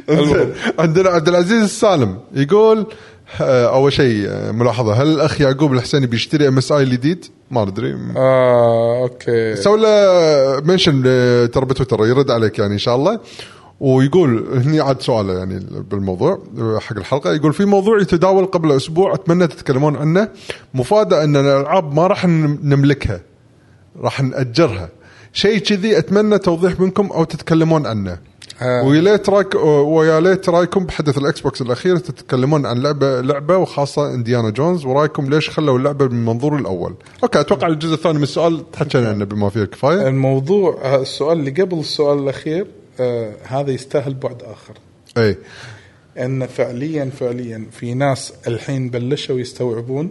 A: المهم.
B: عندنا عبد العزيز السالم يقول آه، اول شيء آه، ملاحظه هل الاخ يعقوب الحسيني بيشتري ام اس اي الجديد؟ ما ادري
A: اه اوكي
B: سوي له منشن آه، ترى بتويتر يرد عليك يعني ان شاء الله ويقول هني عاد سؤاله يعني بالموضوع آه، حق الحلقه يقول في موضوع يتداول قبل اسبوع اتمنى تتكلمون عنه مفاده ان الالعاب ما راح نم- نملكها راح ناجرها شيء كذي اتمنى توضيح منكم او تتكلمون عنه
A: آه.
B: ويا ليت رايك ويا ليت رايكم بحدث الاكس بوكس الاخير تتكلمون عن لعبه لعبه وخاصه انديانا جونز ورايكم ليش خلوا اللعبه من المنظور الاول اوكي اتوقع الجزء الثاني من السؤال تحكينا عنه بما فيه الكفايه
A: الموضوع آه، السؤال اللي قبل السؤال الاخير آه هذا يستاهل بعد اخر
B: اي
A: ان فعليا فعليا في ناس الحين بلشوا يستوعبون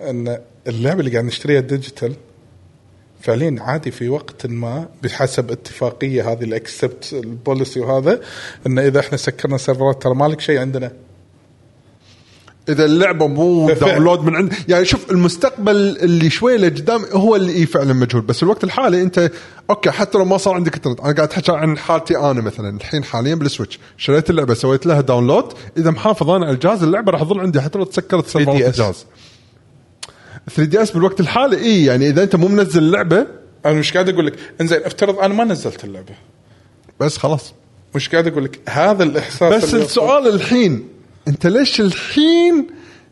A: ان اللعبه اللي قاعد نشتريها ديجيتال فعليا عادي في وقت ما بحسب اتفاقيه هذه الاكسبت البوليسي وهذا ان اذا احنا سكرنا سيرفرات ترى مالك شيء عندنا
B: اذا اللعبه مو
A: بالفعل.
B: داونلود من عند يعني شوف المستقبل اللي شوي لقدام هو اللي إيه فعلا مجهول بس الوقت الحالي انت اوكي حتى لو ما صار عندك انترنت انا قاعد احكي عن حالتي انا مثلا الحين حاليا بالسويتش شريت اللعبه سويت لها داونلود اذا محافظ انا على الجهاز اللعبه راح تظل عندي حتى لو تسكرت سيرفرات
A: 3DS.
B: الجهاز 3 دي اس بالوقت الحالي اي يعني اذا انت مو منزل اللعبه
A: انا مش قاعد اقول لك انزين افترض انا ما نزلت اللعبه
B: بس خلاص
A: مش قاعد اقول لك هذا الاحساس
B: بس
A: اللي-
B: السؤال الحين انت ليش الحين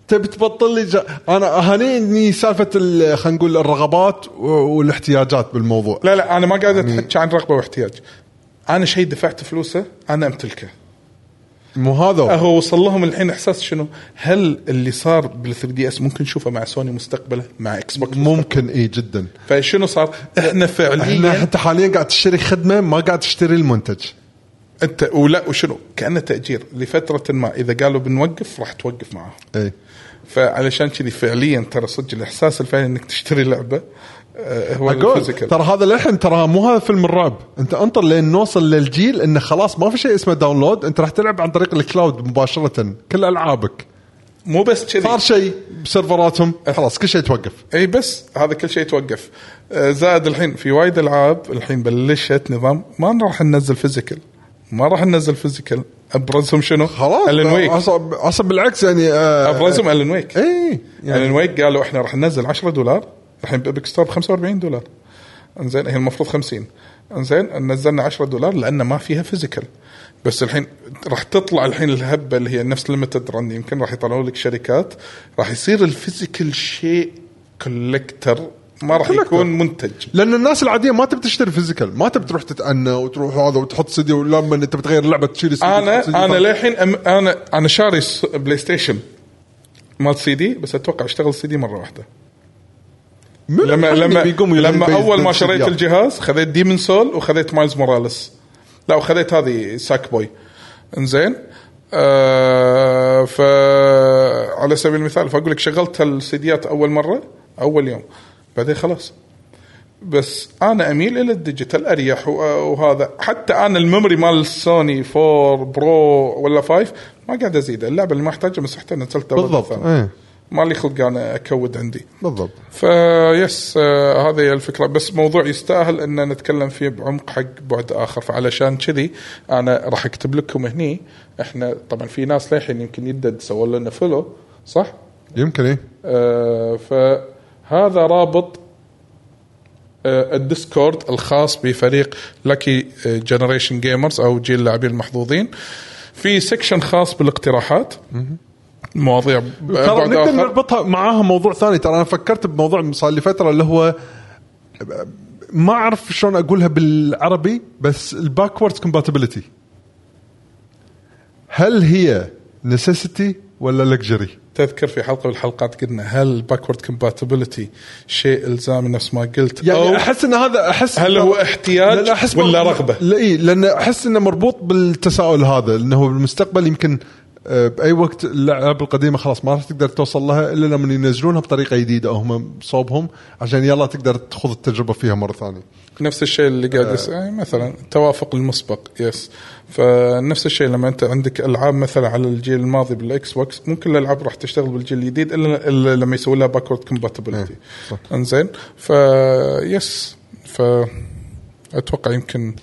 B: تبي تبطل لي جا... انا هنيني سالفه ال- خلينا نقول الرغبات و- والاحتياجات بالموضوع
A: لا لا انا ما قاعد اتحكى عن رغبه واحتياج انا شيء دفعت فلوسه انا امتلكه
B: مو هذا هو.
A: هو وصل لهم الحين احساس شنو؟ هل اللي صار بال 3 دي اس ممكن نشوفه مع سوني مستقبله مع اكس بوكس؟
B: ممكن اي جدا
A: فشنو صار؟ احنا
B: احنا
A: فعليا
B: حتى حاليا قاعد تشتري خدمه ما قاعد تشتري المنتج
A: انت ولا وشنو؟ كانه تاجير لفتره ما اذا قالوا بنوقف راح توقف معاهم.
B: اي
A: فعلشان كذي فعليا ترى صدق الاحساس الفعلي انك تشتري لعبه آه، هو
B: اقول
A: الفيزيكال
B: ترى هذا للحين ترى مو هذا فيلم الرعب انت انطر لين نوصل للجيل انه خلاص ما في شيء اسمه داونلود انت راح تلعب عن طريق الكلاود مباشره كل العابك
A: مو بس كذي
B: صار شيء بسيرفراتهم خلاص كل شيء توقف
A: اي بس هذا كل شيء توقف آه، زائد الحين في وايد العاب الحين بلشت نظام ما راح ننزل فيزيكال ما راح ننزل فيزيكال ابرزهم شنو؟
B: خلاص
A: الن ويك
B: اصلا اصلا بالعكس يعني آه،
A: ابرزهم الن ويك
B: اي
A: يعني
B: يعني
A: الن ويك قالوا احنا راح ننزل 10 دولار الحين بابك ستور ب 45 دولار انزين هي المفروض 50 انزين نزلنا 10 دولار لان ما فيها فيزيكال بس الحين راح تطلع الحين الهبه اللي هي نفس ليمتد رن يمكن راح يطلعوا لك شركات راح يصير الفيزيكال شيء كولكتر ما راح
B: Collector.
A: يكون منتج
B: لان الناس العاديه ما تبي تشتري فيزيكال ما تبي تروح تتأنى وتروح هذا وتحط سيدي ولما انت بتغير لعبه تشيل السيدي وتحط
A: انا
B: سيدي.
A: انا للحين أم- انا انا شاري س- بلاي ستيشن مال سي دي بس اتوقع اشتغل سي دي مره واحده
B: من
A: لما
B: الحين
A: لما
B: بيقوم يلعب
A: لما
B: بيز-
A: اول ما
B: بيز-
A: شريت
B: يلا.
A: الجهاز خذيت ديمن سول وخذيت مايلز موراليس لا وخذيت هذه ساك بوي انزين آه ف على سبيل المثال فاقول لك شغلت السيديات اول مره اول يوم بعدين خلاص بس انا اميل الى الديجيتال اريح و- وهذا حتى انا الميموري مال سوني 4 برو ولا 5 ما قاعد ازيده اللعبه اللي ما احتاجها مسحتها نزلتها مرة
B: بالضبط،
A: ثانية.
B: إيه.
A: ما لي خلق انا اكود عندي
B: بالضبط
A: فيس آه، هذه هي الفكره بس موضوع يستاهل ان نتكلم فيه بعمق حق بعد اخر فعلشان كذي انا راح اكتب لكم هني احنا طبعا في ناس للحين يمكن يدد سووا لنا فولو صح؟
B: يمكن إيه. اي
A: آه، فهذا رابط آه، الديسكورد الخاص بفريق لكي جنريشن جيمرز او جيل اللاعبين المحظوظين في سكشن خاص بالاقتراحات مواضيع ب-
B: ترى
A: بعد
B: نقدر
A: آخر.
B: نربطها معاها موضوع ثاني ترى انا فكرت بموضوع صار لي فتره اللي هو ما اعرف شلون اقولها بالعربي بس الباكوردز كومباتيبلتي هل هي نسيسيتي ولا لكجري؟
A: تذكر في حلقه من الحلقات قلنا هل باكورد كومباتبلتي شيء الزامي نفس ما قلت
B: يعني
A: او
B: احس ان هذا احس
A: هل هو احتياج
B: لأن أحس
A: ولا
B: مربوط-
A: رغبة؟
B: لا إيه لان احس انه مربوط بالتساؤل هذا انه بالمستقبل يمكن آه، باي وقت اللعب القديمه خلاص ما راح تقدر توصل لها الا لما ينزلونها بطريقه جديده هم بصوبهم عشان يلا تقدر تخوض التجربه فيها مره ثانيه.
A: نفس الشيء اللي
B: آه.
A: قاعد يس... يعني مثلا التوافق المسبق يس فنفس الشيء لما انت عندك العاب مثلا على الجيل الماضي بالاكس بوكس ممكن الالعاب راح تشتغل بالجيل الجديد الا, إلا لما يسوي لها باكورد كومباتبلتي
B: إيه،
A: انزين ف يس ف اتوقع يمكن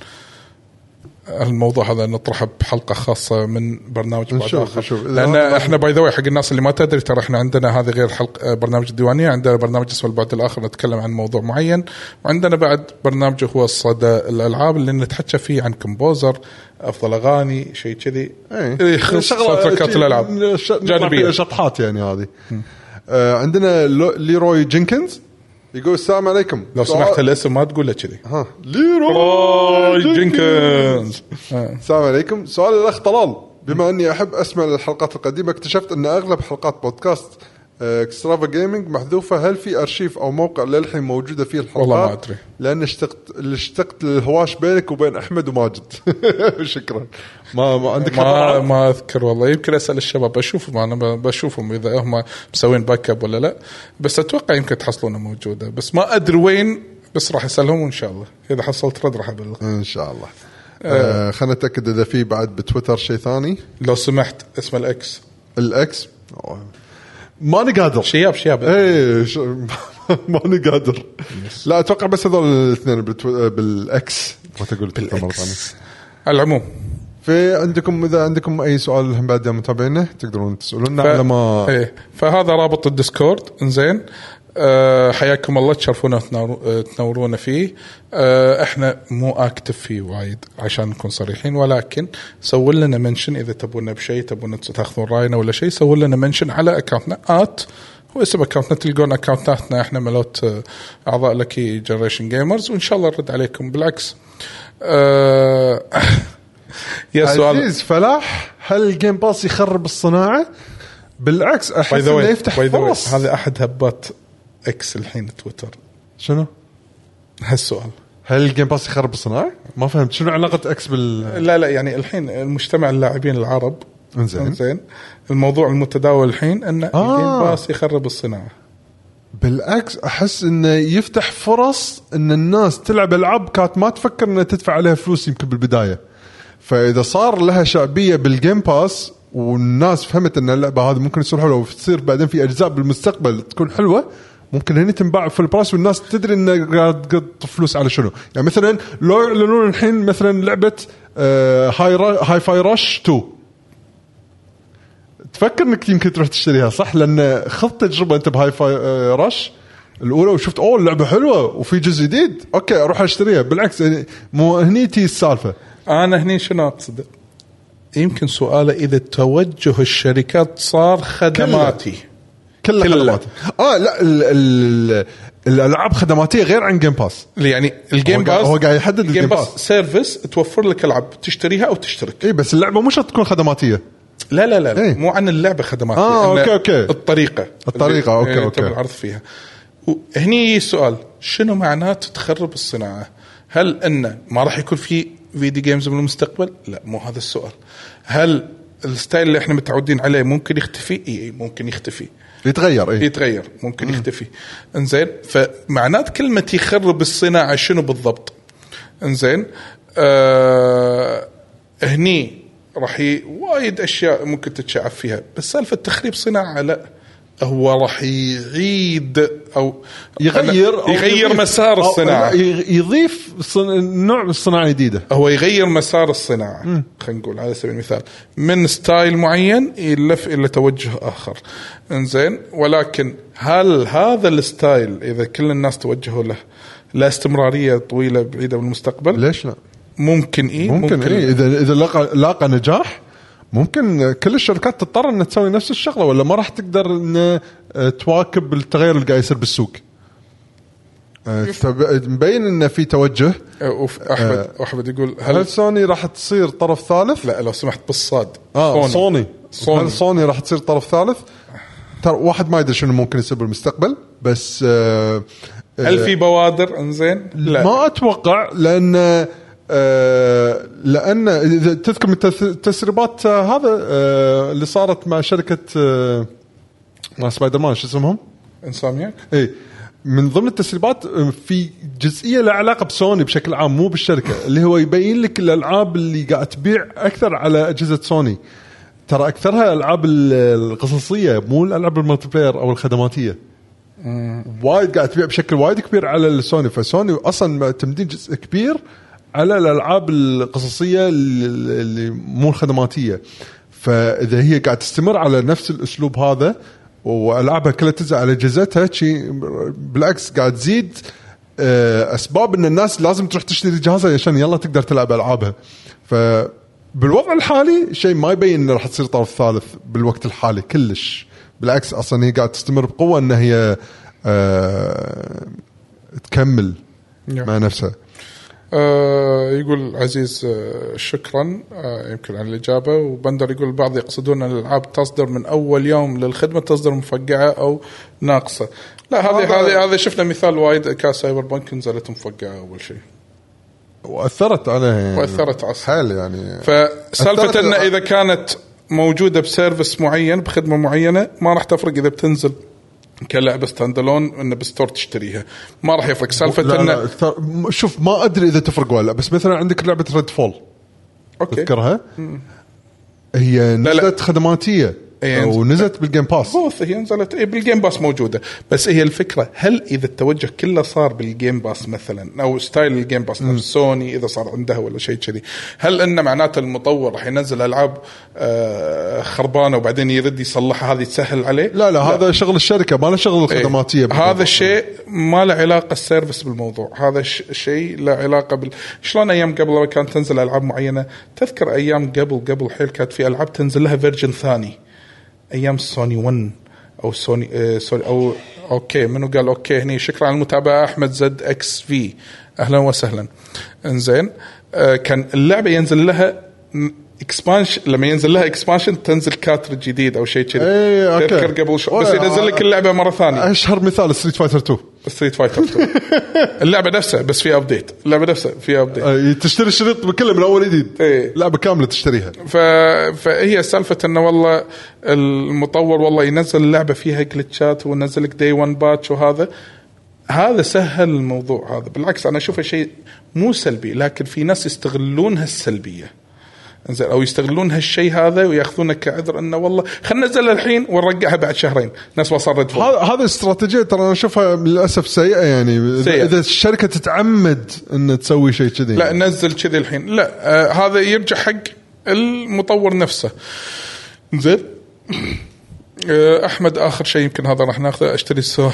A: الموضوع هذا نطرحه بحلقه خاصه من برنامج بعد
B: نشوف-
A: آخر.
B: نشوف. إذا
A: لان
B: هذا-
A: احنا باي ذا حق الناس اللي ما تدري ترى احنا عندنا هذه غير حلقه برنامج الديوانيه عندنا برنامج اسمه البعد الاخر نتكلم عن موضوع معين وعندنا بعد برنامج هو الصدى الالعاب اللي نتحكى فيه عن كمبوزر افضل اغاني شيء كذي
B: إيه.
A: إيه، يخص تركات الالعاب
B: جانبيه
A: جانبيه
B: شطحات يعني هذه. آه عندنا لو- ليروي جينكنز يقول السلام عليكم
A: لو
B: سؤال-
A: سمحت الاسم ما تقول له كذي
B: ها ليروي
A: باي جينكنز
B: السلام عليكم سؤال الاخ طلال بما اني احب اسمع الحلقات القديمه اكتشفت ان اغلب حلقات بودكاست آه، اكسترافا جيمنج محذوفه هل في ارشيف او موقع للحين موجوده فيه الحلقات
A: والله ما أدري.
B: لان اشتقت اشتقت للهواش بينك وبين احمد وماجد شكرا ما, ما عندك
A: ما
B: خبر
A: ما اذكر والله يمكن اسال الشباب اشوفهم انا ب- بشوفهم اذا هم مسوين باك اب ولا لا بس اتوقع يمكن تحصلونها موجوده بس ما ادري وين بس راح اسالهم وان شاء الله اذا حصلت رد راح ابلغ
B: ان شاء الله آه خلينا نتاكد اذا في بعد بتويتر شيء ثاني
A: لو سمحت اسم الاكس
B: الاكس ماني قادر
A: شياب شياب
B: اي إيه، ش- ماني قادر لا اتوقع بس هذول الاثنين بالتو... بالاكس ما تقول تويتر مره ثانيه
A: على العموم
B: في عندكم اذا عندكم اي سؤال هم بعد يا متابعينا تقدرون تسالونا
A: ف-
B: على ما
A: ايه فهذا رابط الديسكورد انزين أه حياكم الله تشرفونا وتنور- آه، تنورونا فيه أه احنا مو اكتف فيه وايد عشان نكون صريحين ولكن سووا لنا منشن اذا تبونا بشيء تبون تاخذون راينا ولا شيء سووا لنا منشن على اكونتنا ات هو اسم اكونتنا تلقون اكونتاتنا احنا ملوت آه، اعضاء لكي جنريشن جيمرز وان شاء الله نرد عليكم بالعكس أه يا سؤال
B: عزيز فلاح هل الجيم باس يخرب الصناعه؟ بالعكس
A: باي
B: احس
A: ذا
B: انه
A: واي
B: يفتح
A: باي ذا واي
B: فرص
A: هذا احد هبات اكس الحين تويتر
B: شنو؟
A: هالسؤال
B: هل الجيم باس يخرب الصناعه؟ ما فهمت شنو علاقه اكس بال
A: لا لا يعني الحين المجتمع اللاعبين العرب
B: إنزين.
A: زين الموضوع المتداول الحين ان
B: آه.
A: الجيم باس يخرب الصناعه
B: بالعكس احس انه يفتح فرص ان الناس تلعب العاب كانت ما تفكر انها تدفع عليها فلوس يمكن بالبدايه. فاذا صار لها شعبيه بالجيم باس والناس فهمت ان اللعبه هذه ممكن تصير حلوه وتصير بعدين في اجزاء بالمستقبل تكون حلوه ممكن هني تنباع في البرايس والناس تدري انه قاعد تقط فلوس على شنو، يعني مثلا لو يعلنون الحين مثلا لعبه آه، هاي را- هاي فاي رش 2 تفكر انك يمكن تروح تشتريها صح لان خضت تجربه انت بهاي فاي آه، رش الاولى وشفت اوه اللعبه حلوه وفي جزء جديد اوكي اروح اشتريها بالعكس يعني مو هني تي السالفه
A: انا هني شنو اقصد؟ يمكن سؤاله اذا توجه الشركات صار خدماتي
B: كلها
A: كلها.
B: خدمات اه لا ال ال الالعاب خدماتيه غير عن جيم باس
A: يعني الجيم
B: هو قاعد-
A: باس
B: هو قاعد يحدد
A: الجيم
B: الجيم
A: باس
B: باس.
A: سيرفيس توفر لك العاب تشتريها او تشترك
B: اي بس اللعبه مو شرط تكون خدماتيه
A: لا لا لا, لا.
B: إيه.
A: مو عن اللعبه خدمات
B: آه،
A: إن
B: أوكي، أوكي.
A: الطريقه
B: الطريقة، أوكي،
A: اللي
B: أوكي.
A: تم العرض إيه، فيها وهني يجي السؤال شنو معناته تخرب الصناعه؟ هل انه ما راح يكون في فيديو جيمز بالمستقبل؟ لا مو هذا السؤال. هل الستايل اللي احنا متعودين عليه ممكن يختفي؟ اي ممكن يختفي.
B: يتغير اي
A: يتغير ممكن يختفي انزين فمعنات كلمه يخرب الصناعه شنو بالضبط انزين آه هني راح ي- وايد اشياء ممكن تتشعب فيها بس سالفه تخريب صناعه لا هو راح يعيد او
B: يغير أو
A: يغير
B: يضيف-
A: مسار
B: أو-
A: الصناعه
B: لا، يغ- يضيف صن... نوع من الصناعه جديده
A: هو يغير مسار الصناعه خلينا نقول على سبيل المثال من ستايل معين يلف الى توجه اخر انزين ولكن هل هذا الستايل اذا كل الناس توجهوا له لا استمراريه طويله بعيده بالمستقبل
B: ليش لا؟
A: ممكن اي
B: ممكن, ممكن إيه اذا اذا لاقى لاقى نجاح ممكن كل الشركات تضطر انها تسوي نفس الشغله ولا ما راح تقدر ان آه، تواكب التغير اللي قاعد يصير بالسوق. آه، تب- مبين ان في توجه
A: وف- احمد احمد يقول هل
B: آه. هل سوني راح تصير طرف ثالث؟
A: لا لو سمحت بالصاد
B: اه سوني
A: سوني.
B: هل سوني راح تصير طرف ثالث؟ ترى واحد ما يدري شنو ممكن يصير بالمستقبل بس آه، آه،
A: هل في بوادر انزين؟ لا
B: ما اتوقع لان آه، لان اذا تذكر من التث- التسريبات آه، هذا آه، اللي صارت مع شركه آه، مع سبايدر مان شو اسمهم؟
A: انسامنياك
B: اي من ضمن التسريبات آه، في جزئيه لها علاقه بسوني بشكل عام مو بالشركه اللي هو يبين لك الالعاب اللي قاعد تبيع اكثر على اجهزه سوني ترى اكثرها الالعاب ال- القصصيه مو الالعاب الملتي بلاير او الخدماتيه وايد قاعد تبيع بشكل وايد كبير على السوني فسوني اصلا معتمدين جزء كبير على الالعاب القصصيه اللي اللي مو الخدماتيه فاذا هي قاعد تستمر على نفس الاسلوب هذا والعابها كلها تنزل على اجهزتها شي بالعكس قاعد تزيد آه، اسباب ان الناس لازم تروح تشتري جهازها عشان يلا تقدر تلعب العابها فبالوضع الحالي شيء ما يبين انه راح تصير طرف ثالث بالوقت الحالي كلش بالعكس اصلا هي قاعد تستمر بقوه ان هي آه تكمل
A: نعم.
B: مع نفسها
A: آه، يقول عزيز آه، شكرا آه، يمكن على الاجابه وبندر يقول البعض يقصدون ان الالعاب تصدر من اول يوم للخدمه تصدر مفقعه او ناقصه. لا هذه
B: هذا-
A: هذه هذا شفنا مثال وايد كسايبر بانك نزلت مفقعه اول شيء.
B: واثرت عليها يعني
A: وأثرت على الصحة.
B: حيل يعني أثرت
A: فسالفه ان
B: الألعاب.
A: اذا كانت موجوده بسيرفس معين بخدمه معينه ما راح تفرق اذا بتنزل كلعبه ستاند الون انه بستور تشتريها ما راح يفرق سالفه
B: لا لا
A: انه
B: أثر... م- شوف ما ادري اذا تفرق ولا لا بس مثلا عندك لعبه ريد فول
A: اوكي
B: تذكرها هي
A: لا.
B: نزلت خدماتيه
A: إيه.
B: ونزلت بالجيم باس
A: بوث هي نزلت إيه بالجيم باس موجوده بس هي الفكره هل اذا التوجه كله صار بالجيم باس مثلا او ستايل الجيم باس نفس سوني اذا صار عندها ولا شيء كذي هل انه معناته المطور راح ينزل العاب آه خربانه وبعدين يرد يصلحها هذه تسهل عليه
B: لا لا هذا شغل الشركه ما له شغل الخدماتيه
A: إيه. هذا الشيء ما له علاقه السيرفس بالموضوع هذا الش- الشيء له علاقه بال شلون ايام قبل لما كانت تنزل العاب معينه تذكر ايام قبل قبل حيل كانت في العاب تنزل لها فيرجن ثاني ايام سوني 1 او سوني آه سوري او اوكي منو قال اوكي هني شكرا على المتابعه احمد زد اكس في اهلا وسهلا انزين آه كان اللعبه ينزل لها اكسبانشن لما ينزل لها اكسبانشن تنزل كاترج جديد او شيء كذي
B: إيه، أوكي. آه،
A: تذكر قبل شو بس
B: ولا-
A: ينزل لك اللعبه مره ثانيه
B: اشهر مثال ستريت فايتر 2
A: ستريت فايتر 2 اللعبه نفسها بس فيها ابديت اللعبه نفسها فيها ابديت
B: آه، تشتري الشريط كله من اول جديد
A: إيه.
B: لعبه كامله تشتريها
A: ف... فهي سالفه انه والله المطور والله ينزل اللعبه فيها جلتشات وينزل لك دي 1 باتش وهذا هذا سهل الموضوع هذا بالعكس انا اشوفه شيء مو سلبي لكن في ناس يستغلون هالسلبيه انزين او يستغلون هالشيء هذا وياخذونه كعذر انه والله خلينا ننزلها الحين ونرجعها بعد شهرين نفس ما صار Red Fall.
B: هذا هذه استراتيجيه ترى انا اشوفها للاسف سيئه يعني
A: سيئة.
B: سيئة. اذا الشركه تتعمد ان تسوي شيء كذي
A: لا نزل كذي الحين لا آه هذا يرجع حق المطور نفسه زين آه، احمد اخر شيء يمكن هذا راح ناخذه اشتري سو...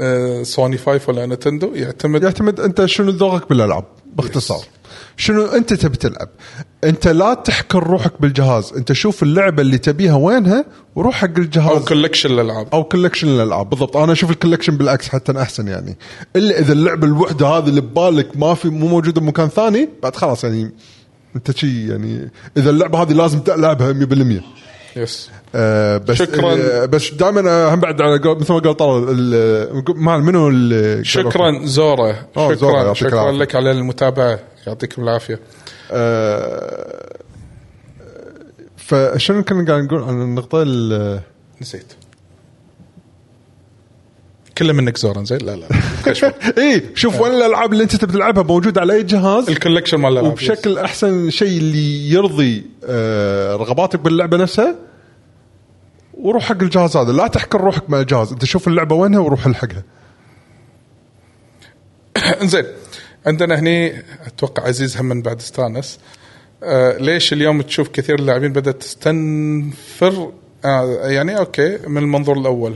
A: آه، سوني 5 ولا نتندو يعتمد
B: يعتمد انت شنو ذوقك بالالعاب باختصار شنو انت تبي تلعب انت لا تحكر روحك بالجهاز انت شوف اللعبه اللي تبيها وينها وروح حق الجهاز
A: او كولكشن الالعاب
B: او كولكشن الالعاب بالضبط انا اشوف الكولكشن بالعكس حتى احسن يعني الا اذا اللعبه الوحده هذه اللي ببالك ما في مو موجوده بمكان ثاني بعد خلاص يعني انت شي يعني اذا اللعبه هذه لازم تلعبها 100%
A: يس
B: آه بس
A: شكراً.
B: آه بس دائما هم بعد على قول- مثل ما قال طلال ال- مع منو ال-
A: شكرا زورا
B: أوه، زورا،
A: شكرا
B: يعطيك
A: شكرا
B: العافية.
A: لك على المتابعه يعطيكم العافيه
B: آه فشنو كنا قاعد نقول عن النقطه ال-
A: نسيت كله منك زورا زين لا لا
B: اي إيه، شوف وين الالعاب اللي انت تبي تلعبها موجوده على اي جهاز
A: الكولكشن مال الالعاب
B: وبشكل احسن شيء اللي يرضي آه، رغباتك باللعبه نفسها وروح حق الجهاز هذا لا تحكر روحك مع الجهاز انت شوف اللعبه وينها وروح لحقها
A: انزين عندنا هني اتوقع عزيز هم من بعد استانس آه ليش اليوم تشوف كثير اللاعبين بدات تستنفر آه يعني اوكي من المنظور الاول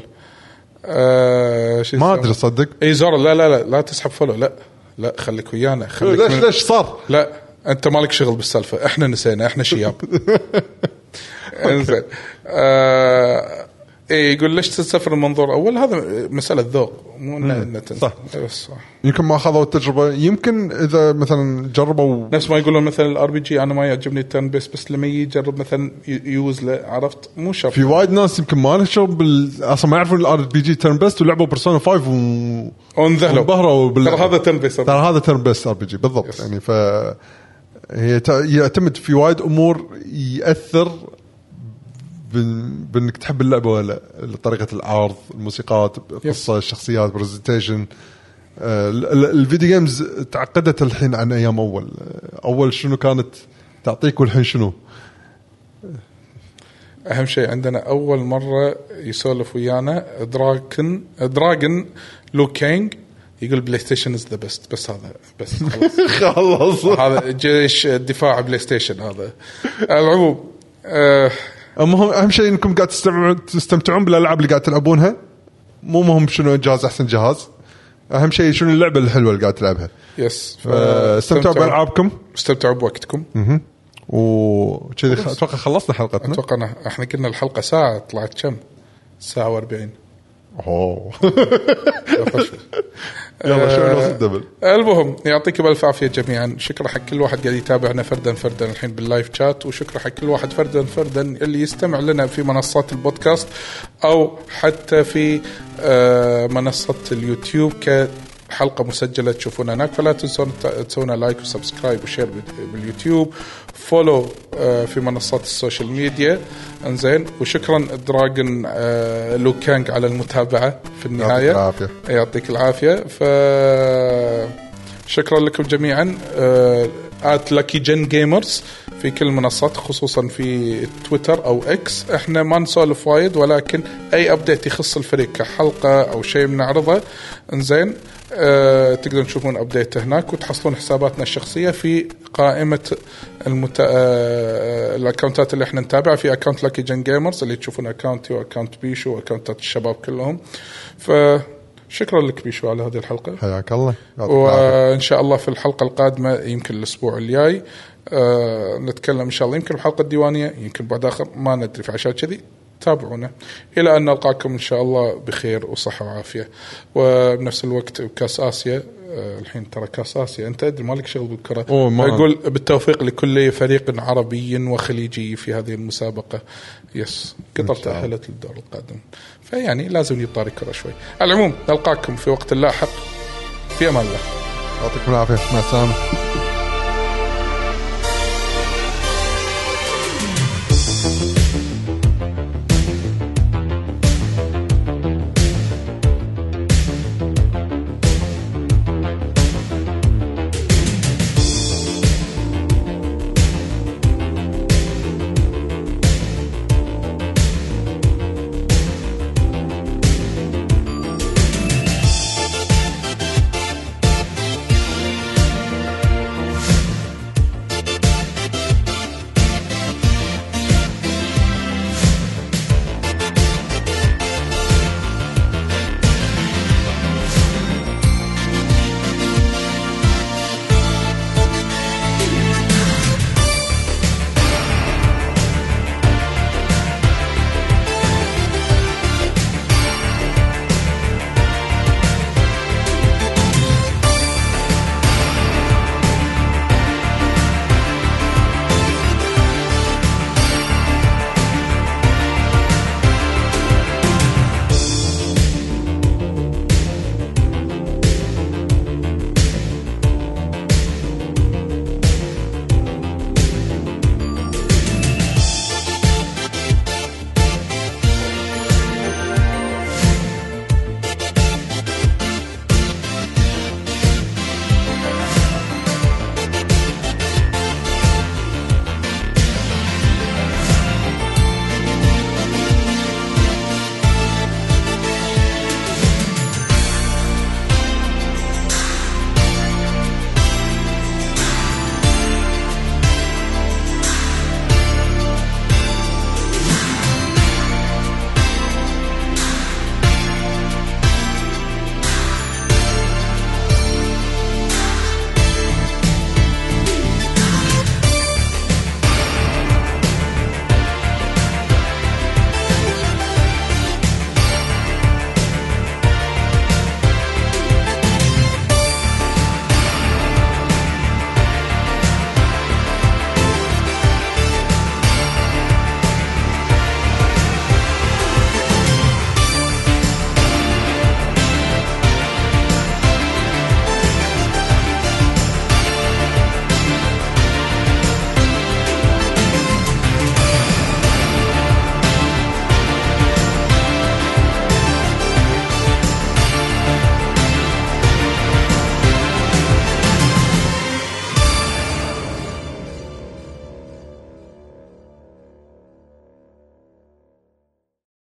A: آه شو
B: ما
A: اسمه؟
B: ادري صدق
A: اي زورا لا لا لا لا تسحب فولو لا لا خليك ويانا خليك
B: ليش
A: من-
B: ليش صار
A: لا انت مالك شغل بالسالفه احنا نسينا احنا شياب انزين آه إيه يقول ليش تسافر المنظور اول هذا مساله ذوق مو انه
B: صح.
A: بس صح
B: يمكن ما اخذوا التجربه يمكن اذا مثلا جربوا
A: نفس ما يقولون مثلا الار بي جي انا ما يعجبني الترن بيس بس لما يجي يجرب مثلا ي- يوز له عرفت مو شرط
B: في وايد ناس يمكن ما لهم شغل بال... اصلا ما يعرفون الار بي جي تيرن بيست ولعبوا بيرسونا 5 و
A: وانذهلوا
B: انبهروا بال-
A: ترى هذا ترن بيس
B: ترى هذا تيرن بيست ار بي جي بالضبط يعني ف هي ت- يعتمد في وايد امور ياثر بن- بانك تحب اللعبه ولا لا. طريقه العرض الموسيقات القصه الشخصيات برزنتيشن الفيديو جيمز تعقدت الحين عن ايام اول اول شنو كانت تعطيك والحين شنو
A: اهم شيء عندنا اول مره يسولف ويانا دراكن دراجن لو كينج يقول بلاي ستيشن از ذا بيست بس هذا بس خلاص
B: خلاص
A: هذا جيش دفاع بلاي ستيشن هذا على العموم آه
B: المهم اهم شيء انكم قاعد تستمعون تستمتعون بالالعاب اللي قاعد تلعبونها مو مهم شنو جهاز احسن جهاز اهم شيء شنو اللعبه الحلوه اللي قاعد تلعبها
A: يس ف-
B: آه، استمتعوا بالعابكم
A: استمتعوا بوقتكم
B: وكذي خ- اتوقع خلصنا حلقتنا
A: اتوقع إن احنا قلنا الحلقه ساعه طلعت كم؟ ساعه و40
B: اوه يلا شنو ناخذ دبل
A: المهم يعطيكم الف عافيه جميعا شكرا حق كل واحد قاعد يتابعنا فردا فردا الحين باللايف شات وشكرا حق كل واحد فردا فردا اللي يستمع لنا في منصات البودكاست او حتى في آه، منصه اليوتيوب كحلقه مسجله تشوفونها هناك فلا تنسون ت- تسوون لايك وسبسكرايب وشير بال- باليوتيوب فولو آه، في منصات السوشيال ميديا انزين وشكرا دراجن آه، لو كانج على المتابعه في النهايه
B: العافية.
A: يعطيك العافيه ف آه، شكرا لكم جميعا ات لاكي جن جيمرز في كل المنصات خصوصا في تويتر او اكس احنا ما نسولف وايد ولكن اي ابديت يخص الفريق كحلقه او شيء بنعرضه انزين أه تقدرون تشوفون ابديت هناك وتحصلون حساباتنا الشخصيه في قائمه المت... أه الاكونتات اللي احنا نتابعها في اكونت لاكي جن جيمرز اللي تشوفون اكونتي واكونت بيشو واكونتات الشباب كلهم فشكرا لك بيشو على هذه الحلقه
B: حياك الله يعطيك العافية.
A: وان شاء الله في الحلقه القادمه يمكن الاسبوع الجاي آه، نتكلم ان شاء الله يمكن بحلقه ديوانيه يمكن بعد اخر ما ندري فعشان كذي تابعونا الى ان نلقاكم ان شاء الله بخير وصحه وعافيه وبنفس الوقت بكاس اسيا آه، الحين ترى كاس اسيا انت ادري مالك شغل بالكره
B: أوه، ما-
A: اقول بالتوفيق لكل فريق عربي وخليجي في هذه المسابقه يس قطر تاهلت للدور القادم فيعني لازم يطاري كره شوي على العموم نلقاكم في وقت لاحق في امان الله
B: يعطيكم العافيه مع السلامه